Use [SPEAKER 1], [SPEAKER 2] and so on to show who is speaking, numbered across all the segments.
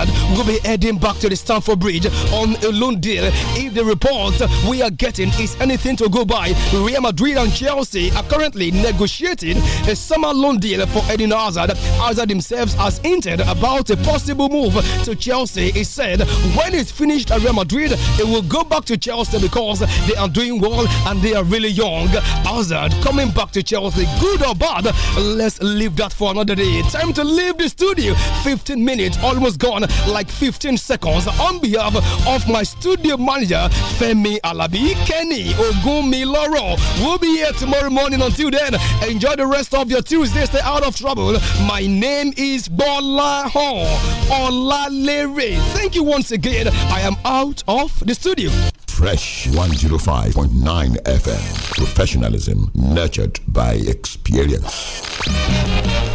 [SPEAKER 1] will be heading back to the Stamford Bridge on a loan deal. If the report we are getting is anything to go by, Real Madrid and Chelsea are currently negotiating a summer loan deal for Eden Hazard. Hazard himself has hinted about a possible move to Chelsea. He said when it's finished at Real Madrid, it will go back to Chelsea because they are doing well and they are really young. Hazard coming back to Chelsea, good or bad, let's leave that for another day. Time to leave the studio. 15 minutes almost gone, like 15 seconds. On behalf of my studio manager, Femi Alabi, Kenny Ogumi Loro, we'll be here tomorrow morning. Until then, enjoy the rest of your Tuesday. Stay out of trouble. My name is Bola Hon Olalere. Thank you once again. I am out of the studio.
[SPEAKER 2] Fresh 105.9 FM. Professionalism nurtured by experience.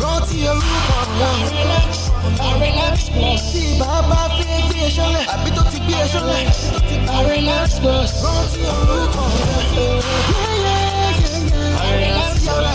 [SPEAKER 3] rántí orúkọ wọn. tí bàbá fi gbé e ṣọlẹ̀ àbí tó ti gbé e ṣọlẹ̀. rántí orúkọ wọn. tí ara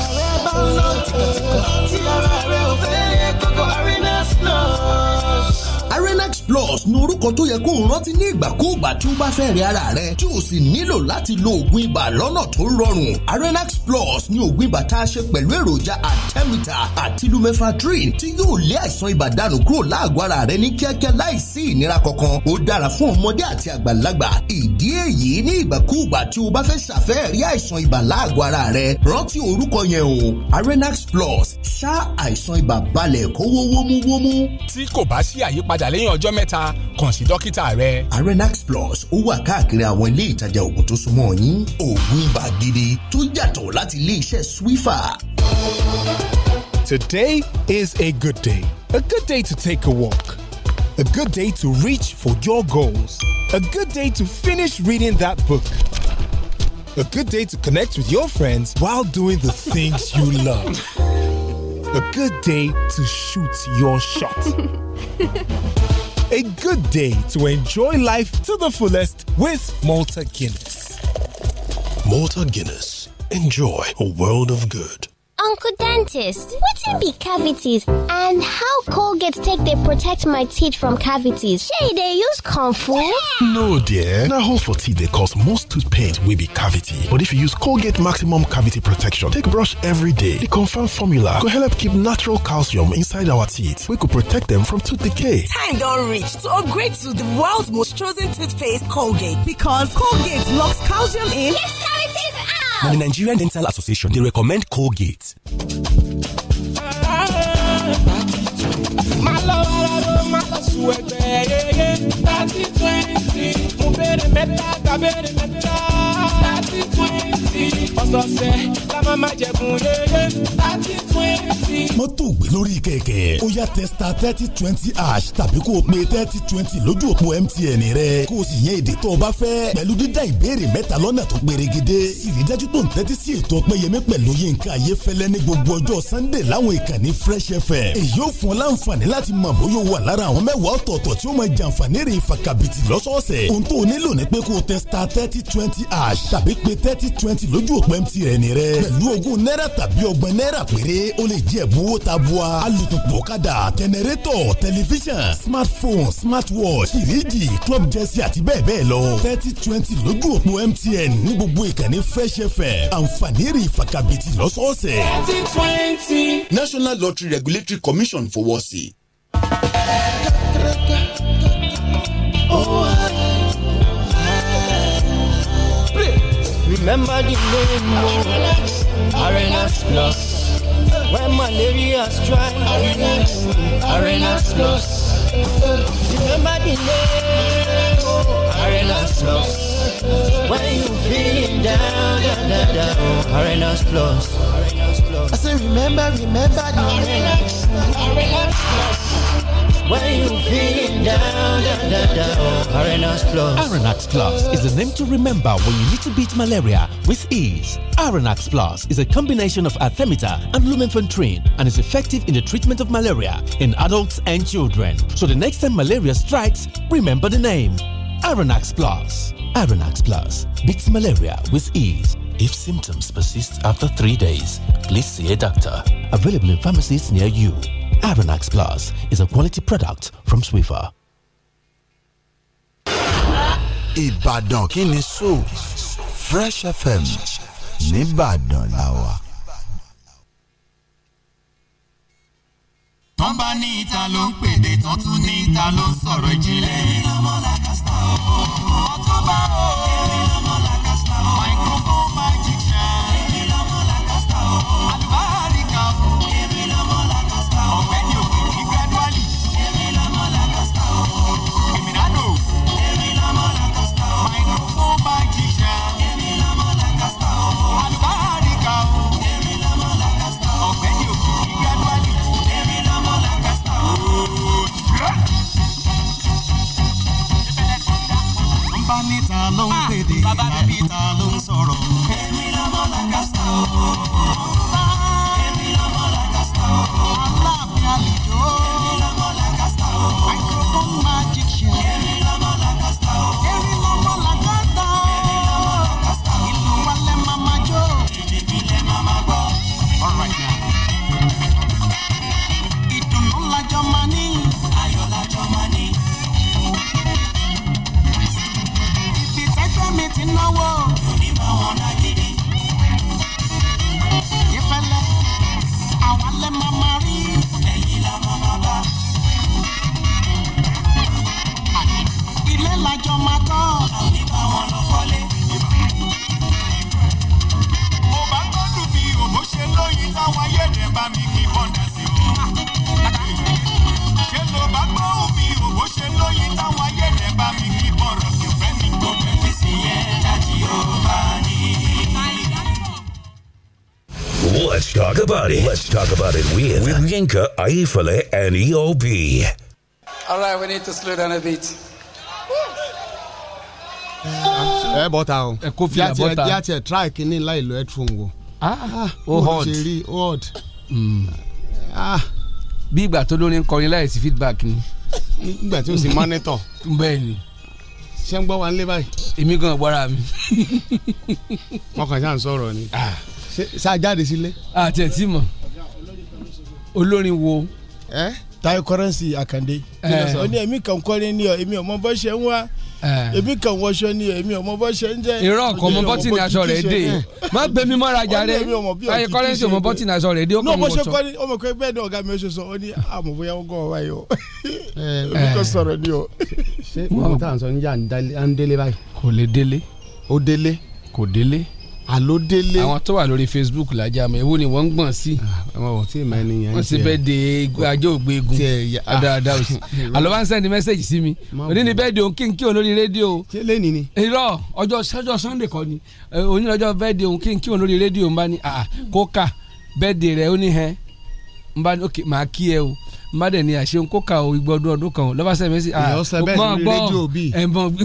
[SPEAKER 3] rẹ bá ń lọ tìkọ̀tìkọ̀ tí ara rẹ ò fẹ́ yẹ kókó Arenax Plus.
[SPEAKER 4] Arenax Plus ní orúkọ tó yẹ kó o rántí ní ìgbàkúùgbà tí o bá fẹ́ rí ara rẹ tí o sì nílò láti lo oògùn ibà lọ́nà tó rọrùn. Arenax Plus ní oògùn ibà tá a ṣe pẹ̀lú èròjà Artemita àti Lumefantrine tí yóò lé àìsàn ibà dànù kúrò láàgọ́ ara rẹ ní kíákíá láìsí ìnira kankan. Ó dára fún ọmọdé àti àgbàlagbà. Ìdí èyí ní ìgbàkúùgbà tí o bá fẹ́ ṣàfẹ́rí àìsàn ibà láàgọ́ ara rẹ rántí orúkọ yẹn o Arenax Plus ṣá àìsàn ibà balẹ̀ kówó wómúwómú.
[SPEAKER 5] tí kò bá sí àyípadà lẹ́yìn ọjọ́ mẹ́ta kàn sí dókítà rẹ.
[SPEAKER 4] Arenax Plus ó wà káàkiri àwọn ilé ìtajà oògùn tó súnmọ́ yín oògùn ibà gidi tó yàtọ̀ láti ilé iṣẹ́ Swiffer.
[SPEAKER 6] Today is a good day. A good day to take a walk. A good day to reach for your goals. A good day to finish reading that book. A good day to connect with your friends while doing the things you love. A good day to shoot your shot. A good day to enjoy life to the fullest with Malta Guinness.
[SPEAKER 7] Malta Guinness. Enjoy a world of good.
[SPEAKER 8] uncle dentist wetin be cavities and how colgate take dey protect my teeth from cavities shey e dey use comfort?
[SPEAKER 7] No, dear. Now, hole for teeth dey cause most tooth pain wey be cavity. But if you use Colgate Maximum Cavity Protection, take brush every day. The confirmed formula go help keep natural calcium inside our teeth, wey go protect them from tooth decay.
[SPEAKER 9] Time don reach to upgrade to the world's most chosen toothpaste, Colgate, because Colgate locks calcium in.
[SPEAKER 8] Yes, cavities out!
[SPEAKER 10] Now, the Nigerian Dental Association, they recommend Colgate.
[SPEAKER 11] Má lọ rárá, má lọ sùn ẹgbẹ́ yeye. Thirty twenty, mo béèrè mẹ́ta, ta béèrè mẹ́ta. Thirty twenty, ọ̀sọ̀ọ̀sẹ̀ la máa ma jẹ̀bùn yeye. Thirty twenty.
[SPEAKER 12] mọ́tò gbé lórí kẹ̀kẹ́ ó yá testa thirty twenty ash tàbí kó o pe thirty twenty lójú òpó mtn rẹ kó o sì yan èdè tó o bá fẹ́ pẹ̀lú dídá ìbéèrè mẹ́ta lọ́nà tó pérégedé ìrídájú tó ń tẹ́tí sí ètò ọpẹ́yẹmí pẹ̀lú yínká ayéfẹ́lẹ́ ní gbogbo ọjọ́ sunday láwọn ìkànnì fresh fm èyí ò fún ọ láǹfààní láti mọ̀ bóyá o wà lára àwọn mẹ́wàá ọ̀tọ̀ọ̀tọ̀ tí ó máa jàǹfààní rè fàkàbìtì lọ́sọ̀ọ̀sẹ̀ ohun tó o nílò ni pé kó o testa thirty twenty ash tàbí pe thirty twenty lójú òpó mtn rẹ pẹ̀lú ogún náírà tàbí ọgbọ̀n náírà péré ó lè jẹ́ ẹ̀bùn owó tabua alùpùpù ọ̀kadà tẹnẹrétọ̀ tẹlifíṣàn smartphone smartwatch fìríjì club jẹ́sí àti bẹ́ẹ̀ bẹ́ẹ̀ lọ thirty twenty lójú òpó mtn ní gbogbo ìkànnì fresh fm àǹfààní rí ìfakabìtì lọ́sọ̀ọ̀sẹ̀.
[SPEAKER 11] Thirty twenty.
[SPEAKER 13] National Lottery Regulatory Commission fọwọ́ sí i.
[SPEAKER 3] Remember the name of Arenax Plus. When malaria strike, Arenax, Arenax Plus. Remember the name of Arenax Plus. When you feeling down, down, down, down, Arenax Plus. I say remember, remember the Arenax, Arenax Plus. When you feeling down, down, down, down, Arenax Plus.
[SPEAKER 14] Aranax Plus is the name to remember when you need to beat malaria with ease. Aranax Plus is a combination of Artemita and Lumenfantrine and is effective in the treatment of malaria in adults and children. So the next time malaria strikes, remember the name
[SPEAKER 15] Aranax Plus. Aranax Plus beats malaria with ease. If symptoms persist after three days, please see a doctor. Available in pharmacies near you. Aranax Plus is a quality product from Swiffer.
[SPEAKER 16] Ìbàdàn kí ni so Fresh FM nìbàdàn la wà.
[SPEAKER 3] tán bá ní ìta ló ń pèdè tán tún ní ìta ló ń sọ̀rọ̀ ìjìnlẹ̀. èmi lọ́mọ làkàsà o. ọtún bá o. èmi lọ́mọ làkàsà o. microphone magic shine. èmi lọ́mọ làkàsà o. àlùbáríkà o. èmi lọ́mọ làkàsà o. ọ̀gbẹ́ni òkìkí gradually. èmi lọ́mọ làkàsà o. èmìnàdò. èmi lọ́mọ làkàsà o. microphone magic shine. èmi lọ́mọ làkàsà o. àlùbáríkà o. èmi lọ́mọ làkàsà o. ọ̀gbẹ́ni òkìkí gradually. èmi lọ́mọ làkàsà o. bá níta ló ń pèdè bàbá níta ló ń sọ̀rọ̀. èmi lọ́mọ làkàsà o. èmi lọ́mọ làkàsà o. aláàfin àlejò. èmi lọ́mọ làkàsà o. microphone magic show. èmi lọ́mọ làkàsà o. èmi lọ́mọ làkàsà o. èmi lọ́mọ làkàsà o. ìlú wa lẹ́ máa ma jó. èdè mi lẹ́ máa ma gbọ́. all right now ìdùnnú lajọ máa ní. ayọ̀ lajọ máa ní. ibi tẹ́gbẹ́ mi ti náwó. òní máa wọn náà gidi. ìfẹ́lẹ́ àwa lẹ́ máa máa rí. ẹ̀yin la máa máa bá. ilé lajọ máa kọ́. òní máa wọn lọ fọ́lé. mo bá gbọ́dọ̀ bí òbó ṣe lóyin táwọn ayédè bá mi kí bọ́ndà sí o. ṣé ló bá gbọ́ òbí òbó ṣe lóyin táwọn ayédè bá mi kí bọ́rọ̀ sí fẹ́ mi kò fẹ́ fi sí yẹn dájú ó bá ní.
[SPEAKER 17] Let's talk about it. Let's talk about it with, with Yinka, Aifale, and E EOB.
[SPEAKER 18] All right, we need to slow down a bit.
[SPEAKER 19] ẹ bọ́ta Eh, o
[SPEAKER 5] Ah. Ẹ kó fìlà Ah.
[SPEAKER 19] Bí a tiẹ̀-
[SPEAKER 5] bọ́ta.
[SPEAKER 19] bí a tiẹ̀ try kínní láì lo headphone wo.
[SPEAKER 5] ó
[SPEAKER 19] bó
[SPEAKER 5] hot.
[SPEAKER 19] ṣe rí ó hot.
[SPEAKER 5] Ah, bí ìgbà tó lórin kọrin láìsí feedback ni.
[SPEAKER 19] nígbà tí o sì monitor.
[SPEAKER 5] bẹ́ẹ̀ ni.
[SPEAKER 19] ṣé ń gbọ́ wa nílé báyìí.
[SPEAKER 5] èmi gan gbọ́ra mi.
[SPEAKER 19] wọn kàn ṣáà ń sọ̀rọ̀ ni.
[SPEAKER 5] Ah.
[SPEAKER 19] Ṣé- ṣá jáde sílé.
[SPEAKER 5] àti ẹ̀ tí mọ̀ olórin wo.
[SPEAKER 19] Eh?
[SPEAKER 5] Eh.
[SPEAKER 8] Tayo currency Akande. ó ní èmi kan kọ́ni ni ọ èmi ọmọ bọ́ ṣe ń wá èmi kan wọṣọ ni ọ èmi ọmọ bọ́ ṣe ń jẹ́.
[SPEAKER 5] Eh. irọ́ kò mọ bọ́tì ní aṣọ rẹ̀ dé má gbé mi mọ́ra jà rẹ̀ ayé kọ́rẹ́nsì ò mọ bọ́tì ní aṣọ rẹ̀ dé ó
[SPEAKER 8] ní
[SPEAKER 5] kàn
[SPEAKER 8] ọmọ
[SPEAKER 5] mọ̀
[SPEAKER 8] ṣe
[SPEAKER 5] sọ.
[SPEAKER 8] kọ́ ni ọmọ kan bẹ́ẹ̀ ni ọ̀gá mi ṣe sọ ọ ní àmọ̀ bóyá wọ́n gọ́ ọ wáyé o èmi kan sọ̀rọ̀ ni o.
[SPEAKER 19] Eh, ṣé mo tà ń sọ níjà ń délé báyìí.
[SPEAKER 5] kò lè délé.
[SPEAKER 19] ó délé.
[SPEAKER 5] kò délé.
[SPEAKER 19] àló délé.
[SPEAKER 5] àwọn tó wà lórí facebook làjà mọ ewu ni wọ́n ń gbọ̀n sí.
[SPEAKER 19] àwọn ò tí ì máa nìyẹn.
[SPEAKER 5] wọ́n ti bẹ́ẹ̀ de ajé ògbégun
[SPEAKER 19] Tiẹ̀ ya- ah.
[SPEAKER 5] adáadáa òsì àlọ́ bá ń sẹ́ndí mẹ́sẹ̀gì sí mi
[SPEAKER 19] Má
[SPEAKER 5] òní ni bẹ́ẹ̀ de òun kí n kí òun lórí rédíò.
[SPEAKER 19] ṣé lẹ́ni ni.
[SPEAKER 5] irọ́ ọjọ́ sọ́jọ́ sunday kọ́ ni Eh, òní lọ́jọ́ bẹ́ẹ̀ de òun kí n kí òun lórí rédíò ń bá ní "Ah, àà kóka bẹ́ẹ̀ de rẹ̀ ó ní hẹ́ ń bá ní ok màá kí ẹ o ń bá dẹ̀ ní àṣeun kóka o igbó ọdún ọdún kan o lọ́ba sẹ́yìn mẹ́sì
[SPEAKER 19] èèyàn sọ bẹ́ẹ̀ lórí rédíò bíi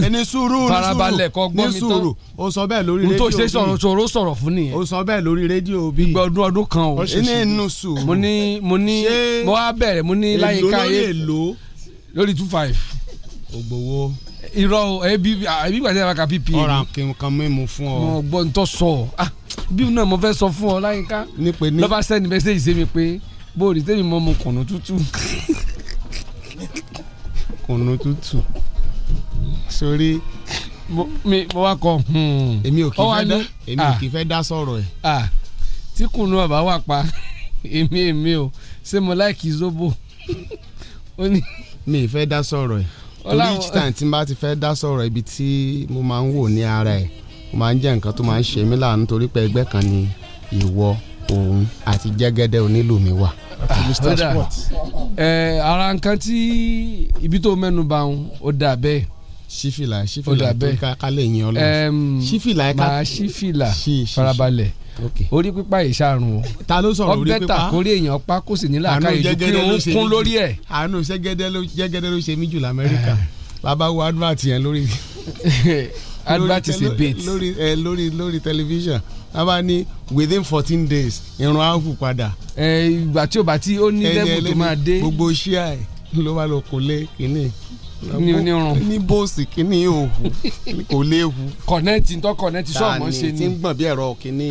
[SPEAKER 19] ẹni sùúrù ní
[SPEAKER 5] farabalẹ̀ kọ́
[SPEAKER 19] sùúrù
[SPEAKER 5] gbọ́
[SPEAKER 19] ní
[SPEAKER 5] mi
[SPEAKER 19] sùúrù
[SPEAKER 5] tán
[SPEAKER 19] ó sọ bẹ́ẹ̀ lórí
[SPEAKER 5] Ohun
[SPEAKER 19] rédíò
[SPEAKER 5] tó ṣe sọ̀rọ̀ sọ̀rọ̀ sọ̀rọ̀ fún nìyẹn.
[SPEAKER 19] ó sọ bẹ́ẹ̀ lórí rédíò bíi
[SPEAKER 5] ìgbà ọdún ọdún kan o.
[SPEAKER 19] Ó ṣe ṣe. Ní inú sùúrù.
[SPEAKER 5] mo ní mo ní
[SPEAKER 19] Ṣé-
[SPEAKER 5] mo wá bẹ̀rẹ̀ mo ní
[SPEAKER 19] Èló
[SPEAKER 5] láyìíká
[SPEAKER 19] lórí èló?
[SPEAKER 5] lórí two five.
[SPEAKER 19] ògbówó
[SPEAKER 5] irọ́ o ẹbí ẹbí gbàdé àwọn kà pípì.
[SPEAKER 19] ọ̀ràn kan mímu fún ọ.
[SPEAKER 5] mo gbọ́ n tó sọ ọ́ Ah, bí náà mo fẹ́ sọ fún ọ láyìíká
[SPEAKER 19] nípe ní.
[SPEAKER 5] lọ́ba sẹ́ni mẹ́sẹ̀gì sí mi pé bóòlì tẹ́mi mọ́ mu kùnú tútù.
[SPEAKER 19] kùnú tútù sórí.
[SPEAKER 5] mo wá kọ. "Hmm."
[SPEAKER 19] èmi ò kì í
[SPEAKER 5] Ó wá
[SPEAKER 19] fẹ́ dá
[SPEAKER 5] ní,
[SPEAKER 19] èmi ò
[SPEAKER 5] ah.
[SPEAKER 19] kì í fẹ́ dá sọ̀rọ̀ ẹ̀.
[SPEAKER 5] Ah, tí kùnú ọ̀bá wà pa èmi èmi o ṣé mo láìkí zobo. ó ní
[SPEAKER 19] mi ì fẹ́ dá sọ̀rọ̀ ẹ̀ torí
[SPEAKER 5] Ọláwọ̀-
[SPEAKER 19] each time tí n bá ti fẹ́ dá sọ̀rọ̀ ibi tí mo máa ń wò ní ara ẹ̀ mo máa ń jẹ́ nǹkan tó máa ń ṣe mí láàánú torí pé ẹgbẹ́ kan ni ìwọ òun àti jẹ́gẹ́dẹ́ onílù mi wà.
[SPEAKER 5] Ah. Kódà, ẹ, ara nǹkan tí ibi tó mẹ́nu bà ń ó dà bẹ́ẹ̀.
[SPEAKER 19] sífìlà
[SPEAKER 5] ó dà
[SPEAKER 19] sífìlà tó
[SPEAKER 5] bẹ́ẹ̀.
[SPEAKER 19] ká ká lè yin ọlọ́run
[SPEAKER 5] Ẹm,
[SPEAKER 19] sífìlà ẹ̀ ká
[SPEAKER 5] máa sífìlà
[SPEAKER 19] Sí, sí, sí.
[SPEAKER 5] farabalẹ̀
[SPEAKER 19] Okay.
[SPEAKER 5] orí pípa ìṣàrùn o
[SPEAKER 19] ta ló sọ̀rọ̀ orí
[SPEAKER 5] ọbẹ̀
[SPEAKER 19] pípa
[SPEAKER 5] tà kórè èèyàn pa kó sì ní
[SPEAKER 19] àánú
[SPEAKER 5] làákàyè ju kí
[SPEAKER 19] jẹ́gẹ́dẹ́ ló
[SPEAKER 5] òun
[SPEAKER 19] ṣe
[SPEAKER 5] kún
[SPEAKER 19] mí jù.
[SPEAKER 5] lórí ẹ̀.
[SPEAKER 19] àánú jẹ́gẹ́dẹ́ ló jẹ́gẹ́dẹ́ ló ṣe mí jù lamẹ́ríkà bàbá wo advert yẹn lórí.
[SPEAKER 5] Advert
[SPEAKER 19] lórí
[SPEAKER 5] is a
[SPEAKER 19] tẹlẹ-
[SPEAKER 5] bait.
[SPEAKER 19] lórí ẹ lórí lórí tẹlifíṣàn bàbá ní within fourteen days irun áàpù padà.
[SPEAKER 5] ẹ ìgbà tí ó bá tí ó ní
[SPEAKER 19] Ẹni
[SPEAKER 5] lẹ́bù tó
[SPEAKER 19] ẹlẹ́ni,
[SPEAKER 5] máa dé
[SPEAKER 19] gbogbo ṣíà ẹ̀ ló bá lọ kó lé kínní
[SPEAKER 5] ní onírun.
[SPEAKER 19] ní bóòsì kínní òhù kò léwu.
[SPEAKER 5] kọ̀nẹ́ẹ̀tì tó kọ̀nẹ́ẹ̀tì sọ̀mọ́
[SPEAKER 19] Tani
[SPEAKER 5] ṣe ni.
[SPEAKER 19] tí ń gbọ̀n bí ẹ̀rọ kínní.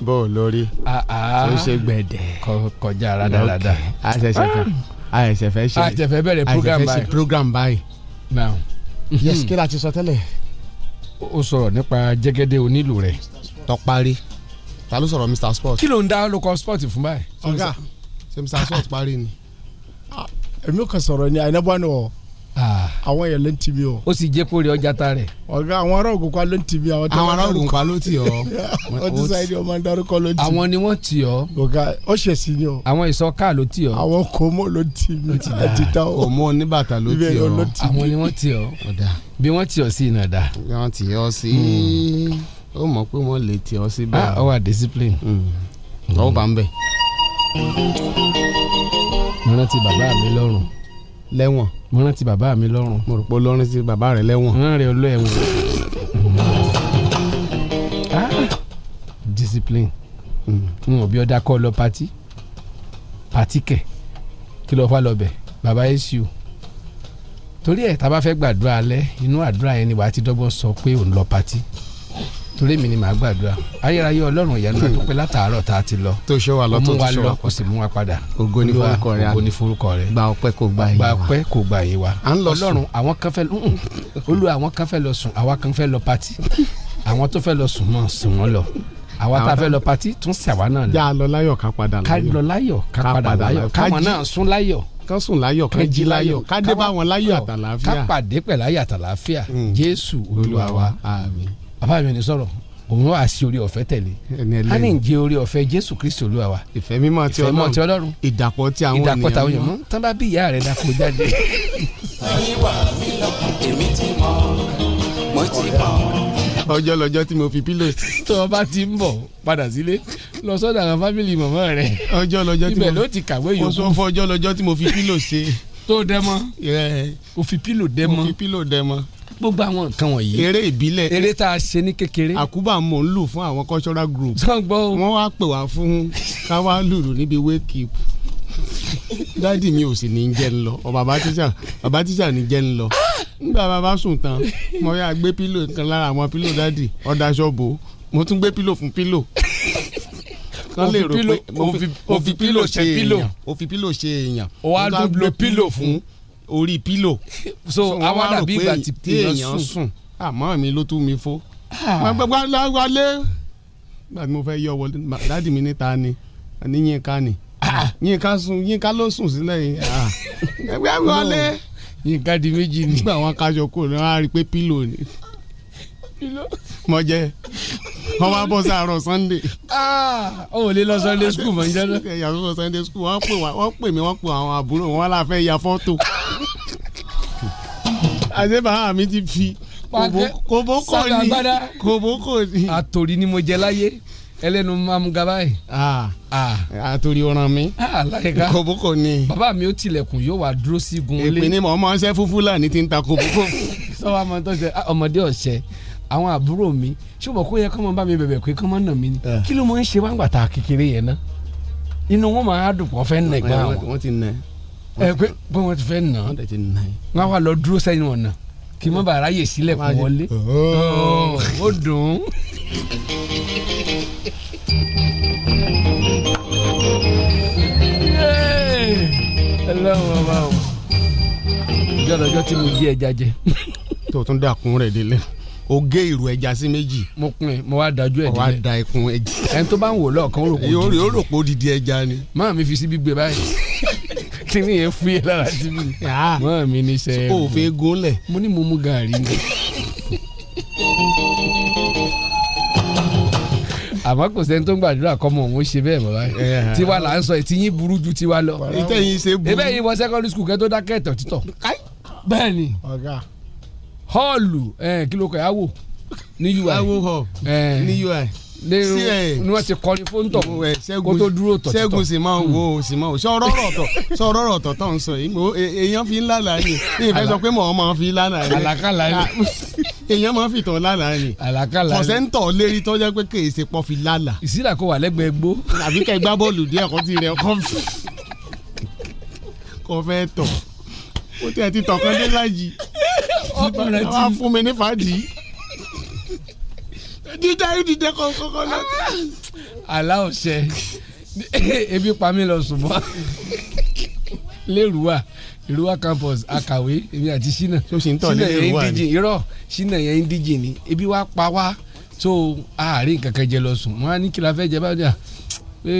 [SPEAKER 19] bó o lórí. tó ṣe gbẹ̀dẹ̀.
[SPEAKER 5] Ah, kọjá Ah. rádaràda.
[SPEAKER 19] a ṣẹ̀ṣẹ̀ fẹ́ Hmm. a ṣẹ̀ṣẹ̀ fẹ́ ṣe
[SPEAKER 5] A ṣẹ̀ṣẹ̀ fẹ́ bẹ̀rẹ̀ program
[SPEAKER 19] a ṣẹ̀ṣẹ̀ fẹ́
[SPEAKER 5] báyìí.
[SPEAKER 19] ṣe program báyìí.
[SPEAKER 5] now
[SPEAKER 19] yes kí la ti sọ tẹ́lẹ̀.
[SPEAKER 5] Hmm. ó sọ̀rọ̀ nípa jẹ́gẹ́dẹ́ onílù rẹ̀.
[SPEAKER 19] tọparí ta ló sọ̀rọ̀ mr sport.
[SPEAKER 5] kí ló ń dá local sport fún báyìí.
[SPEAKER 19] ọ̀gá ṣe mr sport parí ni.
[SPEAKER 8] èmi kan sọ̀rọ̀ ni àyìnbá ni ọ̀
[SPEAKER 19] Ah.
[SPEAKER 8] àwọn yẹn ló ń tì mí o.
[SPEAKER 5] ó sì jẹ́ kó rí ọjà ta rẹ̀.
[SPEAKER 8] ọ̀gá àwọn ará ògùn pa ló ń tì mí. tó
[SPEAKER 19] Àwọn ará
[SPEAKER 8] máa ń
[SPEAKER 19] Ògùnpa
[SPEAKER 8] darúkọ-
[SPEAKER 19] ló tì ọ́.
[SPEAKER 8] wọ́n ti sáyé ni wọ́n máa ń darúkọ ló ń tì mí.
[SPEAKER 5] àwọn ni wọ́n tì ọ́.
[SPEAKER 8] ọ̀gá ó ṣe sí ni o.
[SPEAKER 5] àwọn ìsọká ló tì ọ́.
[SPEAKER 8] àwọn kòmó ló ń tì mí. àti tá o.
[SPEAKER 19] òmò oníbàtà ló tì
[SPEAKER 5] Ibẹ̀
[SPEAKER 19] ọ́.
[SPEAKER 5] ló tì mí. àwọn ni wọ́n tì ọ́. bí wọ́n tì ọ́ sí iná dá.
[SPEAKER 19] wọ́n tì ọ́ sí ó mọ̀ pé wọ́n lè tì ọ́ sí
[SPEAKER 5] Ah,
[SPEAKER 19] báyìí.
[SPEAKER 5] ó wà discipline. Mm.
[SPEAKER 19] ọwọ́ bá Mm. ń bẹ̀.
[SPEAKER 5] mo rántí bàbá mi lọ́rùn.
[SPEAKER 19] lẹ́wọ̀n.
[SPEAKER 5] mo rántí bàbá mi lọ́rùn.
[SPEAKER 19] mo rò pé olórin sí bàbá rẹ̀ lẹ́wọ̀n.
[SPEAKER 5] rán rẹ olú ẹ̀wọ̀n. Ah, discipline.
[SPEAKER 19] Mm.
[SPEAKER 5] n ò bí ọdá kọ́ lọ pati pati kẹ̀ kí lọ́ọ́ fà lọ́bẹ̀ bàbá yéṣu torí ẹ̀ tá a bá fẹ́ gbàdúrà alẹ́ inú àdúrà yẹn ni wàá ti dọ́gbọ́n sọ pé òun lọ pati torí èmi ni màá gbàdúrà ayérayé ọlọ́run ìyanu àdúpẹ́ látàárọ̀ tá a ti lọ
[SPEAKER 19] tó ṣe wà lọ
[SPEAKER 5] Ó mú
[SPEAKER 19] tó
[SPEAKER 5] wa
[SPEAKER 19] ti ṣe
[SPEAKER 5] lọ
[SPEAKER 19] wà
[SPEAKER 5] kó sì mú wa padà
[SPEAKER 19] Ògo ni
[SPEAKER 5] Olúwa,
[SPEAKER 19] forúkọ rẹ.
[SPEAKER 5] ògo ni forúkọ rẹ
[SPEAKER 19] gba ọpẹ́ kò gba
[SPEAKER 5] gba
[SPEAKER 19] ìyìn wa.
[SPEAKER 5] ọpẹ́ kò gba ìyè wa
[SPEAKER 19] À ń lọ sùn.
[SPEAKER 5] ọlọ́run àwọn kan fẹ́ nnn, olúwa àwọn kan fẹ́ lọ sùn àwa kan fẹ́ lọ pati àwọn tó fẹ́ lọ sùn mọ́ sùn wọ́n lọ àwa tá a fẹ́ lọ pati tún sí àwa náà lọ
[SPEAKER 19] já a lọ láyọ̀ ká padà láyọ̀.
[SPEAKER 5] ká lọ láyọ̀ ká padà láyọ̀ káwọn náà sún láyọ̀
[SPEAKER 19] ká sùn láyọ̀ ká jí láyọ̀ ká dé bá
[SPEAKER 5] wá-
[SPEAKER 19] wọn láyọ̀ àtàlàáfíà. Mm.
[SPEAKER 5] ká pàdé pẹ̀lú ayọ̀ àtàlàáfíà jésù olúwa wa
[SPEAKER 19] àmín.
[SPEAKER 5] bàbá mi ò ní sọ̀rọ̀ òun wà sí orí ọ̀fẹ́ tẹ̀lé
[SPEAKER 19] Ẹni ẹlẹ́ni.
[SPEAKER 5] a ní ń jẹ orí ọ̀fẹ́ jésù kristi olúwa wa
[SPEAKER 19] ìfẹ́ mímọ́ ti
[SPEAKER 5] ìfẹ́ mọ́ ti
[SPEAKER 19] ọlọ́run
[SPEAKER 5] ọlọ́run
[SPEAKER 19] ìdàpọ̀ ti àwọn ènìyàn
[SPEAKER 5] ìdàpọ̀ táwọn èèyàn mọ́ tán bá bí ìyá rẹ̀ dàpọ̀ jáde.
[SPEAKER 19] ọjọ́ lọ́jọ́ tí mo fi pílò sí.
[SPEAKER 5] tó o bá ti ń bọ̀ padà sílé lọ sọ́dọ̀ àwọn fámìlì mọ̀mọ́ rẹ̀
[SPEAKER 19] ọjọ́ lọ́jọ́ tí mo
[SPEAKER 5] ibẹ̀ ló ti kàwé
[SPEAKER 19] mo sọ
[SPEAKER 5] yòókù
[SPEAKER 19] fún ọjọ́ lọ́jọ́ tí mo fi pílò ṣe.
[SPEAKER 5] tó dẹ́ mọ́
[SPEAKER 19] Ẹ,
[SPEAKER 5] o fi pílò dẹ́
[SPEAKER 19] mo
[SPEAKER 5] mọ́
[SPEAKER 19] fi pílò dẹ mọ́.
[SPEAKER 5] gbogbo àwọn nǹkan wọ̀nyí
[SPEAKER 19] eré ìbílẹ̀
[SPEAKER 5] eré tá a ṣe ní kékeré
[SPEAKER 19] àkúbà mò ń lù fún àwọn cultural group.
[SPEAKER 5] sọ́n gbọ́ o
[SPEAKER 19] wọ́n wá pè wá fún ká wá lùlù níbi wake up. dádì mi ò sì ní jẹ́ ń lọ ọ bàbá tíṣà bàbá tíṣà ní jẹ́ ń lọ. nígbà bàbá sùn tán mo yà gbé pílò kan lára àwọn pílò dádì ọ̀dà ṣọ́ọ̀bù mo tún gbé pílò fún pílò.
[SPEAKER 5] O fi pílò- o fi- o fi pílò ṣe pílò.
[SPEAKER 19] èèyàn o fi pílò ṣe èèyàn.
[SPEAKER 5] O wá
[SPEAKER 19] tún
[SPEAKER 5] dúró
[SPEAKER 19] gbé
[SPEAKER 5] pílò fún.
[SPEAKER 19] orí pílò.
[SPEAKER 5] so
[SPEAKER 19] wọ́n
[SPEAKER 5] àwa
[SPEAKER 19] wá rò
[SPEAKER 5] dàbí
[SPEAKER 19] pé
[SPEAKER 5] ìgbà tí
[SPEAKER 19] èèyàn sùn Ah. àmọ́ mi ló tú mi fó wọn gbẹ gbẹ lọ wọlé nígbà tí mo fẹ́ yọ wọlé ma- dáàdì mi níta ni ní yínká ni Ah, yínká sùn yínká ló sùn sílẹ̀ yìí ah. ẹgbẹ́ wọlé
[SPEAKER 5] nǹkan di méjì ni
[SPEAKER 19] nígbà wọn kaṣọ kúrò ní wọn á rí i pé pílò ni mo jẹ wọn wá bọ́ sáàárọ̀ sunday
[SPEAKER 5] Ah, o ò lè lọ sunday school mọ̀ níjẹ́ náà
[SPEAKER 19] yàtọ̀ sọ sunday school wọn pè wá- wọn pè mí wọn pè àwọn àbúrò wọn wá la fẹ́ ya fọ́tò àti bàbá mi ti fi
[SPEAKER 5] Pàkẹ́-
[SPEAKER 19] kòbókò
[SPEAKER 5] sábà
[SPEAKER 19] ni
[SPEAKER 5] gbádá.
[SPEAKER 19] kòbókò ni.
[SPEAKER 5] àtòrí ni mo jẹ láyé ẹlẹ́nu mamuga báyìí
[SPEAKER 19] Ah,
[SPEAKER 5] ah
[SPEAKER 19] àtòrí ọ̀ràn mi
[SPEAKER 5] ah láyìíká
[SPEAKER 19] kòbókò ni
[SPEAKER 5] bàbá mi ó tilẹ̀kùn yóò wá dúró sí gun ilé
[SPEAKER 19] èpè ni mò ń mọ ọṣẹ fún fúlàní ti ń ta kòbókò.
[SPEAKER 5] sọ́wọ́ àmọ́ tó ṣe "Ah, ọmọdé ọ̀sẹ̀ àwọn àbúrò mi ṣùgbọ́n kó yẹ kó máa bá mi bẹ̀bẹ̀ pé kó máa nà mí ni
[SPEAKER 19] Eh.
[SPEAKER 5] kí ló máa ń ṣe wá ń gbà ta kékeré yẹn náà inú wọn máa dùn pọ̀ fẹ́ nà ẹ̀gbọ́n àwọn
[SPEAKER 19] wọ́n ti nà ẹ́
[SPEAKER 5] ẹ pé pé wọ́n ti fẹ́ nà án
[SPEAKER 19] wọ́n tẹ̀ ti nà ẹ́.
[SPEAKER 5] wọ́n wá lọ dúró sẹ́yìn ọ̀nà kí má bàa ráyè sílẹ̀ kó wọlé Ó, ó dùn ún. Yay! ọlọ́run ọba o ìjọ́dọ̀jọ́ tí mo jí ẹja jẹ
[SPEAKER 19] tó tún dàkún rẹ̀ délẹ̀ o gé ìrù ẹja sí méjì
[SPEAKER 5] mo pin mo wá dájú ẹ̀
[SPEAKER 19] ọ̀ wá
[SPEAKER 5] dílé
[SPEAKER 19] da ikùn ẹja.
[SPEAKER 5] ẹni tó bá ń wò lọ́ọ̀kan ó rò kó
[SPEAKER 19] yóò
[SPEAKER 5] di
[SPEAKER 19] rò pé odidi ẹja ni.
[SPEAKER 5] máa mi fi sí gbígbé báyìí kíní yẹn fún yẹn lára sí mi. mọ́ mi ní sẹ́yìn.
[SPEAKER 19] o fẹ́ gúnlẹ̀.
[SPEAKER 5] mo ní mo mú gàrí ni. àmọ́ kò sẹ́ni tó ń gbàdúrà kọ́mọ òun ó ṣe bẹ́ẹ̀ bàbá yìí tiwa là ń sọ ètí yín burú ju tiwa lọ.
[SPEAKER 19] Ìtẹ̀yìn Eh. ṣe burú.
[SPEAKER 5] ebẹ́ yìí wọ secondary school kẹ́ tó dákẹ́ ẹ̀tọ̀ títọ̀. bẹ́ẹ̀ ni
[SPEAKER 19] ọ̀gá.
[SPEAKER 5] họ́ọ̀lù ẹ̀, eh, kí ló kọ yàwó ní ui.
[SPEAKER 19] awo hall
[SPEAKER 5] Ẹ̀.
[SPEAKER 19] ní ui.
[SPEAKER 5] ní
[SPEAKER 19] CA.
[SPEAKER 5] ní wọ́n ti kọrin fóun tọ̀ kó tó dúró tọ̀ títọ̀.
[SPEAKER 19] Eh,
[SPEAKER 5] Hmm.
[SPEAKER 19] ṣẹ́gun sì máa ń wo sì máa ń sọ̀rọ̀ ọ̀tọ̀ sọ̀rọ̀ ọ̀tọ̀ tó ń sọ yìí mo e- èèyàn fi ń lálàá ni èèyàn fẹ́ sọ pé mọ̀ ọ́n máa fi lálàá ni
[SPEAKER 5] Àlákàlà ni.
[SPEAKER 19] èèyàn máa fi tọ̀ lálàá ni
[SPEAKER 5] àlákàlà ni.
[SPEAKER 19] kọ̀sẹ́ ń tọ̀ lérí tó jẹ́ pé kèé ṣe pọ̀ fi lálàá.
[SPEAKER 5] ìsílà kó wà lẹ́gbẹ̀ẹ́ gbó.
[SPEAKER 19] àbí kẹ́ gbá bọ́ọ̀lù díẹ̀ kó ti rẹ̀ kọ́ fi kọ́ fẹ́ tọ̀ ó tiẹ̀ ti tọ̀ kan dé láàjì
[SPEAKER 5] ọkùnrin ti-
[SPEAKER 19] wá fún mi ní fàájì dídá dídá kọ́kọ́ náà.
[SPEAKER 5] àlá ọ̀sẹ̀ ebi pa mí lọ sùn mọ́ lérúwà ìrúwà campus akàwé èmi àti ṣínà
[SPEAKER 19] tó ṣì ń tọ̀ ní Èrúwà ni.
[SPEAKER 5] díje irọ́ ṣínà yẹn ń díje ni ebi wá pa wá tó àárín kankan jẹ lọ sùn wọn á ní kí la fẹ́ jẹ báyìí pé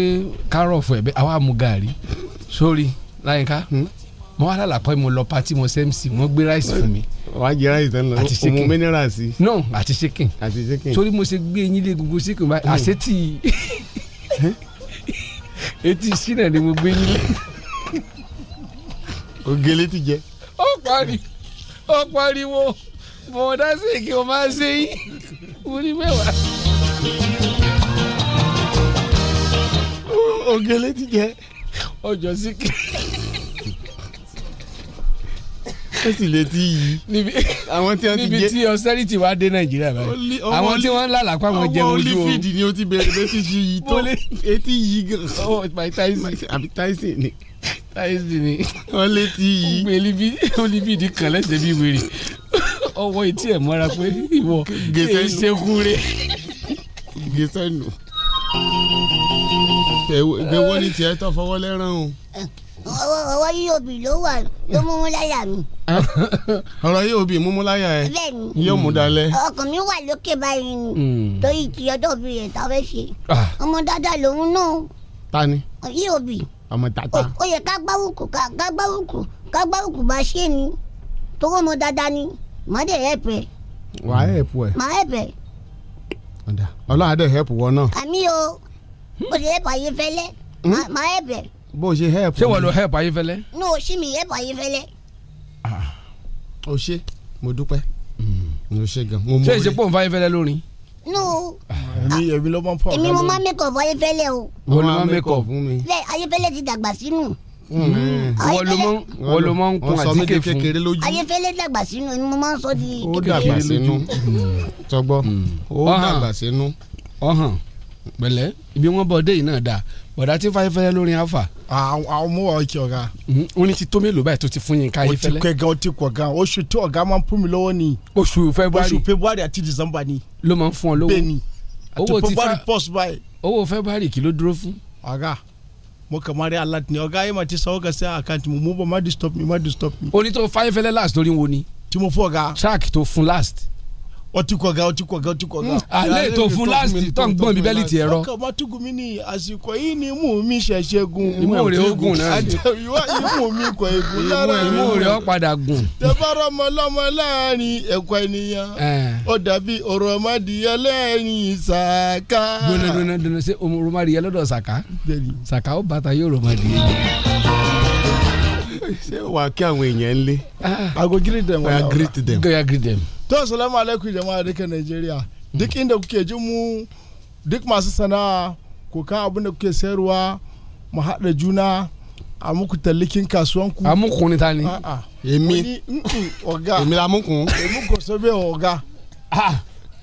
[SPEAKER 5] kárọ̀ fún ẹ̀bẹ́ àwa mú gàrí sórí láyínká
[SPEAKER 19] Hmm?
[SPEAKER 5] mo wá lálàpọ̀ mo lọ pati mo sẹ́mc wọ́n gbé ráìsì fún mi
[SPEAKER 19] wàá jẹ ráìsì tán lọ
[SPEAKER 5] Àti
[SPEAKER 19] òmù
[SPEAKER 5] chicken.
[SPEAKER 19] mineral sí.
[SPEAKER 5] no àti chicken
[SPEAKER 19] àti chicken.
[SPEAKER 5] torí mo ṣe gbé eyín lé egungun sí kùn báyìí àṣetì etí sínà ni mo gbé eyín lé.
[SPEAKER 19] ògèlè ti jẹ.
[SPEAKER 5] ó parí ó pariwo bọ̀dá sí kí o máa ṣe yín mo ní mẹ́wàá.
[SPEAKER 19] ògèlè ti jẹ.
[SPEAKER 5] ọjọ́ sí kí
[SPEAKER 19] ó sì lè ti yí.
[SPEAKER 5] níbi
[SPEAKER 19] àwọn tí wọ́n ti
[SPEAKER 5] níbi
[SPEAKER 19] jẹ.
[SPEAKER 5] tí austerity wá dé nàìjíríà báyìí àwọn tí wọ́n ń lálàá pa àwọn jẹun ojú
[SPEAKER 19] ọwọ́
[SPEAKER 5] oorun.
[SPEAKER 19] olífìdì ni ó ti bẹ̀rẹ̀ bẹ́ẹ̀ ti ṣe yìí tó
[SPEAKER 5] Wọlé.
[SPEAKER 19] etí yìí gan.
[SPEAKER 5] oh my tyson
[SPEAKER 19] àbí tyson ni.
[SPEAKER 5] tyson ni.
[SPEAKER 19] wọ́n lé ti yìí.
[SPEAKER 5] gbèlébí olùbídì kan lẹ́sẹ̀ bí wèrè ọwọ́ etí ẹ̀ mọ́ra pé ìwọ
[SPEAKER 19] Gèsè
[SPEAKER 5] èyí ṣe kúre.
[SPEAKER 19] gèsè nù. gbẹwọ́ ni tiẹ̀ tọ́ fọwọ́ lẹ́rán o.
[SPEAKER 8] ọwọ́ ọwọ́ yóò bì ló wà ló mú mú láyà mi
[SPEAKER 19] ọ̀rọ̀ yóò bí ìmúmúláyà ẹ̀
[SPEAKER 8] bẹ́ẹ̀ ni
[SPEAKER 19] Eh, yóò mú dalẹ̀.
[SPEAKER 8] ọkàn mi wà lókè báyìí ni
[SPEAKER 19] Mm.
[SPEAKER 8] torí ti ọjọ́ òbí rẹ̀ tá a fẹ́ ṣe
[SPEAKER 19] Ah.
[SPEAKER 8] ọmọ dáadáa lòun náà
[SPEAKER 19] ta ni
[SPEAKER 8] yóò bì
[SPEAKER 19] ọmọ tata.
[SPEAKER 8] ó yẹ ká gbárùkù ká ká gbárùkù ká gbárùkù bá ṣe ni torí ọmọ dáadáa ni màá dẹ̀ ẹ̀pẹ̀
[SPEAKER 19] wàá ẹ̀pù ẹ̀
[SPEAKER 8] màá ẹ̀pẹ̀
[SPEAKER 19] ọlọ́run adé ẹ̀pù wọ náà.
[SPEAKER 8] àmì o ó ti ẹ̀pẹ̀ ayé fẹ́lẹ́
[SPEAKER 19] Hmm?
[SPEAKER 8] màá ẹ̀pẹ̀
[SPEAKER 19] bó o ṣe ẹ̀pù.
[SPEAKER 5] ṣé wọ́n lo help ayéfẹ́lẹ́.
[SPEAKER 8] ní o ṣí mi ẹ̀pẹ̀ ayé fẹ́lẹ́
[SPEAKER 19] o ṣe mo dúpẹ́ Mm, o ṣe gan mo mọ
[SPEAKER 5] ṣé ìṣepò ń fa ayéfẹ́lẹ́ lórin.
[SPEAKER 8] ní o
[SPEAKER 20] èmi èmi ló máa ń pọ̀
[SPEAKER 8] èmi mo máa mẹ́kọ̀ọ́ fún ayé fẹ́lẹ́ o
[SPEAKER 5] wọ́n ló máa ń make up.
[SPEAKER 19] fún mi. Mm.
[SPEAKER 8] bẹ́ẹ̀ ayé fẹ́lẹ́ ti dàgbà sínú Mm-hmm.
[SPEAKER 5] Hmm. wọ́n ló mọ́ wọ́n ló mọ́ ń kun
[SPEAKER 19] sọ mí
[SPEAKER 5] àtíkè
[SPEAKER 19] di
[SPEAKER 5] fún.
[SPEAKER 19] kékeré lójú
[SPEAKER 8] ayé fẹ́lẹ́ dàgbà sínú ni mo máa ń sọ di
[SPEAKER 19] ó
[SPEAKER 8] kékeré.
[SPEAKER 19] dàgbà sínú tọgbọ́
[SPEAKER 5] Mm.
[SPEAKER 19] ó
[SPEAKER 5] Ọ̀hán.
[SPEAKER 19] dàgbà sínú.
[SPEAKER 5] ọ̀hàn pẹ̀lẹ́ ibi wọ́n bọ̀ dé yìí náà dáa bọ̀dá tí ń fa ayéfẹ́lẹ́ lórin alfa.
[SPEAKER 20] àwọn mú ọkẹ ọ̀gá.
[SPEAKER 5] ó ní ti tó mélòó báyìí tó ti fún yín ká
[SPEAKER 20] ó ti
[SPEAKER 5] ayéfẹ́lẹ́.
[SPEAKER 20] kọ ẹ̀gá ó ti kọ ẹ̀gá oṣù tí ọ̀gá máa ń fún mi lọ́wọ́ ni.
[SPEAKER 5] oṣù February.
[SPEAKER 20] oṣù february àti december ni.
[SPEAKER 5] ló máa ń fún ọ lówó.
[SPEAKER 20] bẹ́ẹ̀ ni àti
[SPEAKER 5] owó ti
[SPEAKER 20] february
[SPEAKER 5] fa
[SPEAKER 20] post báyìí.
[SPEAKER 5] owó february kí ló dúró fún.
[SPEAKER 20] ọ̀gá mo kàn máa rí alert ni ọ̀gá yìí máa ti sanwó kan sí àkáǹtì mo mú bọ̀ má disturb mi má disturb mi.
[SPEAKER 5] ó ní tó fa ayéfẹ́lẹ́ last torí wo ni.
[SPEAKER 20] tí mo fún ọ̀gá.
[SPEAKER 5] track tó fún last.
[SPEAKER 20] ọtí kọ̀ọ̀gá ọtí kọ̀ọ̀gá ọtí kọ̀ọ̀gá.
[SPEAKER 5] Hmm, alẹ́ Ah, tó fún last tó ń gbọ́n bíbélì ti ẹ̀rọ.
[SPEAKER 20] ọkọ̀ máa tún gùn mí ní àsìkò yìí ni imú mi ṣẹ̀ṣẹ̀ gun.
[SPEAKER 5] Imú rẹ̀ ó gùn náà ni.
[SPEAKER 20] àjẹ́ ìwọ imú mi kọ̀ ègún lára
[SPEAKER 5] ìmú rẹ̀ ó padà gùn.
[SPEAKER 20] tẹ́fọ́rọ́ ọmọ ọlọ́mọ láàrin ẹ̀kọ́ ènìyàn
[SPEAKER 5] Eh.
[SPEAKER 20] ó dàbí ọ̀rọ̀ ọmọdìyẹ lẹ́yìn ìsàkà.
[SPEAKER 5] dundun dundun dundun ṣe omoromari yẹ lọ́dọ̀ saka saka ó bàtà yóò romadi.
[SPEAKER 19] ṣé wàá kí àwọn èèyàn ń lé.
[SPEAKER 20] I go greet them.
[SPEAKER 19] I greet them.
[SPEAKER 5] Go ya Eh, greet them.
[SPEAKER 20] To salamu alaikum jama'a duka Najeriya. Duk inda kuke jin mu duk masu sana'a ku kan abin da kuke sayarwa mu haɗa juna a muku tallikin kasuwanku.
[SPEAKER 5] a mú kun ta ni.
[SPEAKER 20] A'a.
[SPEAKER 19] èmi
[SPEAKER 20] Wani, mm-mm, Ọ̀gá.
[SPEAKER 19] èmi la mú kun
[SPEAKER 20] Èmi kò sọ bẹ́ẹ̀ ọ̀gá.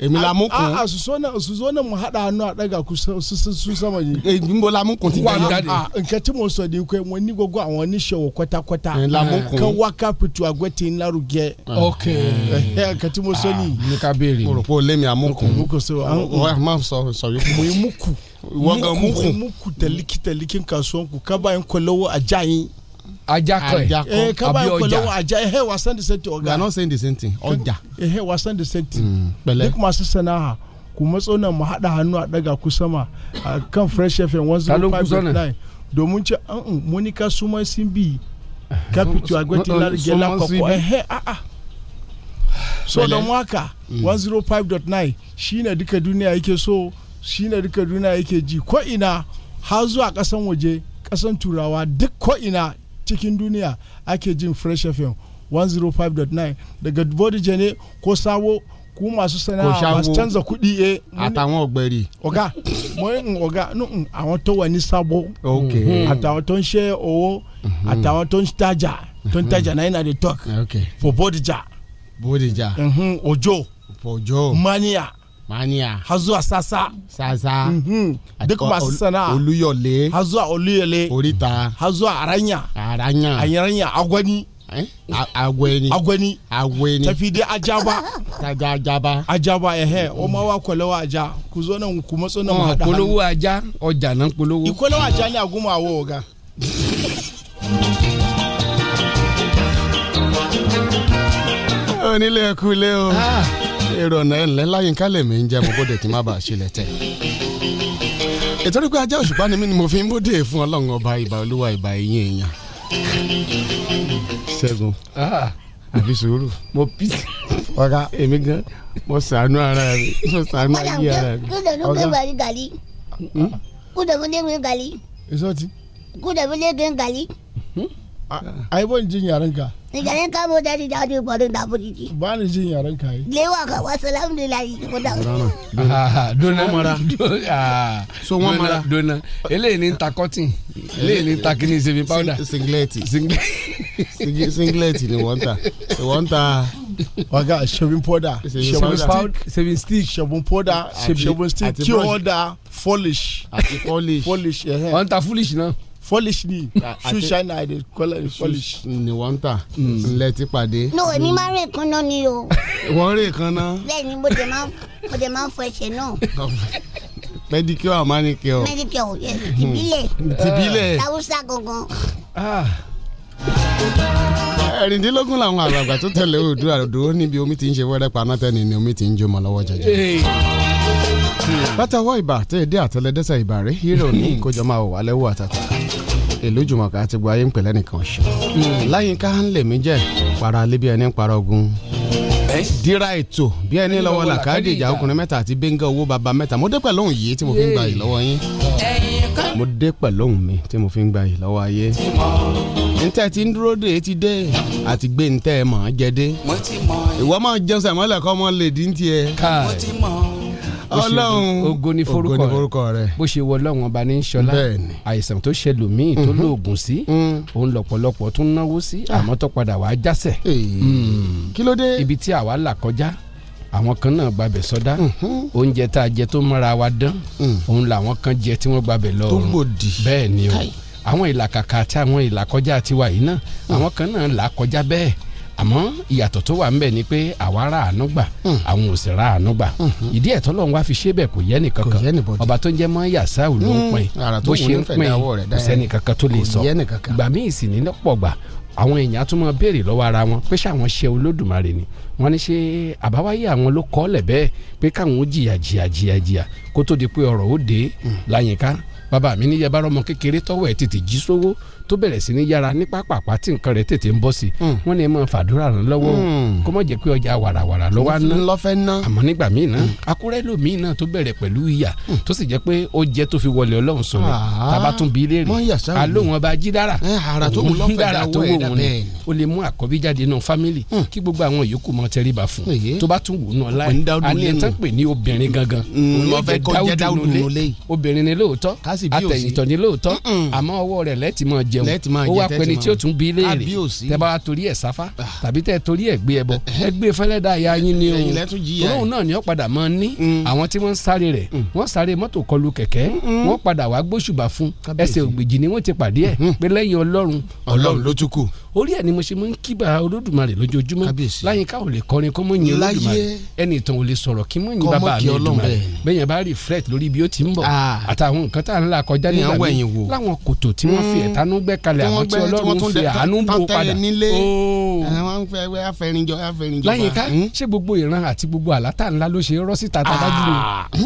[SPEAKER 19] èmi la mú kun
[SPEAKER 20] A'a su so na su zo nan mu haɗa hannu a ɗaga ku su su- su- su sama ne.
[SPEAKER 19] èmi mo Eh, la mú kun ti
[SPEAKER 5] Wà á
[SPEAKER 19] tẹ́lẹ̀.
[SPEAKER 5] jáde.
[SPEAKER 20] Ah, nǹkan tí mo sọ de ko wọn ní gbogbo àwọn oníṣòwò kọtakọta
[SPEAKER 19] Ẹ̀, lamukun.
[SPEAKER 20] kan wá kápẹ́tù àgbẹ̀tì ńlárugẹ.
[SPEAKER 19] Eh,
[SPEAKER 5] ok.
[SPEAKER 20] ẹ nǹkan tí eh, mo sọ nìyí.
[SPEAKER 5] ní ká béèrè.
[SPEAKER 19] Ah. mo rò pé o lé mi àmúkùn.
[SPEAKER 20] mo kò sọ
[SPEAKER 19] wọ́n á máa sọ sọ̀rọ̀ yìí.
[SPEAKER 20] mo ye muku
[SPEAKER 19] Wọ́n gan muku.
[SPEAKER 20] muku tẹliki tẹliki kasuwan ku kaba in kọlọwọ ajá yín.
[SPEAKER 5] ajá kọ ẹ
[SPEAKER 19] Ajá kọ.
[SPEAKER 8] Eh,
[SPEAKER 20] ẹ Eh, kaba
[SPEAKER 5] Àbí
[SPEAKER 20] in
[SPEAKER 5] ọjà.
[SPEAKER 20] kọlọwọ ajá yín ẹ wasan de sẹnti
[SPEAKER 19] we are
[SPEAKER 20] ọ̀gá
[SPEAKER 19] not saying the same thing ọjà
[SPEAKER 8] eh,
[SPEAKER 19] Mm,
[SPEAKER 20] ẹ wasan de sẹnti.
[SPEAKER 19] pẹ̀lẹ́.
[SPEAKER 20] duk masu sana'a ku matso nan mu haɗa hannu a ɗaga ku sama a kan fresh fm
[SPEAKER 5] Ka ló ń kú sọ́nà?
[SPEAKER 20] 105.9 domin ce an un monika su ma sun bi
[SPEAKER 8] capital agwetilari gela koko ehe
[SPEAKER 20] ah,
[SPEAKER 8] a'a so don waka
[SPEAKER 19] Mm.
[SPEAKER 8] 105.9 shine duka duniya yake so shine duka duniya yake ji ko ina har zuwa kasan waje kasan turawa duk ko ina cikin duniya ake jin fresh fm 105.9 daga bodija ne ko sabo ku masu sana'a masu canza kuɗi eh
[SPEAKER 19] àtàwọn ọ̀gbẹ̀rì.
[SPEAKER 8] ọ̀gá mo ń ọ̀gá nù, ń, mm, àwọn tó wà ní sábó
[SPEAKER 19] Ok.
[SPEAKER 8] àtàwọn tó ń ṣe owó àtàwọn tó ń tajà tó ń tajà náà iná dey talk for bodija
[SPEAKER 19] bódìjà.
[SPEAKER 8] mhm, ojo
[SPEAKER 19] ọjọ́.
[SPEAKER 8] mania
[SPEAKER 19] mania.
[SPEAKER 8] hazua sasa Mm-hmm.
[SPEAKER 19] sasa
[SPEAKER 8] duk masu sana'a
[SPEAKER 19] olúyọ̀lé.
[SPEAKER 8] hazua olúyọ̀lé.
[SPEAKER 19] oríta.
[SPEAKER 8] hazua aranya
[SPEAKER 19] aranya. Eh?
[SPEAKER 8] aranya agwani.
[SPEAKER 19] agwẹni.
[SPEAKER 8] agwẹni.
[SPEAKER 19] agwẹni.
[SPEAKER 8] tafide ajaba
[SPEAKER 19] taja ajaba
[SPEAKER 8] ajaba eh, ehe o ma wa kwalewa aja ku zo nan ku matso nan mu haɗa hannu.
[SPEAKER 5] polówó ajá ọjà náà polówó.
[SPEAKER 8] ìkọlọ́wọ́ ajá ní agúnmọ̀ àwọ̀ ọ̀gá.
[SPEAKER 19] onílé ẹkú lé o
[SPEAKER 5] Ah.
[SPEAKER 19] èrò ọ̀nà ẹ̀ńlẹ́ láyínká lèmi ń jẹ́ mo bóde kí n má bàa ṣílẹ̀ tẹ̀. ètò orí pé ajá òṣùpá ni mí ni mo fi ń bóde fún ọlọ́run ọba ìbà olúwa ìbà ẹ̀yìn èèyàn. ṣẹ́gun
[SPEAKER 5] Ah.
[SPEAKER 19] àfi sùúrù mo bí ọ̀gá èmi gan mo sàánú ara mi mo sàánú
[SPEAKER 1] Madam,
[SPEAKER 19] ayé ara mi.
[SPEAKER 1] ku da nu
[SPEAKER 19] ọ̀gá Hmm?
[SPEAKER 1] kai bari gali. Ku da mu ne mu gali.
[SPEAKER 8] Iso ti.
[SPEAKER 1] Ku da mu ne gan gali.
[SPEAKER 8] ai ban jin yaren ka
[SPEAKER 1] Ni ganin ka mu dadi da adi bari da buri ji.
[SPEAKER 8] ba ni jin yaren ka yi.
[SPEAKER 1] Lewa ka wa salamu lillahi ko da.
[SPEAKER 5] Ah, dona
[SPEAKER 19] mara.
[SPEAKER 5] Do- ah,
[SPEAKER 19] So wọ́n
[SPEAKER 5] dona-
[SPEAKER 19] mara.
[SPEAKER 5] dona eléyìí ni ń ta cotton eléyìí ni ń ta kini saving powder.
[SPEAKER 19] singleti Singi- singleti ni wọ́n ń ta wọ́n ń ta
[SPEAKER 8] ọ̀gá ṣẹ̀bùn pọ́dà
[SPEAKER 19] Ṣẹ̀bùn powder.
[SPEAKER 5] ṣẹ̀bùn stick
[SPEAKER 8] ṣẹ̀bùn pọ́dà ṣẹ̀bùn stick
[SPEAKER 19] àti
[SPEAKER 8] kí
[SPEAKER 19] brush.
[SPEAKER 8] wọ́n da polish.
[SPEAKER 19] àti polish
[SPEAKER 8] polish ẹ̀hẹ́.
[SPEAKER 5] wọ́n ń ta foolish náà.
[SPEAKER 8] polish ni shoe
[SPEAKER 19] àti-
[SPEAKER 8] shine i dey call it Hmm. polish.
[SPEAKER 19] ni wọ́n ń ta singleti pàdé.
[SPEAKER 1] No, èmi máa ń rìn kan náà ni o.
[SPEAKER 19] wọ́n rè kan náà
[SPEAKER 1] Bẹ́ẹ̀ ni mo dẹ̀ máa ń- mo dẹ̀ máa ń fọ ẹsẹ̀ náà.
[SPEAKER 19] pedicure and manicure.
[SPEAKER 1] Medicare ò yẹ ìbílẹ̀.
[SPEAKER 19] Tìbílẹ̀.
[SPEAKER 1] Tàwùsà gangan.
[SPEAKER 19] ẹ̀rìndínlógún làwọn àgbààgbà tó tẹ̀lé Oòduà dúró níbi omi tí ń ṣe wẹ́rẹ́ paná tẹ́ni ni omi tí ń jó mọ́ lọ́wọ́ jẹjẹ. látàwọ́ ìbà tẹ́ ẹ dé àtẹlẹdẹ́sẹ̀ ìbà rẹ̀ hírò ní ìkójọ máa wò wá lẹ́wọ́ àtàtà èlú jùmọ̀ká àti gbọ́ ayé ń pẹ̀lẹ́ nìkan ṣe. láyínká ń lè mí jẹ́ para alẹ́ bí ẹni ń para ogun dira ètò bí ẹni lọ́wọ́ làkàdé ìjà ọkùnrin mẹ́ta àti bẹ́ńgá owó baba mẹ́ta mo dé pẹ̀lú òun yìí tí mo fi ń gba yìí lọ́wọ́ yín mo dé pẹ̀lú òun mi tí mo fi ń gba yìí lọ́wọ́ ayé ntẹ ti ń dúró de ti dé àti gbé ntẹ mọ̀ ọ́ jẹ dé ìwọ máa jẹun sàmọ́lẹ̀ kọ́ ọmọ lè dín tiẹ̀ ọlọ́run
[SPEAKER 5] ogo ni forúkọ
[SPEAKER 19] ògo ni forúkọ rẹ
[SPEAKER 5] bó ṣe wọ ọlọ́run ọba ní sọlá
[SPEAKER 19] Bẹ́ẹ̀ni.
[SPEAKER 5] àìsàn tó ṣẹlò míì
[SPEAKER 19] Mhm.
[SPEAKER 5] tó lóògùn sí òun lọ̀pọ̀lọpọ̀ tún náwó sí àmọ́ tó padà wàá jásẹ̀.
[SPEAKER 19] Ah.
[SPEAKER 5] Hmm.
[SPEAKER 19] kí ló dé.
[SPEAKER 5] ibi tí àwa là kọjá àwọn kan náà gbabẹ̀ sọdá
[SPEAKER 19] Mhm.
[SPEAKER 5] oúnjẹ tá a jẹ tó mọ́ra wa dán òun làwọn kan jẹ tí wọ́n gbabẹ̀ lọ
[SPEAKER 19] Mm. Tó
[SPEAKER 5] ọ̀run.
[SPEAKER 19] gbòdì.
[SPEAKER 5] bẹ́ẹ̀ ni o àwọn ìlàkàkà àti àwọn ìlàkọjá tiwa yìí náà
[SPEAKER 19] Mm.
[SPEAKER 5] àwọn kan náà là kọjá bẹ́ẹ̀ àmọ́ ìyàtọ̀ tó wà ńbẹ̀ ni pé àwa ra àánú gbà
[SPEAKER 19] Mm.
[SPEAKER 5] àwọn ò sì ra àánú gbà ìdí ẹ̀ tọ́lọ́run wá fi ṣe bẹ́ẹ̀ kò yẹ nìkan kan ọba tó ń jẹ́ mọ́ yàtsá ò ló ń pin
[SPEAKER 19] Mm, àrà tó
[SPEAKER 5] bó
[SPEAKER 19] wù
[SPEAKER 5] ṣe
[SPEAKER 19] ní
[SPEAKER 5] ń
[SPEAKER 19] fẹ̀dá
[SPEAKER 5] pin
[SPEAKER 19] ọwọ́ rẹ̀
[SPEAKER 5] kò
[SPEAKER 19] dá ẹ.
[SPEAKER 5] sẹ́ni kankan tó lè
[SPEAKER 19] Kò
[SPEAKER 5] sọ
[SPEAKER 19] yẹ nìkan kan.
[SPEAKER 5] ìgbà míì sì ní lọ́pọ̀ gbà àwọn èèyàn tún máa béèrè lọ́wọ́ ara wọn pé ṣáwọn ṣe olódùmarè ni wọ́n ní ṣe àbáwáyé àwọn ló kọ́ lẹ̀ bẹ́ẹ̀ pé káwọn ó jìyà jìyà jìyà jìyà kó tó di pé ọ̀rọ̀ ó dé
[SPEAKER 19] Hmm.
[SPEAKER 5] láyìnká bàbá mi ní yẹba ọmọ kékeré tọ́wọ́ ẹ̀ tètè jí sówó tó bẹ̀rẹ̀ sí ní yára ní pápápá tí nǹkan rẹ̀ tètè ń bọ́ sí
[SPEAKER 19] Hmm.
[SPEAKER 5] i wọ́n ní ẹ máa fàdúrà ràn lọ́wọ́ o. kó má jẹ́ pé ọjà wàràwàrà ló wá ná
[SPEAKER 19] lọ́fẹ́ ná Hmm.
[SPEAKER 5] àmọ́ nígbà míì náà akúrẹ́ lòmíì náà tó bẹ̀rẹ̀ pẹ̀lú ìyà tó sì jẹ́ pé ó jẹ́ tó fi wọlé ọlọ́run sọ̀rọ̀
[SPEAKER 19] Ah.
[SPEAKER 5] tábà tún bí léèrè
[SPEAKER 19] Mọ́ ìyà sáwọn
[SPEAKER 5] alóhùn ọba jídára
[SPEAKER 19] ara tó wù lọ́fẹ̀ẹ́
[SPEAKER 5] dára tó
[SPEAKER 19] dáwọ́ ẹ̀
[SPEAKER 5] wù
[SPEAKER 19] Hmm. dá
[SPEAKER 5] wọn ni
[SPEAKER 19] bẹ́ẹ̀ ni.
[SPEAKER 5] ó lè mú àkọ́bí jáde nínú fámìlì kí gbogbo àwọn yòókù mọ tẹríba fún
[SPEAKER 19] Èyí.
[SPEAKER 5] tó bá tún wù ú náà láì
[SPEAKER 19] Ọkùnrin Dáúdù
[SPEAKER 5] alẹ́
[SPEAKER 19] lẹ́nu.
[SPEAKER 5] tán pè ní obìnrin gangan
[SPEAKER 19] Mm,
[SPEAKER 5] Òun ló
[SPEAKER 19] wọ́n fẹ́
[SPEAKER 5] jẹ́
[SPEAKER 19] kó jẹ́ Dáúdù
[SPEAKER 5] nínú
[SPEAKER 19] nulẹ̀.
[SPEAKER 5] ilé. obìnrin ni lóòótọ́
[SPEAKER 19] bí òsì.
[SPEAKER 5] àtẹ̀yìntọ̀ ni lóòótọ́ àmọ́ ọwọ́ rẹ̀ lẹ́tì máa jẹun
[SPEAKER 19] Lẹ́ẹ̀ tí máa
[SPEAKER 5] ó
[SPEAKER 19] jẹ,
[SPEAKER 5] wá
[SPEAKER 19] tẹ́ẹ̀
[SPEAKER 5] pẹ́ni
[SPEAKER 19] tí
[SPEAKER 5] tí ó
[SPEAKER 19] máa-
[SPEAKER 5] tún bí léèrè
[SPEAKER 19] Àbí òsì. Ah. Eh.
[SPEAKER 5] tẹ bá wa torí ẹ̀ sáfá tàbí tẹ torí ẹ̀ gbé ẹ bọ ẹ gbé fẹ́lẹ́ dá ya yín ni o
[SPEAKER 19] Ẹ̀yin lẹ tún jìyà
[SPEAKER 5] tòun
[SPEAKER 19] ẹ̀.
[SPEAKER 5] náà ni ó padà máa ní
[SPEAKER 19] Mm.
[SPEAKER 5] àwọn tí wọ́n ń sáré rẹ̀ wọ́n sáré mọ́tò kọlu kẹ̀kẹ́ wọ́n padà wá gbóṣùbà fún
[SPEAKER 19] Kábíyèsí. Mm-hmm.
[SPEAKER 5] ẹsẹ̀ ògbèjì ni wọ́n ti pàdé ẹ̀ pé lẹ́yìn ọlọ́run
[SPEAKER 19] ọlọ́run ló tún kù.
[SPEAKER 5] orí ẹ̀ ni mo ṣe mú ń kíbà olódùmarè lójoojúmọ́ láyínká ò lè kọrin kó mọ̀ yín
[SPEAKER 19] Láyé.
[SPEAKER 5] olódùmarè ẹnì ìtàn ò lè sọ̀rọ̀ kí mọ̀ yín
[SPEAKER 19] Kọ́ mọ̀
[SPEAKER 5] bàbá
[SPEAKER 19] kí
[SPEAKER 5] mi
[SPEAKER 19] Ọlọ́run
[SPEAKER 5] olódùmarè
[SPEAKER 19] bẹ́ẹ̀ ni.
[SPEAKER 5] bẹ́yẹn bá reflect lórí bí ó ti ń bọ̀ àtàwọn nǹkan tá à ń là kọjá
[SPEAKER 19] Bí
[SPEAKER 5] nígbà
[SPEAKER 19] Ah. àwọn
[SPEAKER 5] míì
[SPEAKER 19] ẹ̀yìn wò.
[SPEAKER 5] láwọn kòtò tí wọ́n fi
[SPEAKER 19] Mm.
[SPEAKER 5] ẹ̀tanú gbẹ́ kalẹ̀
[SPEAKER 19] Tí
[SPEAKER 5] àwọn
[SPEAKER 19] wọ́n
[SPEAKER 5] tí
[SPEAKER 19] gbẹ́- tí wọ́n
[SPEAKER 5] ọlọ́run
[SPEAKER 19] tún
[SPEAKER 5] fi
[SPEAKER 19] dẹ-
[SPEAKER 5] àánú bò Oh.
[SPEAKER 19] tán tẹ́
[SPEAKER 5] padà
[SPEAKER 19] ẹ nílé.
[SPEAKER 5] Óò.
[SPEAKER 19] àwọn ń fẹ́ wẹ́ afẹ́rinjọ afẹ́rinjọ.
[SPEAKER 5] láyìnká
[SPEAKER 19] Hmm?
[SPEAKER 5] ṣé gbogbo ìran àti gbogbo àlátà
[SPEAKER 19] Ah.
[SPEAKER 5] ńlá ló ṣe rọ́ síta tábájú ni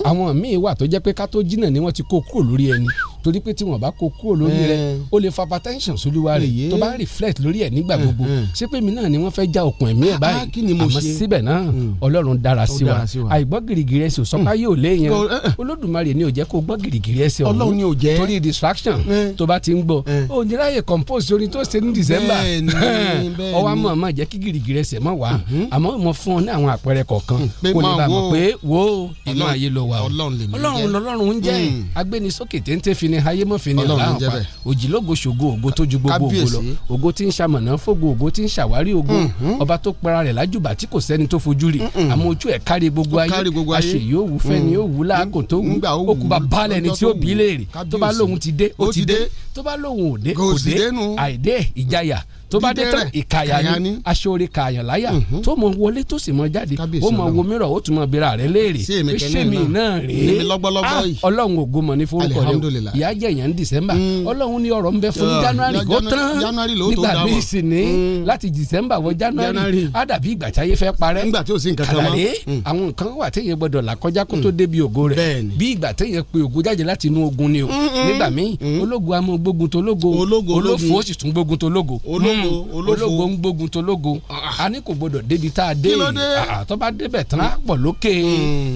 [SPEAKER 5] àwọn míì wà tó jẹ́ pé ká tó jìnnà ni wọ́n ti kó kúrò lórí ẹni torí pé tí wọ́n bá kó kúrò lórí rẹ̀
[SPEAKER 19] Eh.
[SPEAKER 5] ó lè fa hypertension sólúwa rẹ̀
[SPEAKER 19] Èyí.
[SPEAKER 5] tó bá ń reflect lórí ẹ̀ nígbà gbogbo ṣé pé mi náà ni wọ́n fẹ́ já okùn ẹ̀mí ẹ̀
[SPEAKER 19] Hmm, Ah,
[SPEAKER 5] báyìí
[SPEAKER 19] kí ni mo
[SPEAKER 5] àmọ́
[SPEAKER 19] ṣe? Hmm.
[SPEAKER 5] síbẹ̀ náà ọlọ́run dára
[SPEAKER 19] Ó
[SPEAKER 5] sí wa
[SPEAKER 19] dára sí wa.
[SPEAKER 5] àìgbọ́ gìrìgìrì ẹsẹ̀ òsọ́ká yóò léyìn
[SPEAKER 19] Kò- eh, eh.
[SPEAKER 5] olódùmarè ni ò jẹ́ kó gbọ́ gìrìgìrì ẹsẹ̀ ọ̀hún
[SPEAKER 19] Ọlọ́run ni ò jẹ́. Eh.
[SPEAKER 5] torí distraction tó bá ti ń gbọ́ ò ní ráyè compose orin tó ṣe ní december
[SPEAKER 19] Bẹ́ẹ̀ni, bẹ́ẹ̀ni.
[SPEAKER 5] ọwọ́ àmọ́ àmọ́ jẹ́ kí gìrìgìrì ẹsẹ̀ mọ́ wá
[SPEAKER 19] Mhm.
[SPEAKER 5] àmọ́ mo fún ọ ní àwọn àpẹẹrẹ kọ̀ọ̀kan
[SPEAKER 19] Hmm.
[SPEAKER 5] kó lè bá a mọ̀ pé wo inú ayé ló wà o ọlọ́run lọ́lọ́run ń jẹ́ agbénisókè téńté fini ayé mọ́ fini
[SPEAKER 19] Hmm. Ọlọ́run
[SPEAKER 5] ọ̀la
[SPEAKER 19] ń jẹ́
[SPEAKER 5] ọ̀pá
[SPEAKER 19] bẹ́ẹ̀.
[SPEAKER 5] òjìlógo ṣògo ògo tó ju gbogbo ògo lọ
[SPEAKER 19] Kábíyèsí.
[SPEAKER 5] ògo tí ń ṣamọ̀nà fògo ògo tí ń ṣàwárí ògo
[SPEAKER 19] Mhm.
[SPEAKER 5] ọba tó para rẹ̀ lájùbà tí kò sẹ́ni tó fojú rí
[SPEAKER 19] Mm-mm.
[SPEAKER 5] àmọ́ ojú ẹ̀ kárí gbogbo
[SPEAKER 19] Ó
[SPEAKER 5] ayé
[SPEAKER 19] kárí gbogbo ayé.
[SPEAKER 5] aṣè yóò wù fẹ́ ni
[SPEAKER 19] Mm.
[SPEAKER 5] yóò wù láàkó tó wù
[SPEAKER 19] Nígbà ó wù ú,
[SPEAKER 5] òkùnbà balẹ̀ ni
[SPEAKER 19] lọ́jọ́
[SPEAKER 5] tí ó
[SPEAKER 19] tó
[SPEAKER 5] bí
[SPEAKER 19] wù ú.
[SPEAKER 5] léèrè tó bá
[SPEAKER 19] Kábíyèsí.
[SPEAKER 5] lóhun ti dé ó
[SPEAKER 19] Ó
[SPEAKER 5] ti
[SPEAKER 19] ti
[SPEAKER 5] dé
[SPEAKER 19] dé.
[SPEAKER 5] tó bá lóhun òde
[SPEAKER 19] Kò sì
[SPEAKER 5] òde
[SPEAKER 19] dénú.
[SPEAKER 5] àìdé ìjayà tó bá dé
[SPEAKER 19] Dídé
[SPEAKER 5] tán
[SPEAKER 19] rẹ̀,
[SPEAKER 5] ìkàyà
[SPEAKER 19] ìkàyà
[SPEAKER 5] ni
[SPEAKER 19] ni. Mhm.
[SPEAKER 5] aṣọre kààyàn láyà tó mọ wọlé tó sì mọ jáde ó mọ
[SPEAKER 19] Ọlọ́run.
[SPEAKER 5] wo mìíràn ó tún mọ bira rẹ̀ léèrè
[SPEAKER 19] Sí èmi
[SPEAKER 5] pé
[SPEAKER 19] kẹ́ni
[SPEAKER 5] ṣé mi
[SPEAKER 19] náà.
[SPEAKER 5] náà rèé
[SPEAKER 19] Èmi lọ́gbọ́lọ́gbọ́
[SPEAKER 5] Ah,
[SPEAKER 19] yìí.
[SPEAKER 5] ọlọ́run ògo mọ̀ ní forúkọ rẹ̀ o
[SPEAKER 19] Alihamdulilayi.
[SPEAKER 5] ìyá jẹ èèyàn ní december ọlọ́run ní ọ̀rọ̀ ń bẹ fún
[SPEAKER 19] Yeah.
[SPEAKER 5] january
[SPEAKER 19] Mm. Janu-
[SPEAKER 5] kó tán
[SPEAKER 19] January ló tó
[SPEAKER 5] nígbà
[SPEAKER 19] dá
[SPEAKER 5] míì
[SPEAKER 19] mọ̀.
[SPEAKER 5] sì ní láti december wọ january
[SPEAKER 19] January.
[SPEAKER 5] á dàbí ìgbà tí ayé fẹ́ parẹ́
[SPEAKER 19] Nígbà tí ò sí nǹkan kan mọ́.
[SPEAKER 5] Kàlàlé,
[SPEAKER 19] Mm.
[SPEAKER 5] àwọn nǹkan wà téèyàn gbọdọ̀ là kọjá kó tó débi ògo rẹ̀ bí ìgbà téèyàn pe ògo jáde láti inú ogun ni o
[SPEAKER 19] Mm-mm.
[SPEAKER 5] nígbà míì ológo a mọ gbógun tó lógo
[SPEAKER 19] Ológo
[SPEAKER 5] olófo
[SPEAKER 19] ológun.
[SPEAKER 5] ó sì tún gbógun tó lógo
[SPEAKER 19] Ológo,
[SPEAKER 5] Mm.
[SPEAKER 19] olófo. Ah,
[SPEAKER 5] ológo ń gbógun tó lógo a ní kò gbọdọ̀ débi tá a dé
[SPEAKER 19] Kí ló dé?
[SPEAKER 5] Ah, ah, tó bá débẹ̀ tán á pọ̀ lókè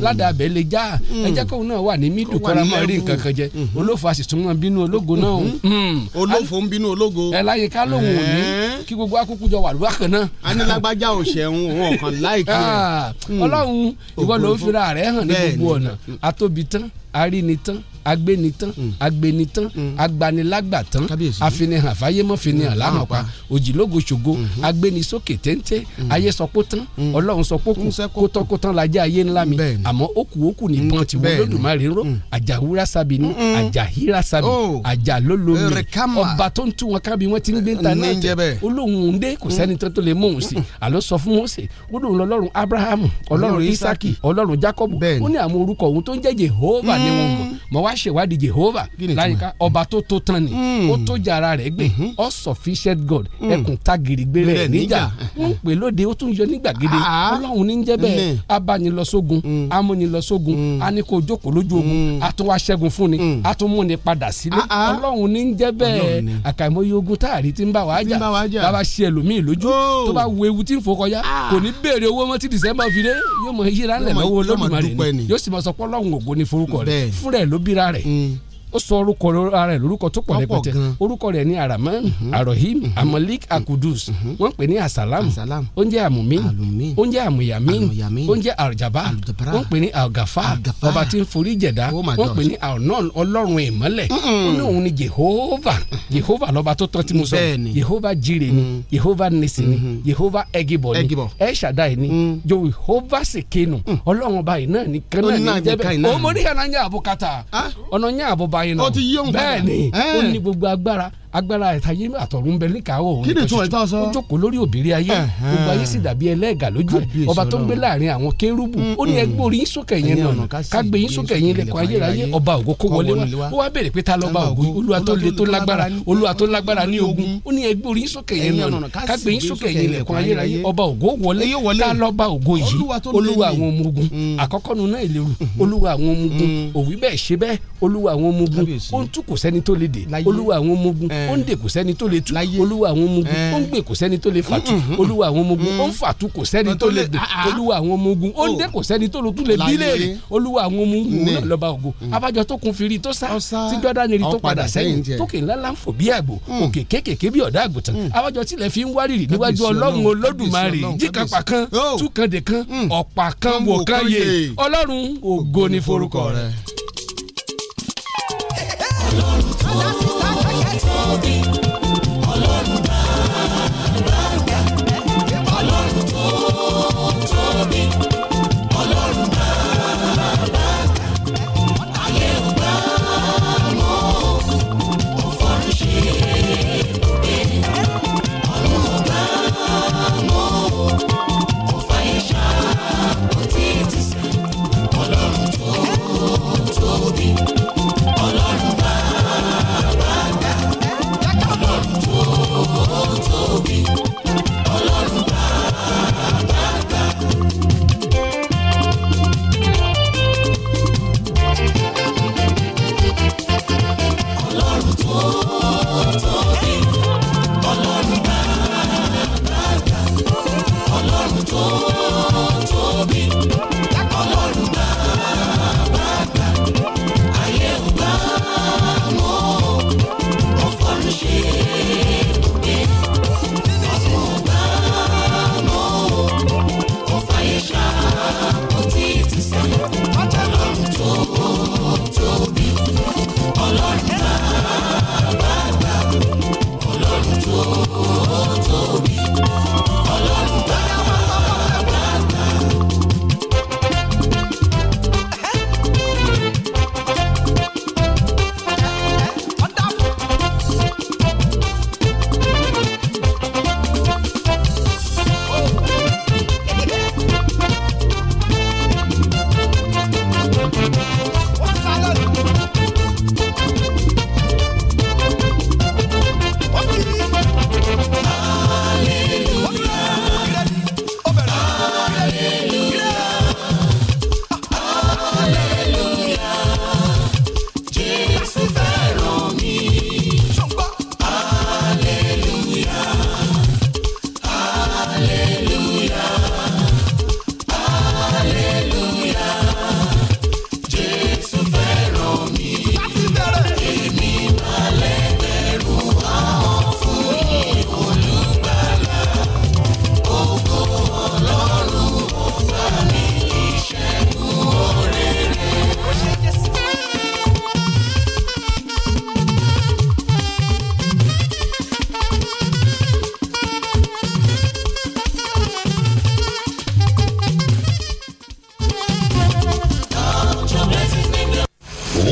[SPEAKER 5] ládàbẹ̀ lè já ẹ jẹ́ kóun náà wà ní mídù
[SPEAKER 19] Kó Hmm. wà
[SPEAKER 5] kọ́ra
[SPEAKER 19] ní
[SPEAKER 5] mọ́ rí
[SPEAKER 19] level.
[SPEAKER 5] nǹkan kan jẹ olófo a sì tún mọ́ bínú ológo náà o. Mm.
[SPEAKER 19] olófo ń bínú ológo.
[SPEAKER 5] ẹ láyé ká lóhùn òní kí gbogbo akókó jọ wà lóhùn kan náà
[SPEAKER 19] anilágbájá ò ṣẹ̀hún òun ọ̀kan láìkí Hmm.
[SPEAKER 5] Ah, ọlọ́run ìwọ ló ń fira rẹ hàn ní gbogbo ọ̀nà atóbi tán aríni tán agbéni tán
[SPEAKER 19] Mm.
[SPEAKER 5] agbéni tán agbanilágbà tán àfinihàn fáyémọ́
[SPEAKER 19] Mm.
[SPEAKER 5] finihàn láhàn pa òjìlógo ṣògo
[SPEAKER 19] Mm-hmm.
[SPEAKER 5] agbéni sókè téńté
[SPEAKER 19] Mm.
[SPEAKER 5] ayé sọpó tán ọlọ́run sọpó kù kótọ́kótán lajẹ́ ayé ńlá mi àmọ́ okù okù nìbọn tí wọ́n
[SPEAKER 19] bẹ́ẹ̀ ni.
[SPEAKER 5] lódùmarè ró àjàwúrà sábì ni àjàhírà sábì
[SPEAKER 19] Mm. Oh.
[SPEAKER 5] àjàlólómi
[SPEAKER 19] Erekama.
[SPEAKER 5] ọba tó ń tú wọn kábí wọn ti ń gbé ń ta
[SPEAKER 19] Ní
[SPEAKER 5] náà tẹ
[SPEAKER 19] jẹ́ bẹ́ẹ̀. Mm.
[SPEAKER 5] olóhùn òǹdè kò sẹ́ni tó tó lè mú òun sí àló sọ fún Mósè ó lóun lọ́lọ́run abrahamu ọlọ́run
[SPEAKER 19] Ọlọ́run
[SPEAKER 5] isaki ọlọ́run jacob ó ní àwọn orúkọ òun tó ń jẹ́ jehova ni wọn
[SPEAKER 19] Hmm.
[SPEAKER 5] mọ̀ mọ̀ wá ṣèwádìí jehova láyìíká ọba tó tó tán ni
[SPEAKER 19] Hmm.
[SPEAKER 5] ó tó jàrá rẹ̀ gbé all sufficient god
[SPEAKER 19] Mm.
[SPEAKER 5] ẹkùn tagiri gbé rẹ̀
[SPEAKER 19] Gbé rẹ̀
[SPEAKER 5] níjà
[SPEAKER 19] níjà.
[SPEAKER 5] wọ́n ń pè lóde ó tún yọ ní gbàgede
[SPEAKER 19] Ah. Hmm.
[SPEAKER 5] ọlọ́run ní ń jẹ́ bẹ́ẹ̀
[SPEAKER 19] Mm.
[SPEAKER 5] abanilọ́sógun amúnilọ́sógun
[SPEAKER 19] Hmm.
[SPEAKER 5] aníkójókòó lójú ogun àtúnwáṣẹ́gun fúnni àtúnmúni padà sílé
[SPEAKER 19] Ah, ah.
[SPEAKER 5] ọlọ́run ní ń jẹ́
[SPEAKER 19] Ọlọ́run
[SPEAKER 5] bẹ́ẹ̀
[SPEAKER 19] ni.
[SPEAKER 5] àkàìmọye ogun táàrí ti ń bá wàá
[SPEAKER 19] Tí ń
[SPEAKER 5] jà
[SPEAKER 19] bá wa jà. Oh. Ah.
[SPEAKER 5] bàbá ṣe ẹlòmíì lójú tó bá wo ewu tí ń fò kọjá kò ní béèrè owó mọ́ tí december fi dé yóò mọ yíra ńlẹ̀
[SPEAKER 19] Yóò mọ-
[SPEAKER 5] lọ́wọ́
[SPEAKER 19] yóò mọ
[SPEAKER 5] olódùmarè
[SPEAKER 19] dúpẹ́
[SPEAKER 5] ni
[SPEAKER 19] ni.
[SPEAKER 5] yóò sì mọ sọ pé ọlọ́run ògo ni forúkọ rẹ̀
[SPEAKER 19] Bẹ́ẹ̀.
[SPEAKER 5] fúnra ẹ̀ ló bíra rẹ̀ ó sọ orúkọ ara rẹ̀ lórúkọ tó pọ̀
[SPEAKER 19] Ọ̀pọ̀
[SPEAKER 5] rẹpẹtẹ
[SPEAKER 19] Mm. gan. Mm-hmm.
[SPEAKER 5] orúkọ rẹ̀ ni araman arohim amalik akudus wọ́n pè ní asalam ó ń jẹ́ amumi ó ń jẹ́ amuyami ó ń jẹ́ arjaba wọ́n pè ní algafa ọba tí ń forí jẹ̀dá
[SPEAKER 19] Oh my
[SPEAKER 5] wọ́n
[SPEAKER 19] God.
[SPEAKER 5] pè ní aonon ọlọ́run ìmọ́lẹ̀ ó ní òun ni jehova jehova lọ́ba tó tọ́ tí mo sọ
[SPEAKER 19] Bẹ́ẹ̀ni. Mm. Mm-hmm.
[SPEAKER 5] jehova jire ni jehova nisi ni jehova egibọ ni
[SPEAKER 19] Egibọ.
[SPEAKER 5] El Shaddai
[SPEAKER 19] Mm.
[SPEAKER 5] ni jehova sekenu ọlọ́run ọba yìí náà ni
[SPEAKER 19] Ó ní
[SPEAKER 5] kánà
[SPEAKER 19] náà
[SPEAKER 5] ní
[SPEAKER 19] ni kan
[SPEAKER 5] jẹ́bẹ̀
[SPEAKER 19] náà
[SPEAKER 5] ó
[SPEAKER 19] ni.
[SPEAKER 5] mo ní yàrá ń yà àbúkátà
[SPEAKER 19] Ah.
[SPEAKER 5] ọ̀nà ń yà àbúbá yìí náà
[SPEAKER 19] Ó ti yí òun padà.
[SPEAKER 5] bẹ́ẹ̀ni
[SPEAKER 19] Eh.
[SPEAKER 5] ó ní gbogbo agbára agbára ìtayé àtọ̀run bẹ níkàáwọ̀ òun
[SPEAKER 19] Kí ni
[SPEAKER 5] nìkan
[SPEAKER 19] ìtumọ̀
[SPEAKER 5] ṣoṣo.
[SPEAKER 19] ìta sọ?
[SPEAKER 5] ó jókòó lórí òbírí ayé
[SPEAKER 19] Eh-hẹ́n.
[SPEAKER 5] gbogbo ayé sì dàbí ẹlẹ́gà lójú ẹ̀
[SPEAKER 19] Kábíyèsí
[SPEAKER 5] ọba tó ń gbé
[SPEAKER 19] Ọlọ́run.
[SPEAKER 5] láàrin àwọn kérúbù ó ní ẹgbẹ́ orí sókè yẹn
[SPEAKER 19] Ẹ̀yin
[SPEAKER 5] náà
[SPEAKER 19] ọ̀nà ká sì
[SPEAKER 5] kágbé yín
[SPEAKER 19] gbé
[SPEAKER 5] sókè
[SPEAKER 19] sókè
[SPEAKER 5] yín
[SPEAKER 19] ilẹ̀kùn
[SPEAKER 5] lẹ́kọ̀ọ́ ayérayé
[SPEAKER 19] ayérayé.
[SPEAKER 5] ọba ògo kó
[SPEAKER 19] Kó
[SPEAKER 5] wọlé
[SPEAKER 19] wọlé
[SPEAKER 5] wá
[SPEAKER 19] wá.
[SPEAKER 5] ó wá béèrè pé ta lọ́ba ògo olúwa tó le tó lágbára olúwa tó lágbára ní ogun ó ní ẹgbẹ́ orí sókè yẹn
[SPEAKER 19] Ẹ̀yin
[SPEAKER 5] náà
[SPEAKER 19] ọ̀nà ká sì
[SPEAKER 5] kágbé yín
[SPEAKER 19] gbé
[SPEAKER 5] sókè
[SPEAKER 19] sókè
[SPEAKER 5] yín lẹ́kọ̀ọ́
[SPEAKER 19] ilẹ̀kùn
[SPEAKER 5] ayérayé
[SPEAKER 19] ayérayé.
[SPEAKER 5] ọba ògo wọlé
[SPEAKER 19] Ẹ̀yin wọlé.
[SPEAKER 5] ta lọ́ba ògo yìí
[SPEAKER 19] Olúwa tó le Mm. Mm-hmm.
[SPEAKER 5] olúwa
[SPEAKER 19] ni.
[SPEAKER 5] àwọn ọmọ ogun àkọ́kọ́ nu náà ìlérò olúwa àwọn ọmọ ogun
[SPEAKER 19] Mm-hmm.
[SPEAKER 5] òwí bẹ́ẹ̀ ṣe bẹ́ẹ̀ olúwa àwọn ọmọ ogun ó ń tú kò sẹ́ni tó le dè olúwa àwọn ọmọ ogun
[SPEAKER 19] Eh.
[SPEAKER 5] ó ń dè kò sẹ́ni tó le tú olúwa àwọn ọmọ ogun ó ń gbè kò sẹ́ni tó le fàtú
[SPEAKER 19] Mm-hmm.
[SPEAKER 5] olúwa àwọn ọmọ ogun ó ń fàtú kò sẹ́ni tó le dè olúwa àwọn ọmọ ogun ó ń dè kò sẹ́ni tó le tú le
[SPEAKER 19] Ah, Oh. Láyé.
[SPEAKER 5] bílẹ̀ olúwa àwọn ọmọ ogun òun
[SPEAKER 19] Ní.
[SPEAKER 5] náà lọ́ba ògo
[SPEAKER 19] Hmm.
[SPEAKER 5] abájọ tó kun firi tó Mm. sá tí jọ́dánì rí tó
[SPEAKER 19] Ó
[SPEAKER 5] padà
[SPEAKER 19] padà
[SPEAKER 5] sẹ́yìn Mm.
[SPEAKER 19] sẹ́yìn tiẹ̀.
[SPEAKER 5] tó kè ńlá láǹfò bí àgbò òkè kékèké bí ọ̀dà àgùntàn abájọ tilẹ̀ fi ń wárìrì
[SPEAKER 19] Kábíyèsí
[SPEAKER 5] níwájú Mm. ọlọ́run
[SPEAKER 19] Ọlọ́run,
[SPEAKER 5] olódùmarè
[SPEAKER 19] kábíyèsí Ọlọ́run,
[SPEAKER 5] jíkàpá kan
[SPEAKER 19] kábíyèsí.
[SPEAKER 5] tú kan dè kan ọ̀pá kan wò kan yè ọlọ́run ògo ni forúkọ rẹ̀.
[SPEAKER 3] Ọlọ́run tó tó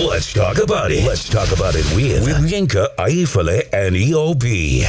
[SPEAKER 17] Let's talk about it. Let's talk about it with, with Yinka Aifale and E EOB.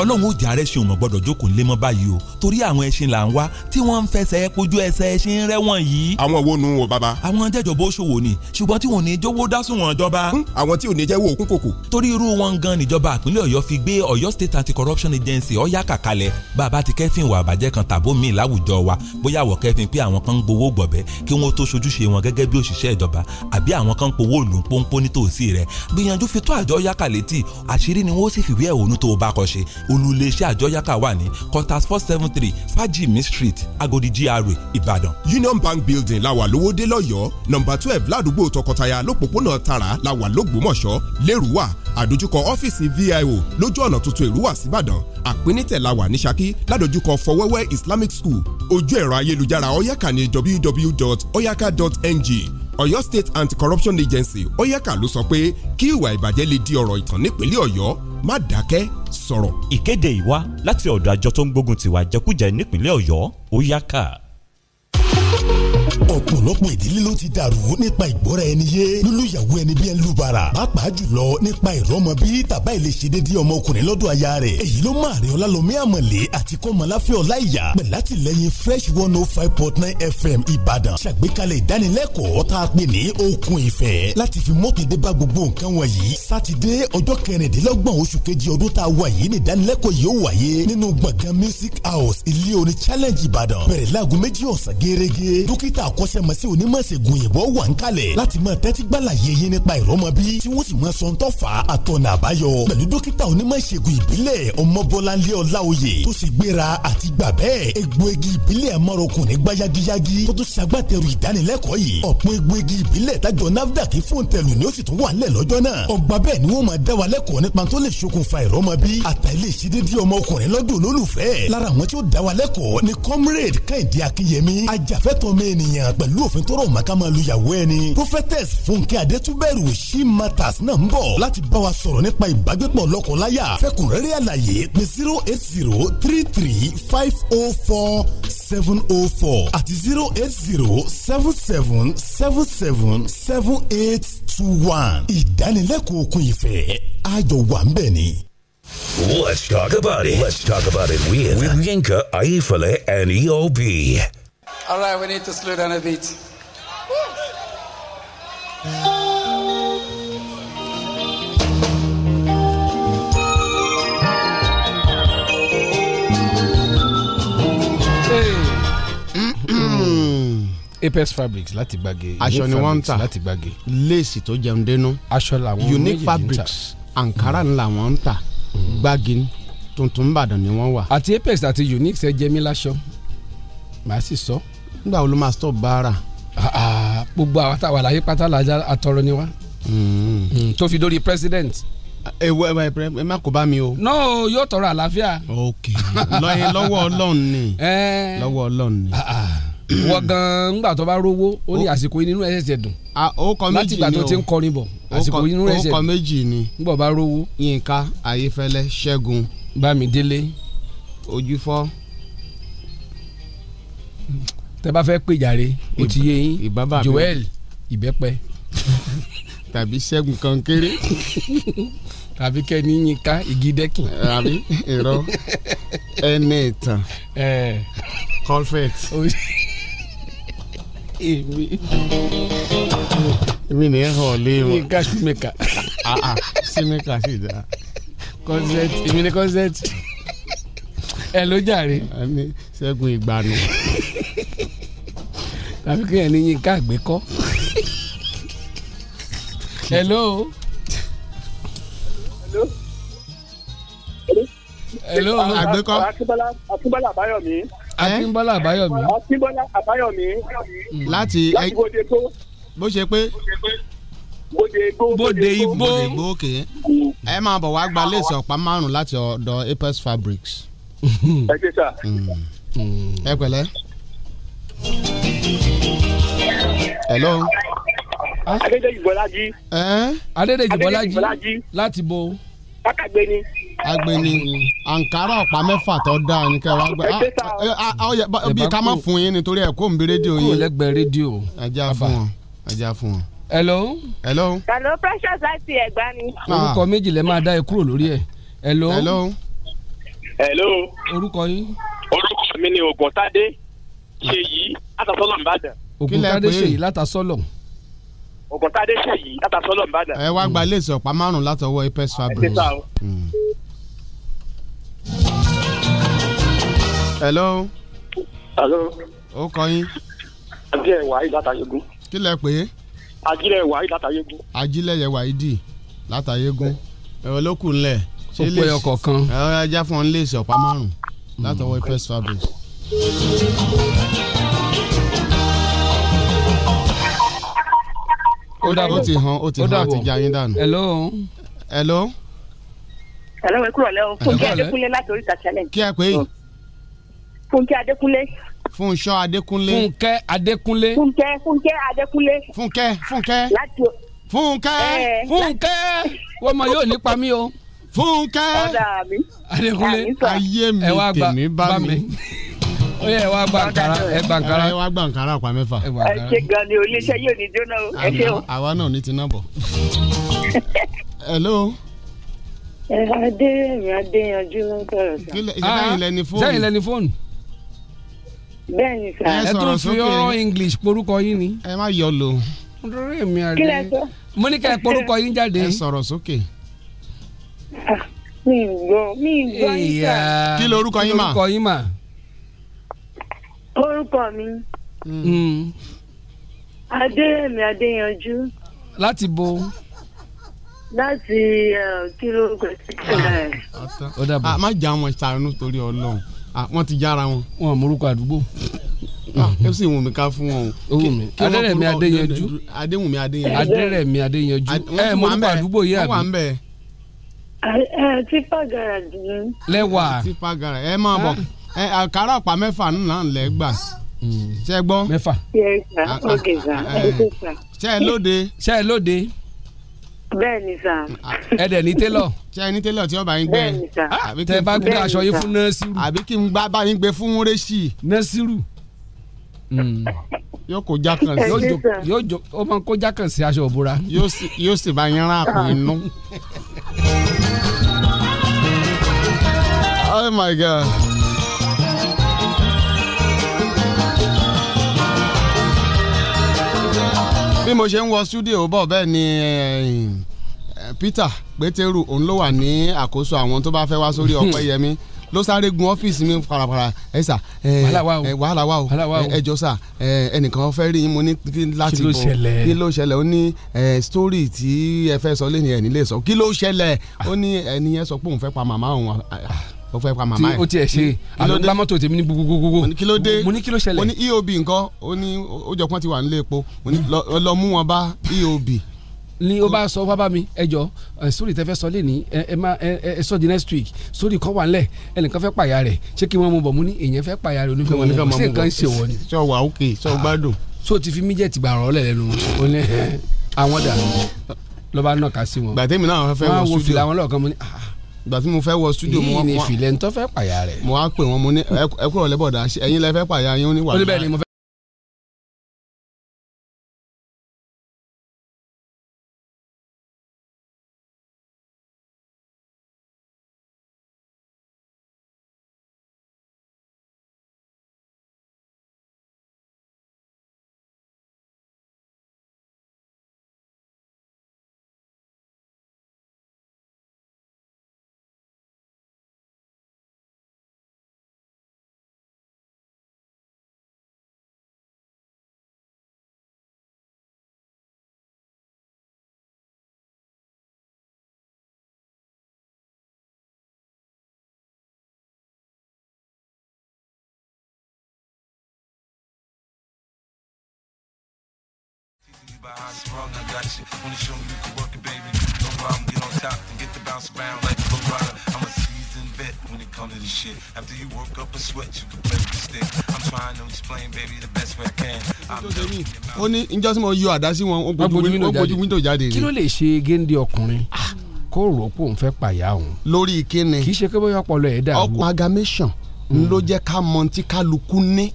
[SPEAKER 10] ọlọ́run ó jàre ṣeun mọ̀ gbọ́dọ̀ jókòó ńlẹ́ mọ́ báyìí o torí àwọn ẹṣin là ń wá tí wọ́n ń fẹsẹ̀ kojú ẹsẹ̀ ẹṣin rẹ́wọ̀n yìí.
[SPEAKER 20] àwọn wo nu wo baba.
[SPEAKER 10] àwọn jẹjọ bó ṣòwò ni ṣùgbọ́n tí wọn ò ní jówó dásùn wọn jọba.
[SPEAKER 20] àwọn tí ò ní jẹ́wọ́ òkú kòkò.
[SPEAKER 10] torí irú wọn gan níjọba àpínlẹ̀ ọ̀yọ́ fi gbé ọ̀yọ́ state anti-corruption agency ọ̀yá kàkalẹ̀ bàbá ti kẹ́fìn wà bàjẹ́ kan tàbó mi láwùjọ wa bóyá àwọ̀ kẹ́fìn pé àwọn kan ń gbowó gbọ̀bẹ́ kí wọ́n tó ṣojúṣe wọn gẹ́gẹ́ bí òṣìṣẹ́ ìjọba àbí àwọn kan ń powó lù ń pọ́npọ́n nítòsí rẹ̀ gbìyànjú fi tó àjọ yákà létí àṣírí ni wọ́n sì fìwé ẹ̀hónú tó o bá kọ ṣe olùléṣẹ́ àjọ yákà wà ní contact four seven three fajimi street agodi gra ìbàdàn.
[SPEAKER 20] union bank building la wà lówódé lọ́yọ́ọ́ nọ́mbà twelve ládùúgbò tọkọtaya lọ́pọ̀pọ̀nà tara la wà lọ́gbọ́mọ̀ṣọ́ lẹ́rùwà àdójúkọ ọ́fíìsì vio lójú ọ̀nà tuntun ìrúwà síbàdàn àpínítẹ̀ la wà ní ṣakí ládójúkọ fọwẹ́wẹ́ islamic school ojú ẹ̀rọ ayélujára oyaka ní www.oyaka.ng ọ̀yọ́ state anti-corruption agency oyaka ló sọ pé kí ìwà ìbàjẹ́ lè di ọ̀rọ̀ ìtàn nípínlẹ̀ ọ̀yọ́ má dákẹ́ sọ̀rọ̀.
[SPEAKER 21] ìkéde ìwá láti ọ̀dọ̀ àjọ tó ń gbógun tiwa jẹkújẹ nípínlẹ̀ ọ̀yọ́ ó yá ká.
[SPEAKER 12] ọ̀pọ̀lọpọ̀ ìdílé ló ti dàrú nípa ìgbọ́ra ẹni yé lólùyàwó ẹni bí ẹ ń lu bara pàápàá jùlọ nípa ìrọmọ bí tàbá ìlẹsẹdẹdẹ ọmọkùnrin lọ́dọ̀ aya rẹ̀ èyí ló máa rẹ ọlálọ́mí àmọ̀lé àti kọ́mọláfẹ́ ọláìyá pẹ̀lú àtìlẹ́yìn fresh one oh five point nine fm ìbàdàn ṣàgbékalẹ̀ ìdánilẹ́kọ̀ọ́ tá a pè ní okun ìfẹ́ láti fi mọ́tòdé bá gbogbo nǹkan wọ̀nyí sátidé ọjọ́ kẹrìndínlọ́gbọ̀n oṣù kejì ọdún tá a wà yìí ní ìdánilẹ́kọ̀ọ́ yìí ó wáyé nínú gbọ̀ngàn music house ilé orin challenge ìbàdàn bẹ̀rẹ̀ láago méjì ọ̀sán gẹ́gẹ́ dókítà akọ́ṣẹ́mọṣẹ́ onímọ̀ṣègùn òyìnbó wà ń kalẹ̀ láti máa tẹ́tí gbàlàyé yín nípa ìrọ́mọbí tí wọ́n sì máa sọ̀ńtọ́ fà á àtọ̀nà àbáyọ pẹ̀lú dókítà onímọ̀ṣègùn ìbílẹ̀ ọmọbọ́láńlé ọláoyè tó sì gbéra àti gbà bẹ́ẹ̀ egbòogi ìbílẹ̀ amọ̀rọ̀kùn ní gbáyagíyágí tó tún ṣagbátẹrù ìdánilẹ́kọ̀ọ́ yìí ọ̀pọ̀ egbòogi ìbílẹ̀ tájọ nafdac fóńtẹ̀lù ni ó sì tún wà nílẹ̀ lọ́jọ́ náà ọgbà bẹ́ẹ̀ ni wọ́n máa dá wa lẹ́kọ̀ọ́ nípa tó lè ṣokùnfà ìrọ́mọbí àtàlẹ́ ìṣedédé ọmọkùnrin lọ́dún olólùfẹ́ lára àwọn tí ó dá wa lẹ́kọ̀ọ́ ni comrade kẹ́hìndé akínyẹmí ajàfẹ́tọ̀ọ́ mi ènìyàn pẹ̀lú òfin tó rọ̀ mọ́ ká máa lu ìyàwó ẹni. prophetess fúnkẹ́ adétúbẹ̀rù she matters náà ń bọ̀ láti bá wa sọ̀rọ̀ nípa ìbágbépọ̀ lọ́kọláya fẹ́kùnrẹ́rẹ́ àlàyé pé zero eight zero three three five oh four seven oh four àti zero eight zero seven seven seven seven seven eight two one. ìdánilẹ́kọ̀ọ́ okun ìfẹ́ àjọ wà ń bẹ̀ ni.
[SPEAKER 17] Let's talk about it. Let's talk about it with, with Yinka Aifale and E EOB.
[SPEAKER 22] All right, we need to slow down a bit.
[SPEAKER 5] apex fabrics láti gbàgé
[SPEAKER 19] aṣọ ni wọ́n ń tà
[SPEAKER 5] láti gbàgé
[SPEAKER 19] léèsì tó jẹun dénú
[SPEAKER 5] aṣọ làwọn
[SPEAKER 19] unique
[SPEAKER 5] méjèèjì ń tà.
[SPEAKER 19] fabrics ankara ńlá wọn ń tà gbági ni, tuntun ìbàdàn ni wọ́n wà.
[SPEAKER 5] Mm. àti apex àti unix ẹ jẹ mí láṣọ màá sì sọ.
[SPEAKER 19] nígbà wo ló máa stop báárà.
[SPEAKER 5] gbogbo àwọn táwa láyé pátá làjà àtọrọ ni wá Mm, tó fi dórí president.
[SPEAKER 19] Hmm. ẹ wọ ẹ wọ ẹ pẹrẹ- ẹ má kó bá mi o.
[SPEAKER 5] náà no, yóò tọrọ àlàáfíà.
[SPEAKER 19] ok lọ́yìn lọ́wọ́ ọlọ́run ni
[SPEAKER 5] Ẹ́ẹ́.
[SPEAKER 19] lọ́wọ́ ọlọ́run ni.
[SPEAKER 5] wọ́n Ah, gan-an ńgbà tó bá rówó ó ní àsìkò yìí nínú ẹ̀ṣẹ̀ dùn.
[SPEAKER 19] ọkọ méjì
[SPEAKER 5] láti ìgbà
[SPEAKER 19] ni
[SPEAKER 5] tó
[SPEAKER 19] o.
[SPEAKER 5] ti ń kọrin bọ̀ àsìkò yìí nínú ẹ̀ṣẹ̀
[SPEAKER 19] ọkọ
[SPEAKER 5] dùn.
[SPEAKER 19] méjì ni.
[SPEAKER 5] ńgbọ̀ bá rówó.
[SPEAKER 19] yínká ayéfẹ́lẹ́ ṣẹ́gun.
[SPEAKER 5] bámidélé.
[SPEAKER 19] ojúfọ́.
[SPEAKER 5] tẹ bá fẹ́ pè jàre ó ti yé yín
[SPEAKER 19] ìbábà mi.
[SPEAKER 5] joel ìbẹ́pẹ
[SPEAKER 19] tàbí ṣẹ́gun kan kéré.
[SPEAKER 5] tàbí kẹ́ni yínká ìgídẹ́kìn.
[SPEAKER 19] àbí irọ́ ẹni ìtàn colfet.
[SPEAKER 5] èmi
[SPEAKER 19] èmi ni ẹ hàn lé wọn. Ah,
[SPEAKER 5] yínká simeka
[SPEAKER 19] simeka sì dáa.
[SPEAKER 5] concert èmi ni concert ẹ ló jàre
[SPEAKER 19] ẹni ṣẹ́gun ìgbàanù.
[SPEAKER 5] tàbí kẹ́ni yínká àgbékọ́. hello. hello.
[SPEAKER 3] akínbọ́lá akínbọ́lá àbáyọ̀mí.
[SPEAKER 5] akínbọ́lá àbáyọ̀mí.
[SPEAKER 3] akínbọ́lá àbáyọ̀mí.
[SPEAKER 19] Mm. láti
[SPEAKER 3] láti bóde tó
[SPEAKER 19] bó ṣe pé
[SPEAKER 3] bóde igbó.
[SPEAKER 5] bóde igbó.
[SPEAKER 19] bóde igbó òkè ẹ máa bọ̀ wá gba léèsì ọ̀pá márùn-ún láti ọ̀dọ̀ apis fabrics.
[SPEAKER 3] ẹ ṣe sà.
[SPEAKER 23] Hmm.
[SPEAKER 19] ẹ pẹ̀lẹ́. hello.
[SPEAKER 3] adédèjì bọ́lájí.
[SPEAKER 19] ẹ́
[SPEAKER 5] adédèjì
[SPEAKER 3] Adédèjì
[SPEAKER 5] bọ́lájí
[SPEAKER 3] Bọ́lájí.
[SPEAKER 5] láti bo.
[SPEAKER 3] kákàgbé ni.
[SPEAKER 19] agbeni ankara ọ̀pá mẹ́fà tó dáa ní kẹwàá gbẹ.
[SPEAKER 3] ẹ ṣe sà.
[SPEAKER 19] Ah, eh, bí ká má fún yín nítorí ẹ̀ kó ń bí rédíò
[SPEAKER 5] kúrò
[SPEAKER 19] yín.
[SPEAKER 5] lẹ́gbẹ̀ẹ́ rédíò.
[SPEAKER 19] ajá fún wọn ajá fún wọn.
[SPEAKER 5] hello.
[SPEAKER 19] hello.
[SPEAKER 4] Hello, Precious láti Ẹ̀gbá ni.
[SPEAKER 5] orúkọ méjì lẹ máa dá ẹ kúrò lórí ẹ hello. hello.
[SPEAKER 4] Hello.
[SPEAKER 5] orúkọ yín.
[SPEAKER 4] Orúkọ mi ni Ògùntádé Ṣèyí látàsọ́lọ̀ Ìbàdàn.
[SPEAKER 5] ògùntàdé
[SPEAKER 19] pè é?
[SPEAKER 5] ṣèyí látàsọ́lọ̀.
[SPEAKER 4] Ògùntádé Ṣèyí látàsọ́lọ̀ Ìbàdàn.
[SPEAKER 19] ẹ wá
[SPEAKER 5] Hmm.
[SPEAKER 19] gba léèsì ọ̀pá márùn-ún látọwọ́ Hmm. apes fabric.
[SPEAKER 4] sá o.
[SPEAKER 19] hello.
[SPEAKER 4] Hello.
[SPEAKER 19] ó kọ yín
[SPEAKER 4] Ajílẹ̀ Wàhí látàyégún.
[SPEAKER 19] kí lẹ pè é
[SPEAKER 4] Ajílẹ̀ Wàhí látàyégún.
[SPEAKER 19] ajílẹ̀yẹ wáídì látàyégún ẹ̀rọ ló kù ńlẹ̀
[SPEAKER 5] Ó pé ọkọ̀ kan.
[SPEAKER 19] ẹ̀rọ ajá fún ọ ń léèsì ọ̀pá márùn-ún látọwọ́ apes fabric. ó
[SPEAKER 5] dàbọ̀.
[SPEAKER 19] ti hàn ó ti
[SPEAKER 5] Ó
[SPEAKER 19] hàn ó ti
[SPEAKER 5] dàbọ̀.
[SPEAKER 19] já yín dànù.
[SPEAKER 5] hello.
[SPEAKER 19] hello.
[SPEAKER 23] Hello, ẹ kúrò lẹ́wọ̀n. Fúnkẹ́
[SPEAKER 19] kúrọ̀lẹ́.
[SPEAKER 23] Adékúnlé láti Oríta Challenge.
[SPEAKER 19] kí ẹ pè é
[SPEAKER 23] Fúnkẹ́ Adékúnlé.
[SPEAKER 19] fúnṣọ́ adékúnlé.
[SPEAKER 5] fúnkẹ́ adékúnlé.
[SPEAKER 23] Fúnkẹ́ Fúnkẹ́ Adékúnlé.
[SPEAKER 19] Fúnkẹ́ Fúnkẹ́.
[SPEAKER 23] Láti
[SPEAKER 19] Fúnkẹ́.
[SPEAKER 5] Fúnkẹ́. wọ́n mọ yóò nípa mí o.
[SPEAKER 19] fúnkẹ́.
[SPEAKER 23] Ọ̀dà mi.
[SPEAKER 5] adékúnlé
[SPEAKER 19] ayé mi
[SPEAKER 5] ẹ wá gba-
[SPEAKER 19] tèmi bá
[SPEAKER 5] bá
[SPEAKER 19] mi.
[SPEAKER 5] mi. ó yẹ ẹ wá gba nkàrà ẹ gba nkàrà.
[SPEAKER 19] ẹ wá gba nkàrà ọ̀pá mẹ́fà.
[SPEAKER 23] Ẹ ṣe gan ni oníṣẹ́ yóò ní jóná o. Ẹ ṣe o.
[SPEAKER 19] Àwa- àwa náà ní ti náà bọ̀. hello.
[SPEAKER 23] Adéyẹmí Adéyanjú ló ń sọ̀rọ̀ sá.
[SPEAKER 19] sẹ́yìn lẹni fóònù.
[SPEAKER 5] Ah, sẹ́yìn lẹni fóònù.
[SPEAKER 23] Bẹ́ẹ̀ni sá.
[SPEAKER 5] ẹ tún fi ọ̀rọ̀ english porúkọ yín ni.
[SPEAKER 19] ẹ má yọ lo.
[SPEAKER 5] nítorí èmi
[SPEAKER 23] Kí lẹ
[SPEAKER 5] àrẹ.
[SPEAKER 23] sọ?
[SPEAKER 5] mo ní kẹ́ ẹ porúkọ yín jáde.
[SPEAKER 19] ẹ sọ̀rọ̀ sókè.
[SPEAKER 23] Mi ì gbọ́, mi ì gbọ́ yín sá.
[SPEAKER 5] Ìyá.
[SPEAKER 19] Kí lorúkọ yín mà?
[SPEAKER 5] kí lorúkọ yín mà.
[SPEAKER 23] Orúkọ mi,
[SPEAKER 19] Hmm.
[SPEAKER 5] Mm.
[SPEAKER 23] Adéyẹmí Adéyanjú
[SPEAKER 5] láti bo.
[SPEAKER 23] láti eh, kí lórúkọ sí ẹ̀.
[SPEAKER 19] ó dàbọ̀. a má jà wọn ṣàánú torí ọlọ́run Ah, wọ́n ti jára wọn.
[SPEAKER 5] wọn morúkọ àdúgbò.
[SPEAKER 19] ẹ sì wù mí ká fún wọn o.
[SPEAKER 5] Ó wù mí.
[SPEAKER 19] Kí- kí wọ́n
[SPEAKER 5] Adérẹ̀mí
[SPEAKER 19] forúkọ-
[SPEAKER 5] Adéyanjú.
[SPEAKER 19] adéwùmí adéyanjú.
[SPEAKER 5] adérẹ̀mí adéyanjú. ẹ morúkọ àdúgbò yìí
[SPEAKER 19] wọ́n wà ń
[SPEAKER 5] àbí.
[SPEAKER 19] bẹ̀.
[SPEAKER 23] Tipa Garage ni.
[SPEAKER 5] lẹ́wà.
[SPEAKER 19] tipa gara ẹ máa bọ̀ ẹ àkàrà ọ̀pá mẹ́fà náà lẹ́ gbà. ṣe gbọ́.
[SPEAKER 5] mẹ́fà.
[SPEAKER 23] Yes sir,
[SPEAKER 19] Ah, ah,
[SPEAKER 23] okay sir,
[SPEAKER 19] ah,
[SPEAKER 23] ẹ
[SPEAKER 19] eh.
[SPEAKER 23] ṣe sir.
[SPEAKER 19] ṣe ẹ lóde.
[SPEAKER 5] ṣe é lóde.
[SPEAKER 23] Bẹ́ẹ̀ni sir.
[SPEAKER 5] ẹ dẹ̀ ní télọ̀.
[SPEAKER 19] ṣe Ah. ẹ ní tẹ́lẹ̀ tí ọba yín gbẹ.
[SPEAKER 23] Bẹ́ẹ̀ni sà.
[SPEAKER 19] Àbí kí
[SPEAKER 5] tẹ
[SPEAKER 19] n
[SPEAKER 5] bá
[SPEAKER 19] fún-
[SPEAKER 5] gbé aṣọ yín fún nọ́ọ̀sìrù.
[SPEAKER 19] àbí kí n gbá bá yín gbé fún múrẹ́sì
[SPEAKER 5] nọ́ọ̀sìrù. Mm.
[SPEAKER 19] yóò kó jákàn sí.
[SPEAKER 5] yóò jò yóò jò ó máa ń kó jákàn sí aṣọ òbúra.
[SPEAKER 19] yóò sì yóò sì bá yín rán àpò inú. oh my god. bí mo ṣe ń wọ studio bọ̀ bẹ́ẹ̀ ni eh, Peter Pétérù òun ló wà ní àkóso àwọn tó bá fẹ́ wá sórí ọpẹ́ yẹmi ló sáré gun ọ́fíìsì mi farafara ẹ sà eh,
[SPEAKER 5] Wàhálà wà o.
[SPEAKER 19] eh, wàhálà wà o
[SPEAKER 5] Wàhálà wà o.
[SPEAKER 19] Eh, ẹ jọ sà eh, ẹnìkan fẹ́ rí yín mo ní kí- láti
[SPEAKER 5] Kí ló
[SPEAKER 19] bọ̀.
[SPEAKER 5] ṣẹlẹ̀?
[SPEAKER 19] kí ló ṣẹlẹ̀ ó ní eh, story tí ẹ fẹ́ sọ lẹ́nu ẹ̀ nílé sọ kí ló ṣẹlẹ̀ ó ní ẹni yẹn sọ pé òun fẹ́ pa màmá òun ah, ah, ó fẹ́ pa
[SPEAKER 5] tí
[SPEAKER 19] màmá ẹ̀
[SPEAKER 5] o tiẹ̀ ṣe àlọ́ gbá mọ́tò tèmi ní gbogbogbò.
[SPEAKER 19] kí ló dé
[SPEAKER 5] mo ní kí ló ṣẹlẹ̀.
[SPEAKER 19] mo ní E eob nǹkan ó ní ó jọ pọ́n ti wà nílé epo mo ní lọ- lọ mú wọn bá E eob
[SPEAKER 5] ni ó bá sọ bàbá mi ẹ jọ ẹ, sórí tẹfẹ sọ lẹni ẹ ẹ máa ẹ ẹ, ẹ sọ di next week sórí kan wà nílẹ̀ ẹnìkan fẹ́ pàyà rẹ̀ ṣé kí wọ́n mú bọ̀ mú ní èèyàn fẹ́ pàyà rẹ̀ onífẹ́ mọ̀ mọ̀ sí nǹkan ṣe wọ̀ ni
[SPEAKER 19] sọ wà ókè sọ gbádùn.
[SPEAKER 5] Ah. so ti fi míjẹ̀tì gbà rọ̀ lẹ̀ lẹ́nu o ní ẹ, àwọn dà lọ́ba náà kà sí wọn.
[SPEAKER 19] gbàtẹ́mi náà fẹ́ wọ
[SPEAKER 5] máa wo
[SPEAKER 19] studio
[SPEAKER 5] fìlà wọn lọ́ọ̀kan mo ní ah
[SPEAKER 19] gbàtí mo fẹ́ wọ studio mo
[SPEAKER 5] yìí
[SPEAKER 19] wá-
[SPEAKER 5] ni
[SPEAKER 19] mo wá-
[SPEAKER 5] fìlẹ̀ ń tọ́ fẹ́ pàyà rẹ̀.
[SPEAKER 19] mo wá pè wọn mo ní "Ẹ- ẹ kúrò lẹ́bọ̀dà ṣé ẹ̀yin lẹ fẹ́ pààyà yín ó ní wà.
[SPEAKER 5] ó ní bẹ́ẹ̀ ni mo fẹ́.
[SPEAKER 6] by how strong I got you. Wanna show you you can work it, baby. No problem, get on top and get the bounce around like a rider. I'm a seasoned vet when it comes to this shit. After you work up a sweat, you can play with the stick. I'm trying to explain, baby, the best way I can. I'm joking
[SPEAKER 19] ó ní njọ́ tí mo yọ àdá sí wọn ó
[SPEAKER 5] Wọ́n
[SPEAKER 19] gbójú ó gbójú window jáde
[SPEAKER 5] kí ló
[SPEAKER 19] ni
[SPEAKER 5] lè ṣe géńdé ọkùnrin kó rò ó pé òun fẹ́ pàyà òun
[SPEAKER 19] lórí kíni
[SPEAKER 5] kì í ṣe pé bóyá ọpọlọ ẹ̀ dàrú
[SPEAKER 19] ọkùn agamation ló jẹ́ ká mọ tí kálukú ní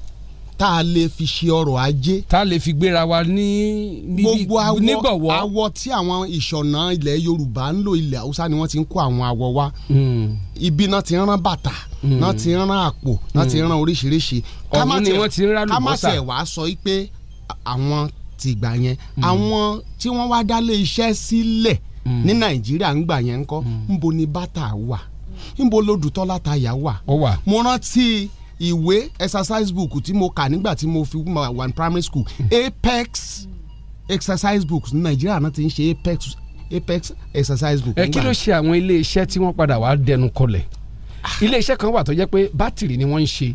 [SPEAKER 19] tá a lè fi ṣe ọrọ̀ ajé.
[SPEAKER 5] tá a lè fi gbéra wa ní
[SPEAKER 19] gbogbo awọ
[SPEAKER 5] nígbọ̀wọ́.
[SPEAKER 19] awọ tí àwọn ìṣọ̀nà ilẹ̀ yorùbá ń lò ilẹ̀ haúsá ni wọ́n ti ń kó àwọn awọ wa ibi náà ti ń rán bàtà
[SPEAKER 5] Mm.
[SPEAKER 19] náà ti ń rán àpò náà ti ń rán oríṣiríṣi. Ká má
[SPEAKER 5] Ọ̀hún ni
[SPEAKER 19] tiẹ̀-
[SPEAKER 5] wọ́n ti ń rálùbọ́sà.
[SPEAKER 19] ká má tiẹ̀ wàá sọ yìí pé àwọn ti gbà yẹn
[SPEAKER 5] Hmm.
[SPEAKER 19] àwọn tí wọ́n wá dálé iṣẹ́ sílẹ̀ ní nàìjíríà ń gbà yẹn ń kọ́
[SPEAKER 5] Hmm.
[SPEAKER 19] ńbo ni bàtà wà ńbo lodùtọ́lá tayà wà. mo rántí ìwé exercise book tí mo kà nígbà tí mo fi ma- wà ní primary school
[SPEAKER 5] Hmm.
[SPEAKER 19] apex exercise books ní nàìjíríà náà ti ń ṣe apex apex exercise book.
[SPEAKER 5] ẹ kí ló ṣe àwọn ilé iṣẹ́ tí wọ́n padà wá dẹnu kọlẹ̀
[SPEAKER 19] Ah.
[SPEAKER 5] ilé iṣẹ́ kan wà tó jẹ́ pé bátìrì ni wọ́n ń ṣe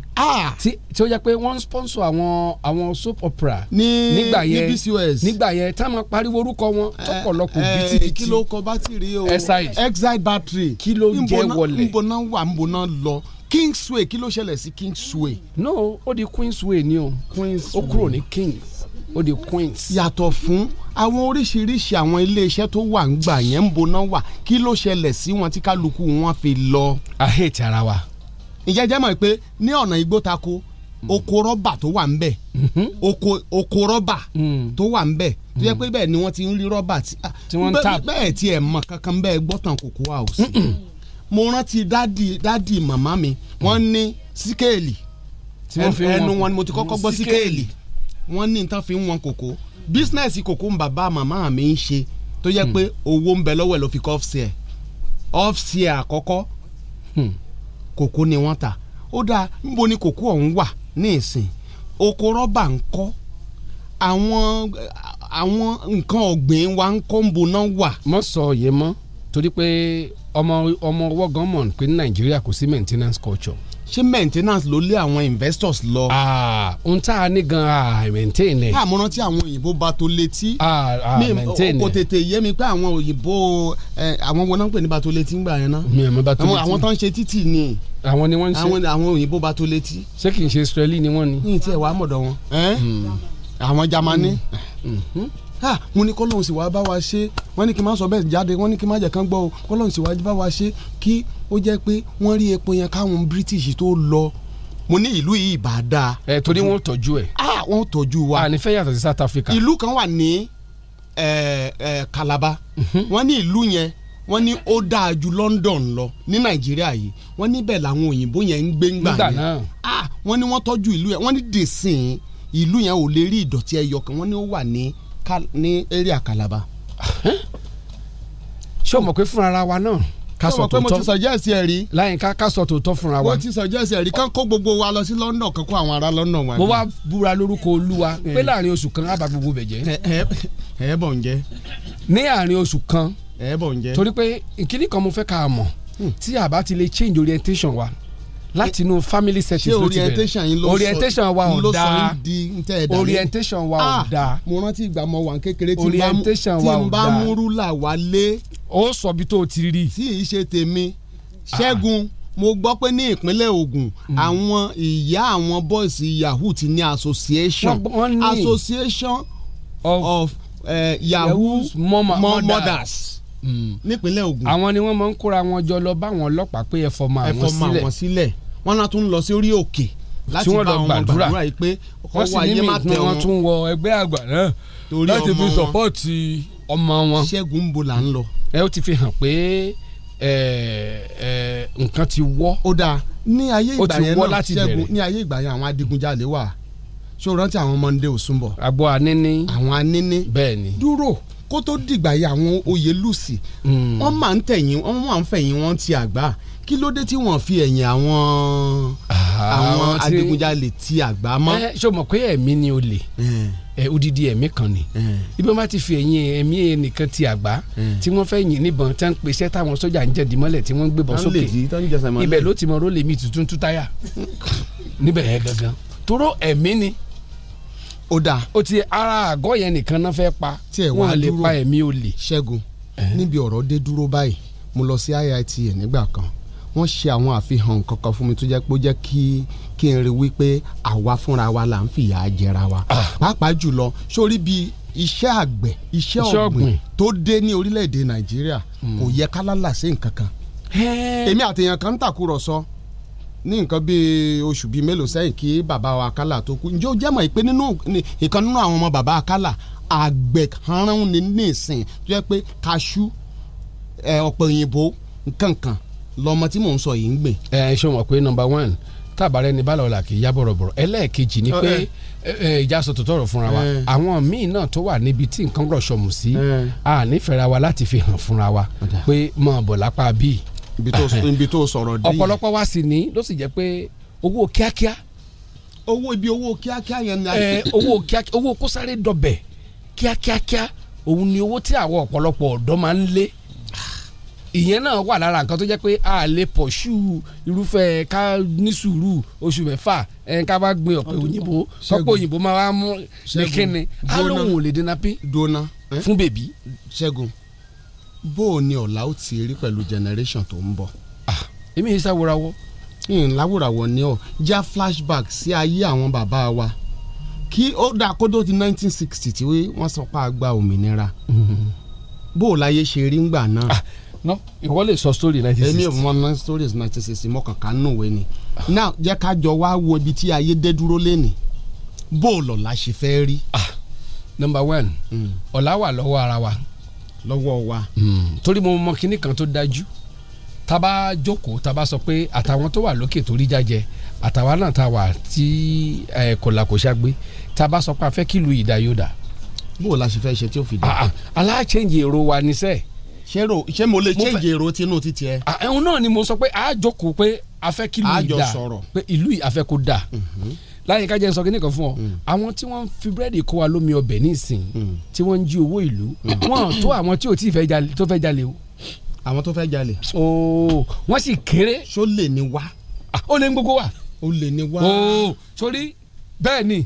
[SPEAKER 5] tí tí ó jẹ́ pé wọ́n ń sponsor àwọn àwọn soap opera
[SPEAKER 19] Ní-
[SPEAKER 5] nígbà
[SPEAKER 19] ní
[SPEAKER 5] yẹn
[SPEAKER 19] BCOS.
[SPEAKER 5] nígbà yẹn tá a máa pariwo orúkọ wọn tọkọlọpọ
[SPEAKER 19] Eh, kí
[SPEAKER 5] bìtìbìtì
[SPEAKER 19] ló kọ bátìrì o
[SPEAKER 5] Exide.
[SPEAKER 19] exide battery kí
[SPEAKER 5] ló jẹ́ wọlé?
[SPEAKER 19] nbọnà wà nbọnà lọ kingsway kí ló ṣẹlẹ̀ sí kingsway.
[SPEAKER 5] no ó di queensway ni o ó kúrò ní kings ó di queens.
[SPEAKER 19] yàtọ̀ fún àwọn oríṣiríṣi àwọn iléeṣẹ́ tó wà ń gbà yẹn nbọnà wà kí ló ṣẹlẹ̀ sí wọn tí kálukú wọn fi lọ.
[SPEAKER 5] a hate ara wa.
[SPEAKER 19] ìjẹ́ jẹ́ mọ̀ pé ní ọ̀nà igbó tako
[SPEAKER 5] Mm.
[SPEAKER 19] oko rọ́bà tó wà ń bẹ̀
[SPEAKER 5] Mm-hmm.
[SPEAKER 19] oko oko rọ́bà tó wà ń bẹ̀ tó yẹ pé bẹ́ẹ̀ ni wọ́n ti ń rí rọ́bà tí
[SPEAKER 5] Mm.
[SPEAKER 19] ah,
[SPEAKER 5] Tí wọ́n ń
[SPEAKER 19] bẹ́ẹ̀-
[SPEAKER 5] tap.
[SPEAKER 19] bẹ́ẹ̀ tí ẹ̀ mọ̀ kankan bẹ́ẹ̀ gbọ́tàn kòkó house mo rántí dádì dádì màmá mi wọ́n
[SPEAKER 5] Mm.
[SPEAKER 19] ní síkéèlì
[SPEAKER 5] Tí wọ́n fi ń wọn
[SPEAKER 19] ẹnu
[SPEAKER 5] kòkó.
[SPEAKER 19] wọn ni mo ti kọ́kọ́ gbọ́ síkéèlì wọ́n ní nǹkan fi ń wọn kòkó bísínẹ́sì kòkó ń bàbá màmá mi ń ṣe tó yẹ pé owó ń bẹ lọ́wọ́ ẹ̀ ló fi kọ́ ọ́fṣẹ́ ọ́fṣẹ́ àkọ́kọ́ Hmm. kòkó ni wọ́n ta ó dáa níbo ni kòkó ọ̀hún wà ní ìsìn oko rọ́bà ń kọ́ àwọn àwọn nǹkan ọ̀gbìn wa ń kọ́ ń bo náà wà.
[SPEAKER 5] mọ sọ òye mọ torí pé ọmọ ọmọ ọwọ́ gan mọ̀ pé ní nàìjíríà kò sí maintenance culture.
[SPEAKER 19] ṣé maintenance ló lé àwọn investors lọ.
[SPEAKER 5] ohun tá a ní gan a Ah, maintain ẹ.
[SPEAKER 19] àmọ́ràn tí Ah, àwọn òyìnbó bá tó létí.
[SPEAKER 5] a
[SPEAKER 19] mi
[SPEAKER 5] maintain
[SPEAKER 19] kò
[SPEAKER 5] ẹ.
[SPEAKER 19] tètè yé mi pé àwọn òyìnbó eh, àwọn wọn náà ń pè ní bá tó létí ńgbà yẹn náà.
[SPEAKER 5] mi ò mọ bá tó
[SPEAKER 19] àwọn
[SPEAKER 5] létí.
[SPEAKER 19] àwọn tó ń ṣe títì ni
[SPEAKER 5] àwọn ni wọ́n ń ṣe.
[SPEAKER 19] àwọn àwọn òyìnbó bá tó létí.
[SPEAKER 5] ṣé kì í ṣe israeli ni wọ́n ni. Hmm.
[SPEAKER 19] ní tiẹ̀ wàá mọ̀dọ̀ wọn. ẹ́ àwọn jamani. Ah, mo ní kọ́lọ́hún sì wá bá wa ṣe wọ́n ní kí n má sọ bẹ́ẹ̀ jáde wọ́n ní kí n má jẹ́ kán gbọ́ o kọ́lọ́hún sì wá bá wa ṣe kí ó jẹ́ pé wọ́n rí epo yẹn káwọn british tó lọ mo ní ìlú yìí bá dáa.
[SPEAKER 5] ẹ torí wọ́n tọ́jú ẹ.
[SPEAKER 19] ah wọ́n tọ́jú wa.
[SPEAKER 5] a ní fẹ́ yàtọ̀ sí south africa.
[SPEAKER 19] ìlú kan wà ní eh, eh, calabar
[SPEAKER 5] Mhm.
[SPEAKER 19] wọ́n ní ìlú yẹn wọ́n ní ó dáa ju london lọ ní nàìjíríà yìí wọ́n níbẹ̀ làwọn òyìnbó yẹn ń gbé ńgbà
[SPEAKER 5] Nígbà
[SPEAKER 19] yẹn
[SPEAKER 5] náà.
[SPEAKER 19] ah wọ́n ní wọ́n tọ́jú ìlú yẹn wọ́n ní dèsìn ìlú yẹn ò lè rí ìdọ̀tí ẹyọ kan wọ́n ní ó wà ní Cal- ní area calabar.
[SPEAKER 5] ṣé o mọ̀ pé fúnra ara wa náà. ká
[SPEAKER 19] Ṣé o
[SPEAKER 5] sọ
[SPEAKER 19] mọ̀ pé
[SPEAKER 5] tòótọ́
[SPEAKER 19] mo ti suggest ẹ rí.
[SPEAKER 5] láyìnká ká sọ tòótọ́ fúnra wa.
[SPEAKER 19] mo ti suggest ẹ rí kán kó gbogbo wa lọ sí london kán kó àwọn ará london wa.
[SPEAKER 5] mo wá búra lórúkọ olúwa
[SPEAKER 19] Eh.
[SPEAKER 5] pé láàrin oṣù kan á bá gbogbo bẹ̀ jẹ́.
[SPEAKER 19] ẹ bọ̀ ń jẹ́
[SPEAKER 5] ní àárín oṣù kan
[SPEAKER 19] ẹ bọ̀ Hmm. ń jẹ́.
[SPEAKER 5] torí pé ìkíní kan mo fẹ́ ká a mọ̀ tí a bá ti lè change orientation wa láti inú family
[SPEAKER 19] ṣé
[SPEAKER 5] settings ló ti bẹ̀rẹ̀
[SPEAKER 19] orientation yín ló sọ
[SPEAKER 5] orientation wa
[SPEAKER 19] ló
[SPEAKER 5] ò
[SPEAKER 19] sọ
[SPEAKER 5] dáa
[SPEAKER 19] yín di ntẹ́ ẹ̀dá Ah!
[SPEAKER 5] orientation wa ò dáa
[SPEAKER 19] mo rántí ìgbà mo wà ní kékeré tí n bá mú-
[SPEAKER 5] orientation wa
[SPEAKER 19] tí
[SPEAKER 5] ò
[SPEAKER 19] n bá mú
[SPEAKER 5] dáa
[SPEAKER 19] rúlà wálé.
[SPEAKER 5] ó sọ bí tó ti rí.
[SPEAKER 19] tí ì ṣe tèmi ṣẹ́gun mo gbọ́ pé ní ìpínlẹ̀ Ògùn
[SPEAKER 5] Hmm.
[SPEAKER 19] àwọn ìyá àwọn bọ́ìsì yahoo ti ní association
[SPEAKER 5] Wọ́n- wọ́n ní.
[SPEAKER 19] association
[SPEAKER 5] of,
[SPEAKER 19] eh, yahoo
[SPEAKER 5] Yahoo's mama-
[SPEAKER 19] mo-
[SPEAKER 5] mothers.
[SPEAKER 19] mothers Hmm. nípínlẹ̀ Ògùn
[SPEAKER 5] àwọn ni wọ́n máa ń kóra wọn jọ lọ bá àwọn ọlọ́pàá pé ẹ fọmọ
[SPEAKER 19] ẹ
[SPEAKER 5] àwọn
[SPEAKER 19] fọmọ
[SPEAKER 5] sílẹ̀
[SPEAKER 19] àwọn sílẹ̀ wọ́n náà tún lọ sí orí òkè láti
[SPEAKER 5] Tí wọ́n
[SPEAKER 19] bá
[SPEAKER 5] lọ
[SPEAKER 19] wọn
[SPEAKER 5] gbàdúrà.
[SPEAKER 19] gbàdúrà yìí pé
[SPEAKER 5] wọ́n sì
[SPEAKER 19] ọwọ́ ayé
[SPEAKER 5] ní
[SPEAKER 19] má tẹ̀
[SPEAKER 5] mìíràn wọ́n tún wọ ẹgbẹ́ àgbà náà
[SPEAKER 19] Torí
[SPEAKER 5] láti
[SPEAKER 19] ọmọ
[SPEAKER 5] fi
[SPEAKER 19] wọn.
[SPEAKER 5] sọ́pọ́ọ̀tì ọmọ wọn.
[SPEAKER 19] ṣẹ́gun ń bo là ń lọ.
[SPEAKER 5] ẹ ó ti fi hàn pé ẹ, ẹ, nǹkan ti wọ́.
[SPEAKER 19] ó dáa ní ayé
[SPEAKER 5] Ó
[SPEAKER 19] ìgbà
[SPEAKER 5] ti
[SPEAKER 19] yẹn
[SPEAKER 5] wọ́
[SPEAKER 19] náà
[SPEAKER 5] láti
[SPEAKER 19] ṣẹ́gun
[SPEAKER 5] bẹ̀rẹ̀.
[SPEAKER 19] ní ayé ìgbà yẹn àwọn adigunjalè wà ṣé o rántí àwọn Monday Òsùnbọ̀.
[SPEAKER 5] àgbo àníní.
[SPEAKER 19] àwọn aníní.
[SPEAKER 5] bẹ́ẹ̀ ni.
[SPEAKER 19] dúró kó tó dìgbà yẹ àwọn oyè lùsì
[SPEAKER 5] Hmm.
[SPEAKER 19] wọ́n máa ń tẹ̀yìn wọ́n máa ń fẹ̀yìn wọ́n ti àgbà kí ló dé tí wọ́n fi ẹ̀yìn àwọn àwọn
[SPEAKER 5] àwọn tí-
[SPEAKER 19] adigunjalè ti àgbà mọ́.
[SPEAKER 5] ẹ ṣe o mọ̀ pé ẹ̀mí ni olè ẹ odidi ẹ̀mí kan ni ibi wọn bá ti fi ẹ̀yìn ẹ̀mí ẹnìkan ti àgbà tí wọ́n fẹ́ yìn níbọn tí wọ́n ń pèsè táwọn sójà ń jẹ̀dí mọ́lẹ̀ tí wọ́n ń gbébọn
[SPEAKER 19] Tán lè
[SPEAKER 5] sókè
[SPEAKER 19] jí, tán jẹsẹ̀ mọ́lẹ̀.
[SPEAKER 5] ibẹ̀ ló ti mọ rólè mi tuntun tú táyà níbẹ̀ yẹn gangan toró ẹ̀mí ni
[SPEAKER 19] ó dáa
[SPEAKER 5] ó ti ara àgọ́ yẹn nìkan náà fẹ́ pa
[SPEAKER 19] tí ẹ
[SPEAKER 5] wọ́n
[SPEAKER 19] wá
[SPEAKER 5] lè
[SPEAKER 19] dúró
[SPEAKER 5] pa ẹ̀mí olè.
[SPEAKER 19] ṣẹ́gun níbi ọ̀rọ̀ dé dúró báyìí mo lọ sí IIT nígbà kan wọ́n ṣe àwọn àfihàn kankan fún mi tó jẹ́ pé ó jẹ́ kí kí n rí wípé àwa fúnra wa là ń fìyà jẹra wa
[SPEAKER 5] Ah.
[SPEAKER 19] pàápàá jùlọ sórí bí iṣẹ́ àgbẹ̀ iṣẹ́
[SPEAKER 5] Iṣẹ́
[SPEAKER 19] ọ̀gbìn
[SPEAKER 5] ọ̀gbìn.
[SPEAKER 19] tó dé ní orílẹ̀-èdè
[SPEAKER 5] Hmm.
[SPEAKER 19] Nàìjíríà kò yẹ ká lálà sí nǹkan kan èmi àtẹ̀yàn kan ń tàkùrọ̀sọ ní nǹkan bíi oṣù bíi mélòó sẹ́yìn kí bàbá wa akálà tó kú ǹjẹ́ o jẹ́ mọ̀ pé nínú ní- ìkan nínú àwọn ọmọ bàbá akálà àgbẹ̀ kan ní nísìn tó yẹ pé kaṣú ẹ, ọ̀pẹ̀ òyìnbó nkankan lọmọ tí mò ń sọ yìí ń gbìn.
[SPEAKER 5] ẹ ṣé wọn pé number one tábàárẹ ní bá lọ́la kì í yá bọ̀rọ̀bọ̀rọ̀ ẹlẹ́ẹ̀kejì ni pé
[SPEAKER 19] Ẹ.
[SPEAKER 5] ẹ, ẹ, ìjà sọ tòótọ́ ọ̀rọ̀ fúnra wa
[SPEAKER 19] Ẹ.
[SPEAKER 5] àwọn míì náà tó wà níbi tí nǹkan rọ̀ ṣọ̀mù sí a nífẹ̀ẹ́ra wa láti fi hàn fúnra wa pé mọ̀ bọ̀ lápá bíi.
[SPEAKER 19] ibi tó sọ̀rọ̀ dé yìí.
[SPEAKER 5] ọ̀pọ̀lọpọ̀ wa sì ní ló sì jẹ́ pé owó kíákíá
[SPEAKER 19] owó ibi owó kíákíá yẹn ni.
[SPEAKER 5] ẹ owó kíákíá owó kó sáré dọbẹ̀ kíákíákíá òun ni owó tí àwọn ọ̀pọ̀lọpọ̀ ọ̀dọ́ máa ń lé ìyẹn náà wà lára nǹkan tó jẹ́ pé a lè pọ̀ṣù irúfẹ́ ká ní sùúrù oṣù mẹ́fà ẹ̀ ká bá gbin ọ̀pẹ òyìnbó ọ̀pẹ òyìnbó máa wá mú ní kíni á lóun ò lè dènà pé
[SPEAKER 19] dona
[SPEAKER 5] fún bèbí.
[SPEAKER 19] ṣẹ́gun bó o ní ọ̀la ó ti rí pẹ̀lú generation tó ń bọ̀.
[SPEAKER 5] èmi yìí sáwòrawọ́.
[SPEAKER 19] ìyìn láwòràwọ̀ ni ọ já flashback sí ayé àwọn bàbá wa kí ó dà kódó ti 1960 tí wọ́n sọ pé a gba òmìnira bó o láyé ṣe rí ngbà náà.
[SPEAKER 5] Ah, no ìwọ lè sọ story 1960.
[SPEAKER 19] èmi ò mọ nine stories 1960 mọ́kànká nùwé ni now jẹ́ ká jọ wá wo ibi tí ayé dé dúró lẹ́nìí bó o lọ́la ṣe fẹ́ rí.
[SPEAKER 5] Ah, number one ọ̀la wà lọ́wọ́ ara wa.
[SPEAKER 19] lọ́wọ́ wa.
[SPEAKER 5] torí mo mọ kinní kan tó dájú tába jókòó tába sọ pé àtàwọn tó wà lókè tó rí jájẹ àtàwọn náà tá a wà tí ẹ, kòlàkòṣà gbé tába sọ pé a fẹ́ kí ìlú ìdáyọ̀dà.
[SPEAKER 19] bó o la ṣe fẹ́ ṣe tí ó fi
[SPEAKER 5] dé. aláàchẹ́ǹjì ah, èrò wa ni sẹ́ẹ̀.
[SPEAKER 19] ṣé ro ṣé mo lè change èrò tinú títí ẹ.
[SPEAKER 5] Ah, ẹ̀hún náà ni mo sọ pé a jókòó pé a fẹ́ kí ìlú
[SPEAKER 19] A
[SPEAKER 5] ìdá
[SPEAKER 19] jọ sọ̀rọ̀. Mm.
[SPEAKER 5] pé ìlú yìí a fẹ́ kó dà láyé kájẹ́ ń sọ kíní kan fún ọ àwọn tí wọ́n ń fi búrẹ́dì kó wa lómi ọbẹ̀ nísìn
[SPEAKER 19] Mm.
[SPEAKER 5] tí wọ́n ń jí owó ìlú wọ́n tó àwọn tí ò tí ì fẹ́ jalè tó fẹ́ jalè o.
[SPEAKER 19] àwọn tó fẹ́ jalè.
[SPEAKER 5] ooo wọ́n sì kéré.
[SPEAKER 19] ṣó lè ní wá.
[SPEAKER 5] ó lè ní gbogbo wa.
[SPEAKER 19] ó lè ní wá.
[SPEAKER 5] ooo torí bẹ́ẹ̀ ni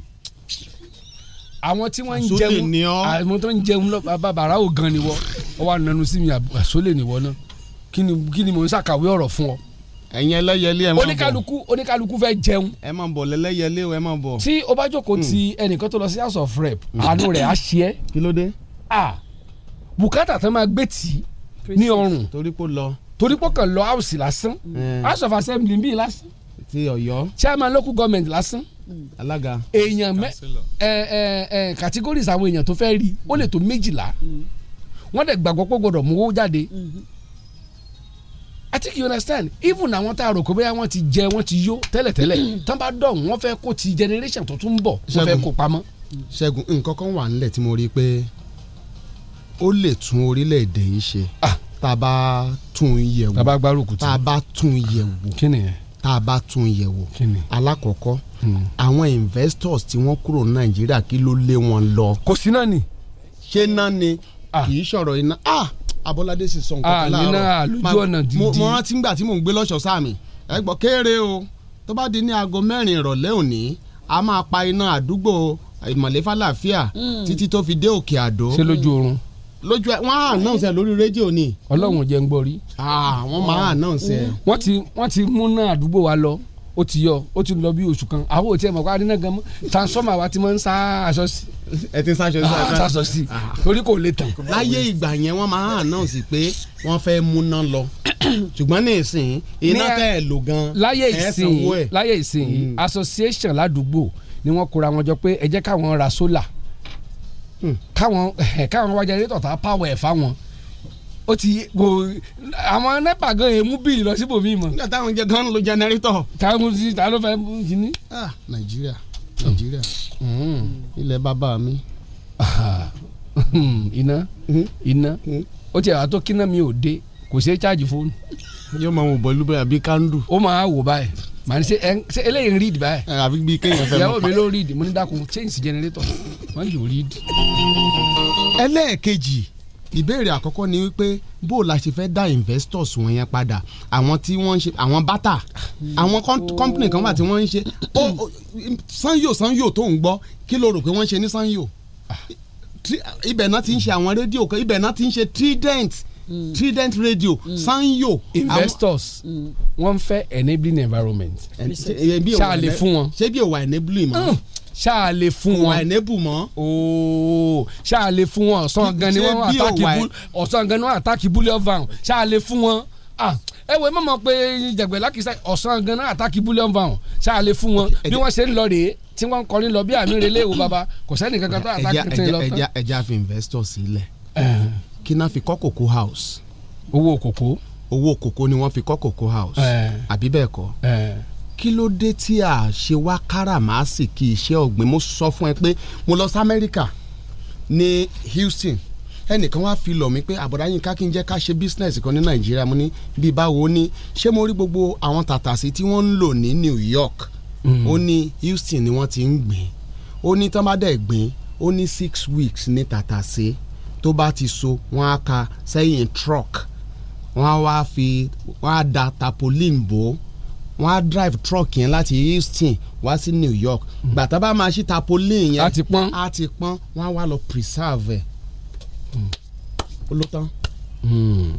[SPEAKER 5] àwọn tí wọ́n ń
[SPEAKER 19] Àsólè
[SPEAKER 5] jẹun
[SPEAKER 19] ni ọ́.
[SPEAKER 5] àwọn tó ń jẹun lọ bàbá bàrà ò gan ni wọ ọ wà nanu sí mi àb- àsólè ni wọ náà kí ni kí ni mò ń ṣàkàwé ọ̀rọ̀ fún ọ
[SPEAKER 19] ẹ̀yin ẹlẹ́yẹlé ẹ máa bọ̀.
[SPEAKER 5] oníkálukú oníkálukú fẹ́ jẹun.
[SPEAKER 19] ẹ máa bọ̀ lẹ́lẹ́yẹlé o, ẹ máa bọ̀. Mm.
[SPEAKER 5] tí o bá jókòó ti ẹnìkan tó lọ sí house of rep àánú rẹ̀ á ṣe é.
[SPEAKER 19] kí ló dé.
[SPEAKER 5] a bùkátà tó máa gbé tì í ní ọrùn.
[SPEAKER 19] torí pò lọ. Eh.
[SPEAKER 5] torí pò kàn lọ house lásán house of assembly bíi lásán
[SPEAKER 19] ti Ọ̀yọ́
[SPEAKER 5] chairman local government lásán
[SPEAKER 19] alága.
[SPEAKER 5] èèyàn mẹ ẹ ẹ ẹ eh, categories àwọn èèyàn tó fẹ́ rí ó lè tó méjìlá wọ́n dẹ̀ gbàgbọ́ pé ó gbọ́dọ̀ mówó jáde i think you understand even àwọn tá a rò pé bóyá wọ́n ti jẹ wọ́n ti yó tẹ́lẹ̀tẹ́lẹ̀ tán bá dọ̀hún wọ́n fẹ́ kó ti generation tó tún ń bọ̀ wọ́n fẹ́
[SPEAKER 19] Ṣẹ́gun.
[SPEAKER 5] kó pamọ́.
[SPEAKER 19] ṣẹ́gun nǹkan kan wà nílẹ̀ tí mo rí i pé ó lè tún orílẹ̀-èdè yìí ṣe tá a bá tún un yẹ̀ wò
[SPEAKER 5] Ah. tá a bá gbárùkù tì.
[SPEAKER 19] tá a bá tún un yẹ̀ wò
[SPEAKER 5] kí ni yẹn.
[SPEAKER 19] tá a bá tún un yẹ̀ wò
[SPEAKER 5] Kí ni? Hmm.
[SPEAKER 19] alákọ̀ọ́kọ́ àwọn investors tí wọ́n kúrò ní nàìjíríà kí ló lé wọn lọ.
[SPEAKER 5] kò sí náà ni.
[SPEAKER 19] ṣé náà ni kì í sọ̀rọ̀ iná ah abọ́ládé sì sọ nǹkan
[SPEAKER 5] Ah,
[SPEAKER 19] kan láàárọ̀
[SPEAKER 5] nínú àlójú
[SPEAKER 19] Ma-
[SPEAKER 5] ọ̀nà
[SPEAKER 19] mo-
[SPEAKER 5] dídí.
[SPEAKER 19] mo rántí ngbà tí mò ń gbé lọ́sọ̀ọ́ sáàmì ẹ gbọ́ kéré o tó bá di ní aago mẹ́rin ìrọ̀lẹ́ òní a máa pa iná àdúgbò ìmọ̀lẹ́ fàlàfíà
[SPEAKER 5] Mm.
[SPEAKER 19] títí tó fi dé òkè àdó Hmm.
[SPEAKER 5] ṣé lójú oorun
[SPEAKER 19] lójú ẹ wọ́n á announce ẹ lórí rédíò ni
[SPEAKER 5] ọlọ́run ò jẹ́ ń gbọ́ rí.
[SPEAKER 19] Ah, wọ́n máa announce ẹ.
[SPEAKER 5] wọ́n ti wọ́n ti mú náà àdúgbò wa lọ ó ti yọ ó ti lọ bí oṣù kan àwọn ò tiẹ̀ mọ̀ kó adínà gan mọ́ transformer wa ti máa ń sá aṣọ sí.
[SPEAKER 19] ẹ ti sáṣọ sí
[SPEAKER 5] Ah, sáṣọ sí torí kò lè tàn.
[SPEAKER 19] láyé ìgbà yẹn wọ́n máa announce pé wọ́n fẹ́ múná lọ ṣùgbọ́n ní ìsìn iná
[SPEAKER 5] Ní a-
[SPEAKER 19] tẹ́ ẹ lò gan
[SPEAKER 5] láyé
[SPEAKER 19] ẹ sanwó ẹ.
[SPEAKER 5] ìsìn láyé
[SPEAKER 19] Mm.
[SPEAKER 5] ìsìn association ládùúgbò ni wọ́n kóra wọn jọ pé ẹ jẹ́ káwọn ra solar
[SPEAKER 19] Hmm.
[SPEAKER 5] káwọn eh, káwọn wá generator tá a power ẹ̀ fáwọn ó ti wo àwọn nepa gan emu bíi lọ síbòmí mọ.
[SPEAKER 19] nígbà táwọn jẹ gan lo generator.
[SPEAKER 5] táwọn ti ta ló fẹ́ mú kíní.
[SPEAKER 19] Ah, nàìjíríà nàìjíríà
[SPEAKER 5] Hmm.
[SPEAKER 19] Hmm. ilẹ̀ bàbá mi. Hmm?
[SPEAKER 5] iná iná ó tiẹ̀ wá tó kíná mi ò dé kò ṣeé cháàjì fóònù.
[SPEAKER 19] yóò máa wò bọ́lú bẹ́ẹ̀ àbí kándù.
[SPEAKER 5] ó máa wò báyìí màá ní ṣe ẹ ṣe eléyìí ń ríìdì báyìí.
[SPEAKER 19] àbí bíi kéèyàn fẹ́
[SPEAKER 5] ìyàwó
[SPEAKER 19] mọ́.
[SPEAKER 5] mi ló ń ríìdì mo ní dákun change generator wọ́n yóò ríìdì.
[SPEAKER 19] ẹlẹ́ẹ̀kejì ìbéèrè àkọ́kọ́ ni wípé bó o la ṣe fẹ́ dá investors wọn yẹn padà àwọn tí wọ́n ń ṣe àwọn bátà àwọn com- company kan wà tí wọ́n ń ṣe ó ó, sanyo sanyo tó ń gbọ́ kí ló rò pé wọ́n ń ṣe ní sanyo Tri- ibẹ̀ náà ti ń ṣe àwọn rédíò kan ibẹ̀ náà ti ń ṣe trident trident radio sanyo
[SPEAKER 5] investors
[SPEAKER 19] Mm.
[SPEAKER 5] wọ́n fẹ́ enabling environment. ṣáà lè fún wọn.
[SPEAKER 19] ṣé bí òwà enabling mọ́
[SPEAKER 5] ṣáà lè fún wọn.
[SPEAKER 19] òwà enable mọ́.
[SPEAKER 5] ooo ṣáà lè fún wọn ọ̀sán gan ni
[SPEAKER 19] Ṣé
[SPEAKER 5] wọ́n
[SPEAKER 19] bí
[SPEAKER 5] àtàkì
[SPEAKER 19] òwà ẹ-
[SPEAKER 5] bú ọ̀sán gan ni wọ́n àtàkì búlẹ̀ ọ̀fà hàn ṣáà lè fún wọn. Ah, ẹ wo mọ̀mọ́ pé jẹ̀gbẹ́ lákìsá ọ̀sán ganan àtàkì búlíọ̀n bá wọn ṣáà lè fún wọn bí wọ́n ṣe ń lọ rèé tí wọ́n ń kọrin lọ bí àmì relé wo baba kò sẹ́ni kankan tó
[SPEAKER 19] ẹja
[SPEAKER 5] àtàkì tẹ̀ lọ
[SPEAKER 19] ẹja
[SPEAKER 5] tán. Eh.
[SPEAKER 19] ẹja fi investor sílẹ̀ kí náà fi kọ́ kòkó house.
[SPEAKER 5] owó kòkó.
[SPEAKER 19] owó kòkó ni wọ́n fi kọ́ kòkó house.
[SPEAKER 5] Eh.
[SPEAKER 19] àbí bẹ́ẹ̀ kọ́. kí ló dé tí a ṣe wá káràmásì kí iṣẹ́ ọ̀gbìn mo sọ fún ẹ pé mo lọ sí amẹ́ríkà ní houston ẹnìkan wá fi lọ̀ mí pé àbọ̀dá yín ká kí n jẹ́ ká ṣe business kan ní nàìjíríà mo ní bí báwo ó ní ṣé mo rí gbogbo àwọn tàtàsí tí wọ́n ń lò ní new york
[SPEAKER 5] Mm.
[SPEAKER 20] Hmm.
[SPEAKER 19] ó ní houston ni wọ́n ti ń gbìn ó ní tán bá dẹ̀ gbìn ó ní six weeks ní tàtàsé tó bá ti so wọ́n á ka sẹ́yìn truck wọ́n á wá fi wọ́n á da tapolin bò ó wọ́n á drive truck yẹn láti houston wá sí new york
[SPEAKER 5] Mm.
[SPEAKER 19] gbàtà bá máa ṣí tapolin yẹn á ti pọ́n á ti pọ́n wọ́n á wá lọ preserve ẹ̀
[SPEAKER 5] Mm.
[SPEAKER 19] ó ló tán.
[SPEAKER 5] Hmm.